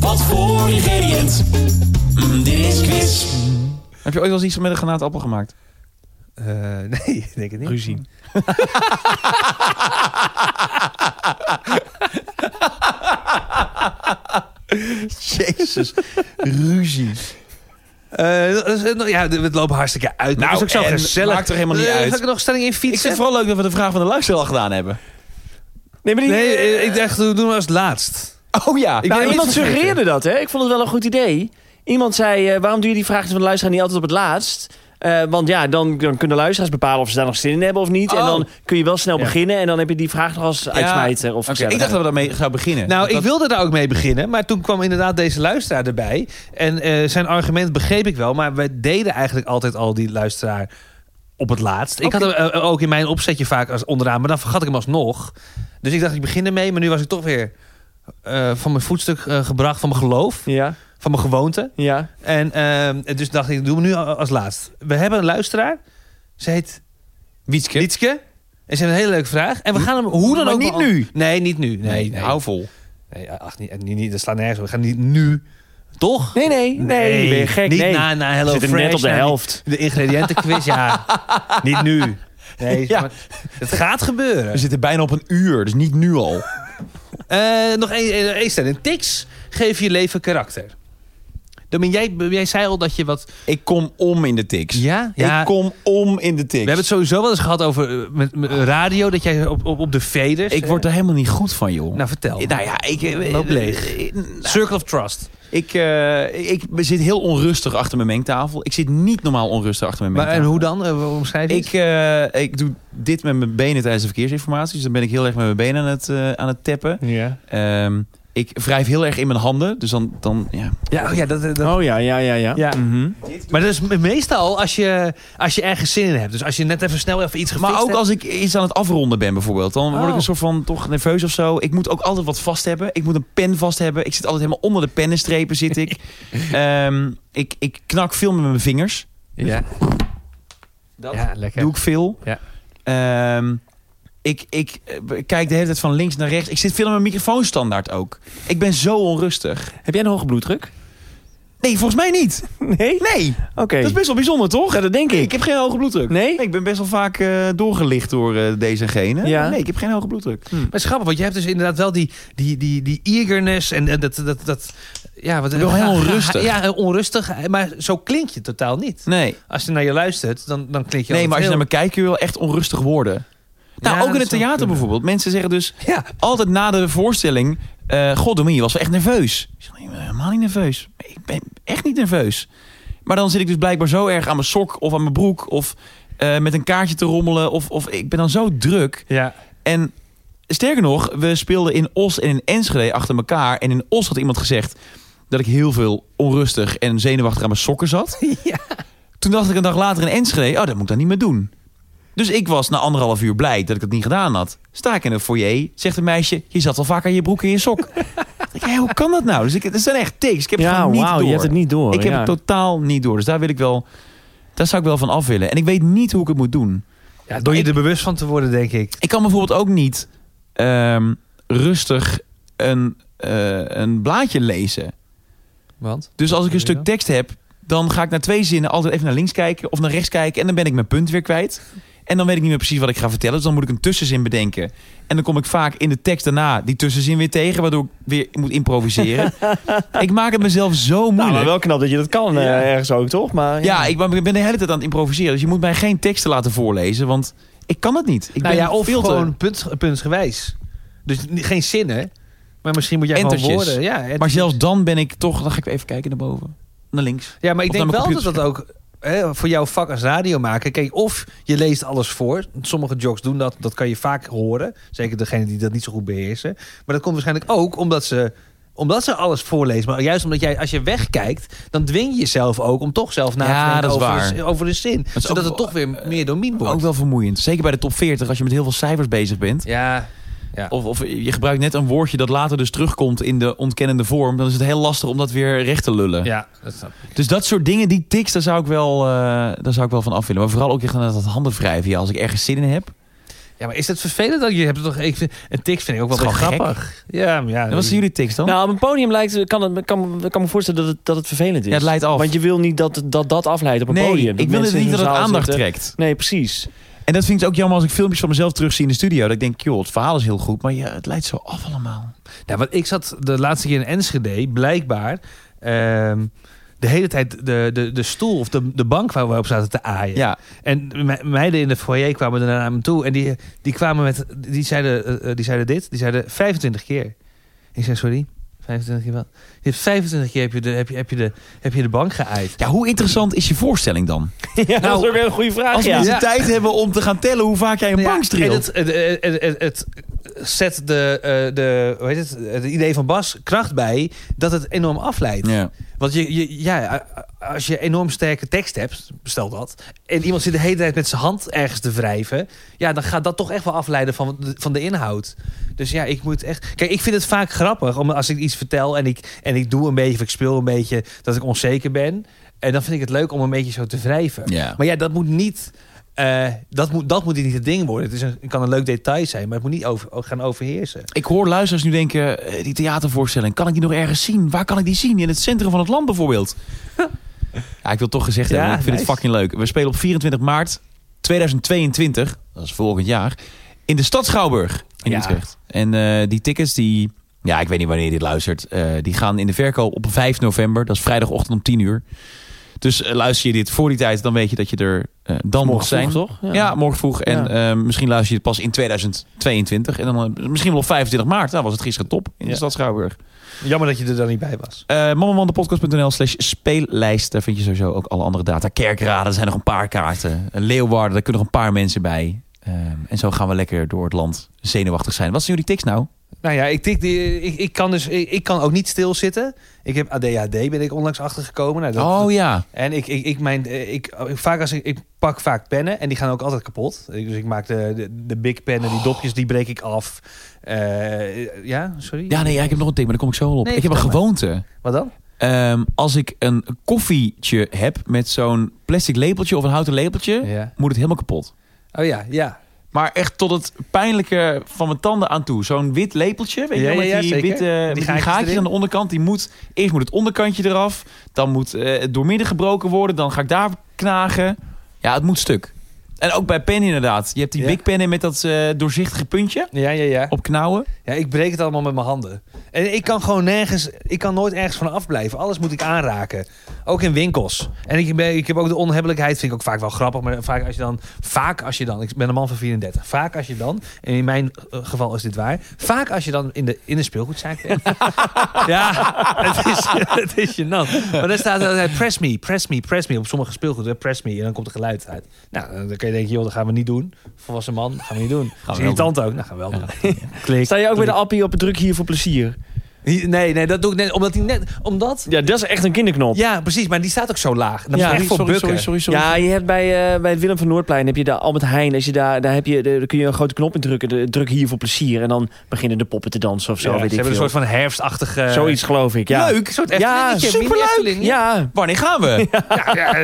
S7: Wat voor ingrediënt? Mm, dit is quiz.
S3: Heb je ooit wel eens iets met een granaatappel gemaakt?
S2: Eh, nee, ik denk het niet.
S1: Ruzie.
S3: Jezus, ruzie.
S2: Eh, dat is- eh, ja, we lopen hartstikke uit. maar
S3: Nou,
S2: dat is ook zo
S3: en
S2: gezellig.
S3: maakt er helemaal niet
S2: Eh,
S3: uit.
S2: Ga ik er nog stelling in
S3: Ik vind
S2: fietsen?
S3: het vooral leuk dat we de vraag van de luisteraar al gedaan hebben.
S1: Nee, maar die,
S2: nee, eh, ik dacht, we doen we als laatst.
S3: Oh ja.
S2: Ik
S1: Nou,
S2: ben
S1: iemand
S2: iets vergeten.
S1: suggereerde dat, hè? Ik vond het wel een goed idee. Iemand zei, eh, waarom doe je die vragen van de luisteraar niet altijd op het laatst? Eh, want ja, dan, dan kunnen luisteraars bepalen of ze daar nog zin in hebben of niet. En
S3: Oh.
S1: dan kun je wel snel
S2: Ja.
S1: beginnen. En dan heb je die vraag nog als uitsmijter of
S3: Oké, ik dacht dat we daarmee zouden beginnen.
S2: Nou,
S3: Dat-
S2: ik wilde daar ook mee beginnen, maar toen kwam inderdaad deze luisteraar erbij. En eh, zijn argument begreep ik wel, maar we deden eigenlijk altijd al die luisteraar op het laatst. Ik had hem eh, ook in mijn opzetje vaak als onderaan, maar dan vergat ik hem alsnog. Dus ik dacht, ik begin ermee, maar nu was ik toch weer eh, van mijn voetstuk eh, gebracht, van mijn geloof,
S1: Ja,
S2: van mijn gewoonte.
S1: ja.
S2: En ehm, dus dacht ik, doe hem nu a- als laatst. We hebben een luisteraar. Ze heet
S3: Wietske.
S2: Lietske. En ze heeft een hele leuke vraag. En we gaan hem hoe dan
S3: Maar
S2: ook...
S3: niet
S2: beant-
S3: nu.
S2: Nee, niet nu. Nee, nee.
S3: hou vol.
S2: nee ach, niet, niet, niet, dat slaat nergens op. We gaan niet nu. Toch?
S1: Nee, nee, nee. ben je gek,
S2: niet
S1: nee.
S2: na, na Hello
S1: We zitten
S2: Fresh,
S1: net op de
S2: na die-
S1: helft.
S2: De ingrediëntenquiz, ja. Niet nu. Nee,
S3: Ja.
S2: maar het gaat gebeuren.
S3: We zitten bijna op een uur, dus niet nu al.
S2: Eh, nog één- één één stelling. Tics geef je leven karakter. Domin, jij, jij zei al dat je wat...
S3: Ik kom om in de tics.
S2: Ja?
S3: Ik kom om in de tics.
S2: We hebben het sowieso wel eens gehad over eh, met, met radio, dat jij op, op, op de veders. eh,
S3: Ik word er helemaal niet goed van, joh.
S2: Nou, vertel.
S3: nou ja, ik... eh,
S2: Loop leeg.
S3: eh,
S2: Circle of Trust.
S3: Ik, eh, ik zit heel onrustig achter mijn mengtafel. Ik zit niet normaal onrustig achter mijn
S2: Maar, en
S3: mengtafel.
S2: hoe dan? Eh, Waarom schrijf je
S3: Ik, eh, ik doe dit met mijn benen tijdens de verkeersinformatie. Dus dan ben ik heel erg met mijn benen aan het, eh, aan het tappen.
S2: Ja.
S3: Ehm, ik wrijf heel erg in mijn handen. Dus dan... dan ja.
S2: Ja, oh ja, dat, dat-
S1: Oh ja, ja, ja, ja.
S2: ja.
S3: Mm.
S2: Maar dat is me- meestal als je, als je ergens zin in hebt. Dus als je net even snel even iets gefixt
S3: Maar ook
S2: hebt.
S3: als ik iets aan het afronden ben bijvoorbeeld. Dan word ik
S2: Oh.
S3: een soort van toch nerveus of zo. Ik moet ook altijd wat vast hebben. Ik moet een pen vast hebben. Ik zit altijd helemaal onder de pennenstrepen zit ik. Ehm, ik, ik knak veel met mijn vingers.
S2: Ja. ja, lekker.
S3: Doe ik veel.
S2: Ja.
S3: Ehm, ik, ik eh, kijk de hele tijd van links naar rechts. Ik zit veel aan mijn microfoon standaard ook. Ik ben zo onrustig.
S1: Heb jij een hoge bloeddruk?
S3: Nee, volgens mij niet.
S1: Nee?
S3: Nee,
S1: Oké.
S3: dat is best wel bijzonder toch?
S1: Ja, dat denk
S3: Nee,
S1: ik.
S3: ik heb geen hoge bloeddruk.
S1: Nee?
S3: ik ben best wel vaak eh, doorgelicht door eh, deze en gene.
S1: Ja.
S3: Nee, ik heb geen hoge bloeddruk.
S2: Maar het is grappig, want je hebt dus inderdaad wel die, die, die, die eagerness en eh, dat... dat, dat ja, wat,
S3: wel heel onrustig.
S2: Ja, eh, onrustig. Maar zo klink je totaal niet.
S3: Nee.
S2: Als je naar je luistert, dan, dan klink je
S3: Nee, maar als je naar me
S2: altijd
S3: kijkt kun je wel echt onrustig worden. Nou,
S2: Ja,
S3: ook in
S2: dat
S3: het
S2: zou
S3: theater
S2: kunnen.
S3: bijvoorbeeld. Mensen zeggen dus
S2: heel- Ja,
S3: altijd na de voorstelling... eh God, Domien, je was wel echt nerveus. Ik zeg, nee, ik ben helemaal niet nerveus. Ik ben echt niet nerveus. Maar dan zit ik dus blijkbaar zo erg aan mijn sok of aan mijn broek... of eh, met een kaartje te rommelen. Of, of ik ben dan zo druk.
S2: ja.
S3: En sterker nog, we speelden in Os en in Enschede achter elkaar. En in Os had iemand gezegd dat ik heel veel onrustig en zenuwachtig aan mijn sokken zat. Toen dacht ik een dag later in Enschede, oh, dat moet ik dan niet meer doen. Dus ik was na anderhalf uur blij dat ik dat niet gedaan had. Sta ik in een foyer, zegt een meisje, je zat al vaak aan je broek en je sok. Ik denk, hé, hoe kan dat nou? Dus ik, het zijn echt tics. Ik heb het
S1: ja,
S3: gewoon niet
S1: wauw,
S3: door.
S1: je hebt het niet door.
S3: ik heb
S1: ja.
S3: het totaal niet door. Dus daar wil ik wel, daar zou ik wel van af willen. En ik weet niet hoe ik het moet doen.
S2: ja, door je er bewust van te worden, denk ik.
S3: Ik kan bijvoorbeeld ook niet ehm, rustig een, eh, een blaadje lezen.
S2: Want?
S3: Dus als ik
S2: Doe
S3: een
S2: je
S3: stuk
S2: dat?
S3: tekst heb, dan ga ik naar twee zinnen altijd even naar links kijken of naar rechts kijken. En dan ben ik mijn punt weer kwijt. En dan weet ik niet meer precies wat ik ga vertellen. Dus dan moet ik een tussenzin bedenken. En dan kom ik vaak in de tekst daarna die tussenzin weer tegen. Waardoor ik weer moet improviseren. ik maak het mezelf zo moeilijk.
S1: Nou, maar wel knap dat je dat kan eh, ergens ook, toch? Maar,
S3: Ja, ik ben, ik ben de hele tijd aan het improviseren. Dus je moet mij geen teksten laten voorlezen, want ik kan het niet. Ik
S2: nou
S3: ben
S2: ja, of
S3: veel te-
S2: gewoon punt, puntsgewijs. Dus ni- geen zinnen, maar misschien moet jij gewoon
S3: Entertjes.
S2: woorden. Ja,
S3: Maar
S2: entertjes.
S3: zelfs dan ben ik toch... Dan ga ik even kijken naar boven. Naar links.
S2: ja, maar ik
S3: of naar
S2: denk
S3: mijn
S2: wel dat dat ook hè, voor jouw vak als radiomaker... Kijk, of je leest alles voor. Sommige jocks doen dat, dat kan je vaak horen. Zeker degenen die dat niet zo goed beheersen. Maar dat komt waarschijnlijk ook omdat ze omdat ze alles voorlezen. Maar juist omdat jij, als je wegkijkt... dan dwing je jezelf ook om toch zelf na te
S3: Ja,
S2: denken
S3: dat is
S2: over,
S3: waar.
S2: Een, over een zin.
S3: is
S2: zodat
S3: ook
S2: het toch weer meer domien wordt.
S3: Ook wel vermoeiend. Zeker bij de top 40, als je met heel veel cijfers bezig bent.
S2: Ja, ja.
S3: Of, of je gebruikt net een woordje dat later dus terugkomt in de ontkennende vorm. Dan is het heel lastig om dat weer recht te lullen.
S2: ja, dat snap ik.
S3: Dus dat soort dingen, die tics, daar zou ik wel, eh, daar zou ik wel van af willen. Maar vooral ook echt aan dat handen wrijven. Ja, als ik ergens zin in heb.
S2: Ja, maar is dat vervelend dat je hebt toch ik vind, een tics vind ik ook wel
S3: Dat
S2: weer
S3: is gewoon
S2: grappig. Ja, maar ja.
S3: En wat zijn jullie tics dan?
S1: Nou, op een podium lijkt, kan, het, kan, kan me voorstellen dat het, dat het vervelend is.
S3: Ja, het leidt af.
S1: Want je wil niet dat dat, dat afleidt op een
S3: nee,
S1: podium.
S3: ik wil
S1: mensen
S3: niet
S1: in
S3: dat
S1: een
S3: het
S1: zaal
S3: aandacht
S1: zitten.
S3: trekt.
S1: Nee, precies.
S3: En dat vind ik ook jammer als ik filmpjes van mezelf terugzie in de studio. Dat ik denk, joh, het verhaal is heel goed, maar ja, het leidt zo af allemaal.
S2: Nou, want ik zat de laatste keer in Enschede, blijkbaar, ehm, de hele tijd de, de, de stoel of de, de bank waar we op zaten te aaien.
S3: Ja,
S2: En me- meiden in de foyer kwamen er naar me toe en die, die kwamen met, die zeiden, eh, eh, die zeiden dit, die zeiden 25 keer. Ik zei, sorry, 25 keer wat? Je hebt 25 keer heb je de, heb je, heb je de, heb je de bank geaaid.
S3: ja hoe interessant is je voorstelling dan?
S1: Ja, dat is ook weer een goede vraag.
S3: Als
S1: ja.
S3: mensen
S2: Ja.
S3: tijd hebben om te gaan tellen hoe vaak jij een
S2: Nou Ja,
S3: bank
S2: en
S3: streelt.
S2: het, het, het, het, het zet de, eh, de, hoe heet het, het idee van Bas kracht bij dat het enorm afleidt.
S3: Ja.
S2: Want je, je, ja, als je enorm sterke tekst hebt, stel dat... en iemand zit de hele tijd met zijn hand ergens te wrijven... ja, dan gaat dat toch echt wel afleiden van de, van de inhoud. Dus ja, ik moet echt... Kijk, ik vind het vaak grappig om, als ik iets vertel... En ik, en ik doe een beetje, of ik speel een beetje... dat ik onzeker ben. En dan vind ik het leuk om een beetje zo te wrijven.
S3: Ja.
S2: Maar ja, dat moet niet... eh, dat, moet, dat moet niet het ding worden. Het, is een, het kan een leuk detail zijn, maar het moet niet over, gaan overheersen.
S3: Ik hoor luisteraars nu denken, eh, die theatervoorstelling, kan ik die nog ergens zien? Waar kan ik die zien? In het centrum van het land bijvoorbeeld. ja, ik wil toch gezegd hebben,
S2: Ja,
S3: ik vind het
S2: nice.
S3: fucking leuk. We spelen op 24 maart 2022, dat is volgend jaar, in de Stad Schouwburg in
S2: Ja.
S3: Utrecht. En eh, die tickets, die, ja, ik weet niet wanneer je dit luistert, eh, die gaan in de verkoop op 5 november. Dat is vrijdagochtend om 10 uur. Dus eh, luister je dit voor die tijd, dan weet je dat je er eh, dan moet
S1: Morgen
S3: zijn.
S1: vroeg, toch?
S3: Ja, morgen vroeg. En eh, misschien luister je het pas in 2022. En dan eh, misschien wel op 25 maart. Nou was het gisteren top in de
S1: Ja.
S3: stad Schouwburg.
S2: Jammer dat je er dan niet bij was.
S3: Uh, Mammamandepodcast.nl slash speellijst. Daar vind je sowieso ook alle andere data. Kerkraden, er zijn nog een paar kaarten. Eh, Leeuwarden, daar kunnen nog een paar mensen bij. Ehm, en zo gaan we lekker door het land zenuwachtig zijn. Wat zijn jullie tics nou?
S2: Nou ja, ik, tik die, ik, ik, kan dus, ik, ik kan ook niet stilzitten. Ik heb ADHD, ben ik onlangs achtergekomen. Nou, dat-
S3: oh ja.
S2: En ik, ik, ik, mijn, eh, ik, ik- vaak als ik, ik pak vaak pennen en die gaan ook altijd kapot. Ik- Dus ik maak de, de, de big pennen,
S3: Oh.
S2: die dopjes, die breek ik af. Eh, ja, sorry?
S3: Ja, nee, ja, ik heb nog een tic, maar daar kom ik zo wel op.
S2: Nee,
S3: ik heb een
S2: vertel
S3: gewoonte.
S2: Wat dan?
S3: Ehm, als ik een koffietje heb met zo'n plastic lepeltje of een houten lepeltje,
S2: Ja.
S3: moet het helemaal kapot.
S2: Oh ja, ja.
S3: Maar echt tot het pijnlijke van mijn tanden aan toe. Zo'n wit lepeltje, weet je
S2: Ja, ja,
S3: wel, met
S2: ja,
S3: die
S2: zeker.
S3: witte met die gaatjes,
S2: gaatjes erin.
S3: aan de onderkant. Die moet, eerst moet het onderkantje eraf. Dan moet eh, het doormidden gebroken worden. Dan ga ik daar knagen. Ja, het moet stuk. En ook bij pen inderdaad. Je hebt die
S2: Ja.
S3: big pennen met dat eh, doorzichtige puntje
S2: Ja, ja, ja.
S3: op knauwen.
S2: Ja, ik breek het allemaal met mijn handen. En ik kan gewoon nergens, ik kan nooit ergens van afblijven. Alles moet ik aanraken. Ook in winkels. En ik, ben, ik heb ook de onhebbelijkheid, vind ik ook vaak wel grappig. Maar vaak als je dan, vaak als je dan, ik ben een man van 34. Vaak als je dan, en in mijn eh, geval is dit waar. Vaak als je dan in de, in de speelgoedzaak bent. ja, het is, het is gênant. Maar dan staat altijd, press me, press me, press me. Op sommige speelgoed, hè, press me. En dan komt er geluid uit. Nou, dan kan je denken, joh, dat gaan we niet doen. Volwassen man, dat gaan we niet doen. Dat is
S3: wel
S2: irritant ook. Nou, gaan we wel doen. Klik.
S1: Sta je ook weer de appie op het druk hier voor plezier?
S2: Nee, nee, dat doe ik net. Omdat die net. Omdat.
S1: Ja, dat is echt een kinderknop.
S2: Ja, precies. Maar die staat ook zo laag. Dat
S1: Ja,
S2: is echt voor
S3: sorry,
S2: bukken.
S3: sorry, sorry, sorry.
S1: Ja, je hebt bij, eh, bij het Willem van Noordplein heb je daar Albert Heijn. Als je daar, daar, heb je, daar kun je een grote knop in drukken. De, druk hier voor plezier. En dan beginnen de poppen te dansen of zo.
S2: Ja,
S1: weet
S2: ze
S1: ik
S2: hebben een
S1: veel.
S2: soort van herfstachtige.
S1: Zoiets geloof ik. Ja.
S2: Leuk. Een soort
S1: Ja,
S2: Eftelingetje, mini
S1: superleuk.
S2: Efteling.
S1: Ja,
S3: Wanneer gaan we?
S2: Ja, ja,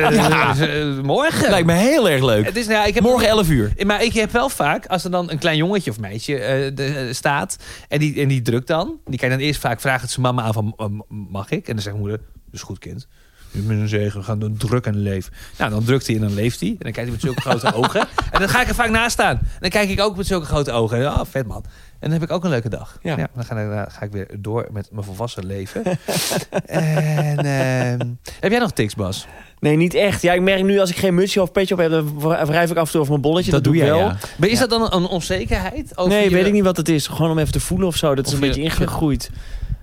S2: eh, eh, morgen.
S3: Lijkt me heel erg leuk.
S2: Het is, nou, ja, ik heb
S3: Morgen 11 uur.
S2: Maar ik heb wel vaak, als er dan een klein jongetje of meisje eh, de- eh, staat en die, en die drukt dan, die kijkt dan eerst vaak vragen het zijn mama aan van eh, mag ik? En dan zegt moeder, dat is goed kind. Je moet een zegen, we gaan doen druk en leef. Nou, dan drukt hij en dan leeft hij. En dan kijkt hij met zulke grote ogen. En dan ga ik er vaak naast staan. En dan kijk ik ook met zulke grote ogen. Ja, vet man. En dan heb ik ook een leuke dag.
S1: Ja.
S2: dan ga, ik- dan ga ik weer door met mijn volwassen leven. en, ehm, heb jij nog tics, Bas?
S1: Nee, niet echt. Ja, ik merk nu als ik geen mutsje of petje op heb, dan wr- wrijf ik af en toe over mijn bolletje. Dat, doe ik wel.
S2: Maar is dat dan een onzekerheid? Over
S1: Nee,
S2: je-
S1: weet ik niet wat het is. Gewoon om even te voelen of zo. Dat is
S2: Of
S1: een
S2: je-
S1: beetje ingegroeid.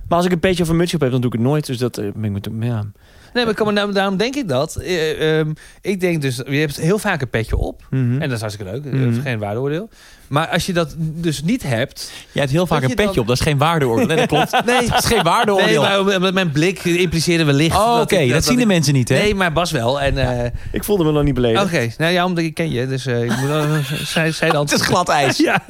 S1: Maar als ik een petje of een mutsje op heb, dan doe ik het nooit. Dus dat eh, ben ik met ja.
S2: Nee, maar ik kan me- nou, daarom- daarom denk ik dat. Eh, ehm, ik denk dus, je hebt heel vaak een petje op.
S1: Mhm.
S2: En dat is hartstikke leuk. Eh,
S1: Mhm.
S2: Geen waardeoordeel. Maar als je dat dus niet hebt...
S3: Jij hebt heel vaak
S2: Dat
S3: een
S2: je
S3: petje
S2: dan-
S3: op. Dat is geen waardeoordeel. Nee, dat klopt.
S2: Nee,
S3: Dat is geen waardeoordeel.
S2: nee maar omdat mijn blik impliceerde wellicht...
S3: Oh, oké.
S2: dat ik-
S3: Dat, zien de
S2: ik-
S3: mensen niet, hè?
S2: Nee, maar Bas wel. En, eh,
S1: Ik voelde me nog niet
S2: Oké,
S1: beledigd.
S2: nou ja, omdat ik ken je. Dus eh, ik moet wel... zij, zij dan...
S3: Het is glad ijs.
S2: Ja.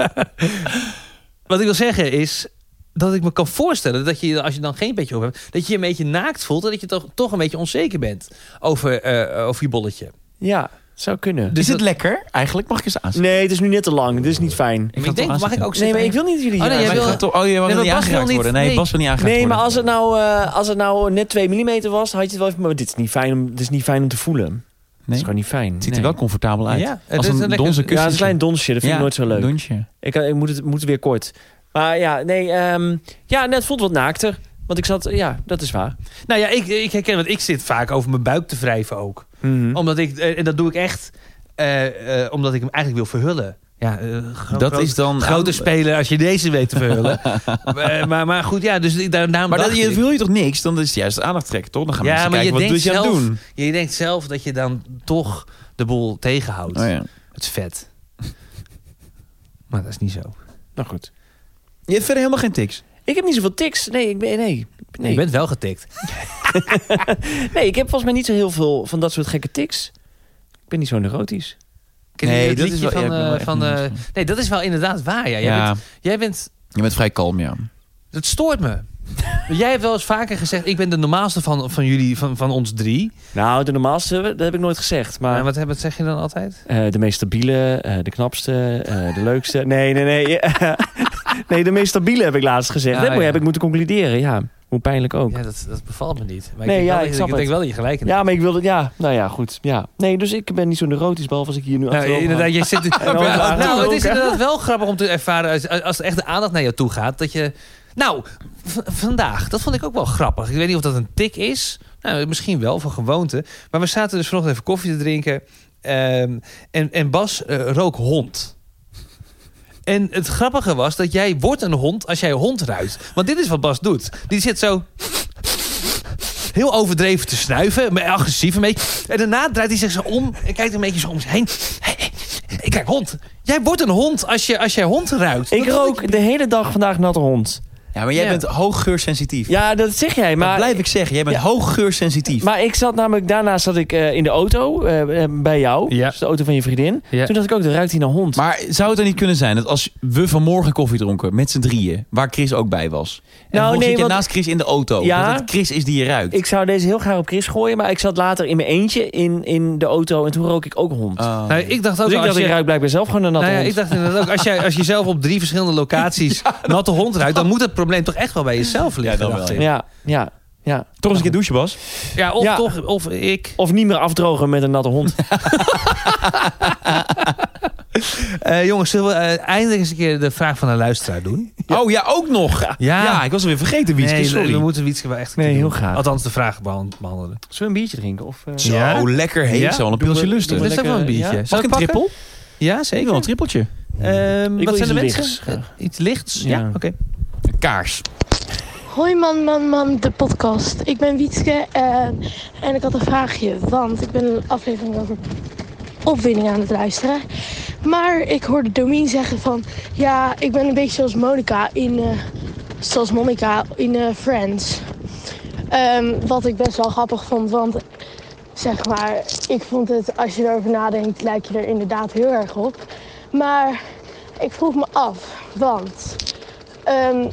S2: Wat ik wil zeggen is dat ik me kan voorstellen dat je, als je dan geen petje op hebt, dat je je een beetje naakt voelt en dat je toch, toch een beetje onzeker bent over, eh, over je bolletje.
S1: Ja, zou kunnen.
S3: is het lekker? Eigenlijk mag ik eens aanzetten.
S1: Nee, het is nu net te lang. Dit is niet fijn.
S2: Ik,
S3: ga
S2: denk,
S3: toch
S2: mag ik
S3: aanzetten.
S2: ook
S1: Nee,
S2: zitten?
S1: maar ik wil niet dat jullie
S2: Oh, nee,
S1: hier
S2: jij
S1: aan
S2: wil-
S1: zijn.
S3: Toch- Oh, je mag
S2: Nee, maar
S3: niet
S2: Bas wil
S3: aangeraakt
S2: niet-
S3: worden. Nee,
S2: nee.
S3: Bas wil niet aangeraakt
S1: Nee,
S3: worden.
S1: maar als het nou, eh, als het nou net 2 mm was, had je het wel even... Maar dit is niet fijn om, dit is niet fijn om te voelen. Het is
S3: Nee.
S1: gewoon niet fijn.
S3: Het ziet er wel comfortabel uit.
S2: Ja, het
S3: als
S2: is
S3: een,
S2: een lekker-
S3: donzen
S1: Ja,
S3: kussen.
S1: het is een klein donsje. Dat vind ik nooit zo leuk.
S3: Donsje.
S1: Ik, eh, ik moet, het, moet weer kort. Maar ja, nee, ehm, ja, net voelt wat naakter. Want ik zat, ja, dat is waar.
S2: Nou ja, ik, ik herken, want ik zit vaak over mijn buik te wrijven ook.
S1: Mhm. Oh.
S2: Omdat ik, eh, en dat doe ik echt eh, eh, omdat ik hem eigenlijk wil verhullen. Ja, eh, gro-
S3: Dat
S2: groot-
S3: is dan...
S2: Grote speler als je deze weet te verhullen. Eh, maar, maar goed, ja, dus ik- daar, daarom
S3: Maar dat,
S2: dacht
S3: je
S2: ik-
S3: wil je toch niks? Dan is het juist aandacht trekken, toch? Dan gaan
S2: Ja,
S3: mensen
S2: maar je
S3: kijken, wat
S2: denkt
S3: doet je aan het
S2: zelf-
S3: doen?
S2: Je denkt zelf dat je dan toch de boel tegenhoudt.
S3: Oh, ja.
S2: Het is vet. Maar dat is niet zo.
S1: Nou goed.
S3: Je hebt verder helemaal geen tics.
S1: Ik heb niet zoveel tics. Nee, ik ben, nee.
S2: Je
S1: Nee.
S2: bent wel getikt.
S1: nee, ik heb volgens mij niet zo heel veel van dat soort gekke tics. Ik ben niet zo neurotisch.
S2: Ken je
S3: Nee,
S2: het
S3: dat is
S2: liedje
S3: wel-
S2: van,
S3: ja, ik ben wel
S2: eh,
S3: echt
S2: van,
S3: niet
S2: eh,
S3: zo.
S2: nee, dat is wel inderdaad waar. Ja. Jij,
S3: Ja.
S2: Bent, jij bent...
S3: Je bent vrij kalm, ja.
S2: Dat stoort me. jij hebt wel eens vaker gezegd... Ik ben de normaalste van, van jullie, van, van ons drie.
S1: Nou, de normaalste, dat heb ik nooit gezegd. Maar
S2: Maar wat, heb- wat zeg je dan altijd?
S1: eh, de meest stabiele, eh, de knapste, eh, de leukste. Nee, nee, nee. eh, nee, de meest stabiele heb ik laatst gezegd.
S2: Ah,
S1: dat
S2: ja.
S1: heb ik moeten concluderen, ja. Hoe pijnlijk ook.
S2: Ja, dat, dat bevalt me niet. Maar
S1: Nee,
S2: ik denk,
S1: ja,
S2: wel,
S1: ik
S2: dat-
S1: snap
S2: ik denk
S1: het.
S2: wel dat je gelijk hebt.
S1: Ja, maar ik wilde... Ja, nou ja, goed. Ja. Nee, dus ik ben niet zo neurotisch, behalve als ik hier nu
S2: Nou,
S1: achterover
S2: inderdaad, je zit...
S1: dan
S2: Ja,
S1: later
S2: nou, het
S1: ook,
S2: is
S1: hè?
S2: inderdaad wel grappig om te ervaren als, als er echt de aandacht naar jou toe gaat. Dat je, nou, v- vandaag, dat vond ik ook wel grappig. Ik weet niet of dat een tik is. Nou, misschien wel, van gewoonte. Maar we zaten dus vanochtend even koffie te drinken. ehm, en, en Bas eh, rook hond. En het grappige was dat jij wordt een hond als jij hond ruikt. Want dit is wat Bas doet. Die zit zo heel overdreven te snuiven. maar Agressief een beetje. En daarna draait hij zich zo om. En kijkt een beetje zo om zich heen. Ik kijk, hond. Jij wordt een hond als, je, als jij hond ruikt.
S1: Ik rook de hele dag vandaag natte hond.
S3: Ja, maar jij
S2: Ja.
S3: bent hooggeursensitief.
S1: Ja, dat zeg jij,
S3: Maar,
S1: maar...
S3: blijf ik zeggen, jij bent hooggeursensitief.
S1: Maar ik zat namelijk, daarna zat ik eh, in de auto eh, eh, bij jou.
S2: Ja.
S1: Dus de auto van je vriendin.
S2: Ja.
S1: Toen dacht ik ook, dat ruikt hij naar hond.
S3: Maar zou het dan niet kunnen zijn dat als we vanmorgen koffie dronken met z'n drieën, waar Chris ook bij was, en
S1: Nou,
S3: nou,
S1: nee,
S3: zit je
S1: want-
S3: naast Chris in de auto,
S1: Ja.
S3: dat het Chris is die je ruikt?
S1: ik zou deze heel graag op Chris gooien, maar ik zat later in mijn eentje in, in de auto en toen rook ik ook hond.
S3: Oh.
S2: Nou, ik dacht ook
S1: dus ik
S2: als
S1: dacht,
S2: je-
S1: ik ruik blijkbaar zelf gewoon een natte
S2: nou ja, ik
S1: hond.
S2: dacht inderdaad ook, als, jij, als je zelf op drie verschillende locaties natte hond ruikt, dan moet het probleem toch echt wel bij jezelf liggen.
S3: dan wel,
S2: dacht
S3: ja.
S2: ik.
S1: Ja, ja, ja.
S3: Toch eens een keer douchen, Bas.
S2: Ja, of
S1: Ja.
S2: toch, of ik.
S1: Of niet meer afdrogen met een natte hond.
S2: Eh, jongens, zullen we eh, eindelijk eens een keer de vraag van een luisteraar doen?
S3: Oh ja, ook nog. Ja, ik was alweer vergeten, Wietske,
S2: nee,
S3: sorry.
S2: we moeten Wietske wel echt een
S1: Nee,
S2: keer
S1: heel
S2: doen.
S1: graag.
S2: Althans, de vraag behan- behandelen.
S1: Zullen we een biertje drinken? Of, eh,
S3: Zo,
S2: Ja?
S3: lekker heet
S2: Ja?
S3: zo, al een pilsje lusten.
S2: Dat is ook wel een
S1: Lekker,
S2: biertje.
S1: ja.
S2: Zal
S3: Mag ik een
S2: pakken?
S3: trippel?
S2: Ja,
S3: Ik
S2: zeker.
S3: wil een trippeltje.
S2: Ehm,
S1: wil
S2: wat zijn de
S1: iets
S2: mensen?
S1: lichts graag.
S2: Eh, iets lichts? Ja,
S1: Ja.
S2: oké.
S3: Een kaars.
S8: Hoi man, man, man, de podcast. Ik ben Wietske en, en ik had een vraagje, want ik ben een aflevering over opwinding aan het luisteren. Maar ik hoorde Domien zeggen van, ja, ik ben een beetje zoals Monica in, eh, zoals Monica in eh, Friends. Ehm, wat ik best wel grappig vond, want zeg maar, ik vond het, als je erover nadenkt, lijk je er inderdaad heel erg op. Maar ik vroeg me af, want... ehm,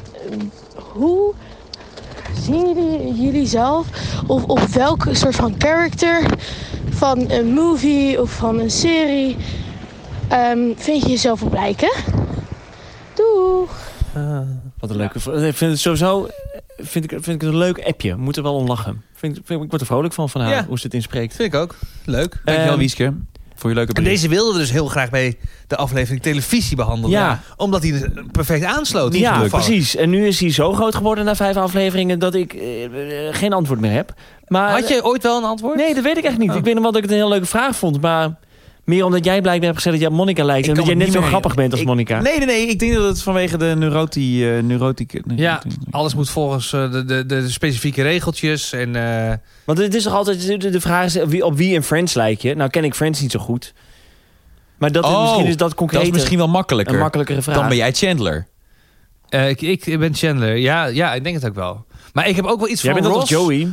S8: hoe zien jullie, jullie zelf of op welke soort van character van een movie of van een serie ehm, vind je jezelf op lijken? Doei!
S1: Wat een leuke vraag. Ik vind het sowieso eh, vind ik, vind ik het een leuk appje. Moet er wel om lachen. Vind, ik- vind, ik- ik word er vrolijk van, van haar,
S2: Ja.
S1: hoe ze het inspreekt.
S2: Vind ik ook. Leuk.
S3: Dankjewel,
S1: Ehm,
S3: Wieske. Voor je leuke
S2: En
S3: brief.
S2: deze wilden we dus heel graag bij de aflevering televisie behandelen.
S1: Ja.
S2: Omdat hij er perfect aansloot. in
S1: Ja,
S2: ieder geval.
S1: precies. En nu is hij zo groot geworden na vijf afleveringen dat ik eh, eh, geen antwoord meer heb. Maar,
S2: Had je ooit wel een antwoord?
S1: Nee, dat weet ik echt niet.
S2: Oh.
S1: Ik weet nog wel dat ik het een heel leuke vraag vond. Maar meer omdat jij blijkbaar hebt gezegd dat jij op Monica lijkt.
S3: Ik
S1: en dat
S3: kan
S1: jij net zo
S3: het niet meer-
S1: grappig bent als
S3: ik-
S1: Monica.
S3: Nee, nee, nee. Ik denk dat het vanwege de neurotie, eh, neurotieke...
S2: Ja,
S3: neurotiek-
S2: alles moet volgens eh, de, de, de specifieke regeltjes. En, eh,
S1: Want het is toch altijd de- de de vraag is, wie- op wie in Friends lijk je? Nou ken ik Friends niet zo goed. Maar dat is
S3: Oh,
S1: misschien is dat concreet
S3: Dat is misschien wel makkelijker.
S1: een makkelijkere vraag.
S3: Dan ben jij Chandler.
S2: eh, ik, ik ben Chandler. Ja, ja, ik denk het ook wel. Maar ik heb ook wel iets
S1: Jij
S2: van
S1: bent toch
S2: Ross.
S1: Joey?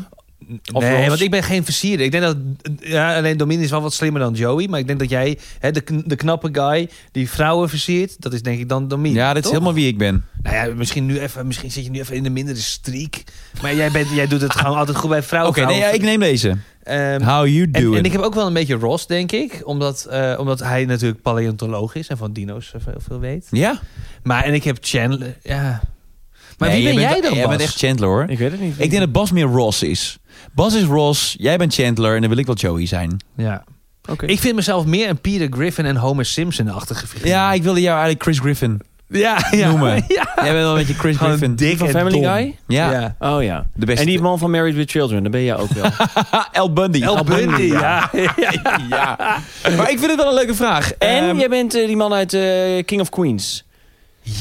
S1: Of
S2: nee,
S1: Ross?
S2: want ik ben geen versierder. Ik denk dat... Ja, alleen Domin is wel wat slimmer dan Joey. Maar ik denk dat jij, hè, de, kn- de knappe guy die vrouwen versiert... dat is denk ik dan Domin.
S3: Ja, dat is
S2: toch?
S3: helemaal wie ik ben.
S1: Oh,
S2: Nou ja, misschien, nu even, misschien zit je nu even in de mindere streak. Maar jij, bent, jij doet het gewoon altijd goed bij
S3: Oké,
S2: vrouwen.
S1: nou,
S3: nee, ja, ik neem deze.
S2: Ehm,
S3: How you
S2: en,
S3: do
S2: en
S3: it.
S2: ik heb ook wel een beetje Ross, denk ik. Omdat, eh, omdat hij natuurlijk paleontoloog is en van dino's eh, veel, veel weet.
S3: Ja?
S2: Maar en ik heb Chandler. Ja. Maar
S3: Nee,
S2: wie ben
S3: je
S2: jij
S3: bent-
S2: dan?
S3: Jij bent
S2: Bas?
S3: echt Chandler, hoor.
S1: Ik weet het niet.
S3: Ik denk dat Bas meer Ross is. Bas is Ross, jij bent Chandler en dan wil ik wel Joey zijn.
S2: Ja.
S1: Oké.
S2: Ik vind mezelf meer een Peter Griffin en Homer Simpson-achtige figuur.
S3: Ja, ik wilde jou eigenlijk Chris Griffin
S2: ja, ja.
S3: noemen.
S2: Ja.
S3: Jij bent wel een beetje Chris
S2: Gewoon
S3: Griffin.
S2: dik
S1: Van
S2: en
S1: Family
S2: dom.
S1: Guy?
S3: Ja,
S2: Ja.
S1: Oh ja.
S3: de beste.
S1: En die man van Married with Children, daar ben jij ook wel.
S3: Ah, El Bundy.
S2: El Bundy, ja.
S3: ja. Maar ik vind het wel een leuke vraag.
S1: en
S3: Ehm,
S1: jij bent eh, die man uit eh, King of Queens.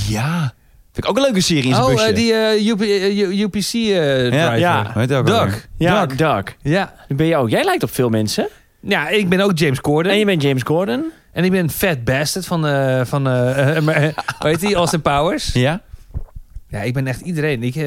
S3: ja. Vind ik ook een leuke serie in zijn
S2: Oh,
S3: busje.
S2: eh, die eh, UP, eh, U- UPC eh driver.
S1: ja.
S3: Weet je ook
S2: Doug.
S3: alweer.
S1: Ja,
S3: Doug.
S1: Dark.
S2: ja.
S1: Ben jij ook. Jij lijkt op veel mensen.
S2: Ja, ik Oh, ben ook James Corden.
S1: En je bent James Gordon.
S2: En ik ben Fat Bastard van, eh van eh, eh, maar, eh, hoe heet die, Austin Powers.
S3: Ja?
S2: Ja, ik ben echt iedereen. Ik, eh,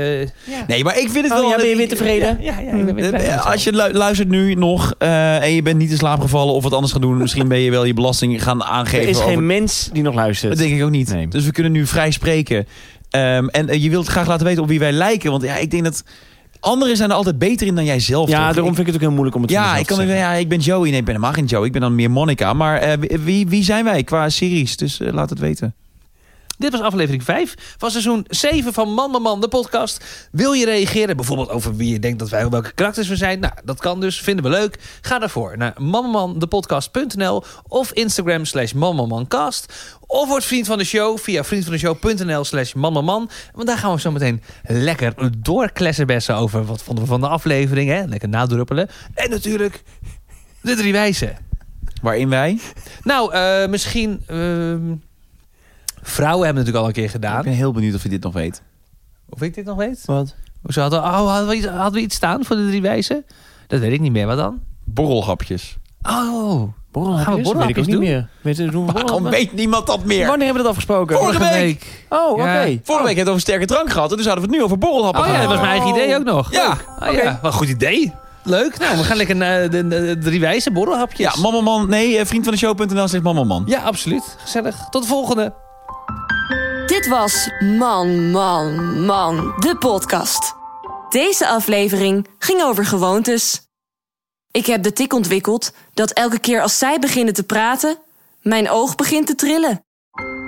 S3: Nee, maar ik vind het
S1: Oh
S3: wel...
S1: ja, ben je weer tevreden?
S2: ja, ja, ik ben weer blij met
S3: Eh,
S2: mezelf.
S3: Als je lu- luistert nu nog eh, en je bent niet in slaap gevallen of wat anders gaan doen, misschien ben je wel je belasting gaan aangeven.
S1: Er is
S3: over-
S1: geen mens die nog luistert.
S3: Dat denk ik ook niet.
S1: Nee.
S3: Dus we kunnen nu vrij spreken. Ehm, en eh, je wilt graag laten weten op wie wij lijken. Want ja, ik denk dat anderen zijn er altijd beter in dan jij zelf.
S1: ja,
S3: toch?
S1: daarom
S3: Ik-
S1: vind ik het ook heel moeilijk om het
S3: ja, ik kan
S1: niet.
S3: niet- ja, ik ben Joey. Nee, ik ben helemaal geen Joey. Ik ben dan meer Monica. Maar eh, wie- wie, wie zijn wij qua series? Dus eh, laat het weten.
S2: Dit was aflevering 5 van seizoen 7 van Man Man Man, de podcast. Wil je reageren, bijvoorbeeld over wie je denkt dat wij welke karakters we zijn? Nou, dat kan dus, vinden we leuk. Ga daarvoor naar manmanmandepodcast.nl of Instagram slash manmanmancast. Of word vriend van de show via vriendvandeshow.nl slash manmanman. Want daar gaan we zo meteen lekker doorklessenbessen over. Wat vonden we van de aflevering, hè? Lekker nadruppelen. En natuurlijk de drie wijzen.
S3: Waarin wij.
S2: Nou, eh, misschien... ehm, vrouwen hebben het natuurlijk al een keer
S3: Ik
S2: gedaan.
S3: ben heel benieuwd of je dit nog weet.
S2: Of ik dit nog weet?
S1: Wat?
S2: Hoezo hadden, oh, hadden, we iets, hadden we iets staan voor de drie wijzen? Dat weet ik niet meer. Wat dan?
S3: Borrelhapjes.
S2: Oh,
S1: Borrelhapjes?
S2: Gaan we borrelhapjes
S1: Weet ik ook
S2: doen?
S1: niet meer. Weet je, doen we
S3: Waarom
S1: borrelhapjes?
S3: Oh, weet niemand dat meer?
S1: Wanneer hebben we dat afgesproken?
S3: Vorige week.
S1: Oh, oké.
S2: Ja.
S3: Vorige week hebben we het over sterke drank gehad. En dus hadden we het nu over borrelhappen.
S2: Oh ja, dat was mijn eigen idee ook nog.
S3: Ja,
S2: Oh, ja. Wat een goed idee. Leuk. Nou, we gaan lekker naar de, de- de drie wijzen borrelhapjes.
S3: Ja, mama man. Nee, eh, vriend van de show.nl zegt mama man.
S2: ja, absoluut. Gezellig. Tot de volgende.
S4: Dit was Man, Man, Man, de podcast. Deze aflevering ging over gewoontes. Ik heb de tik ontwikkeld dat elke keer als zij beginnen te praten, mijn oog begint te trillen.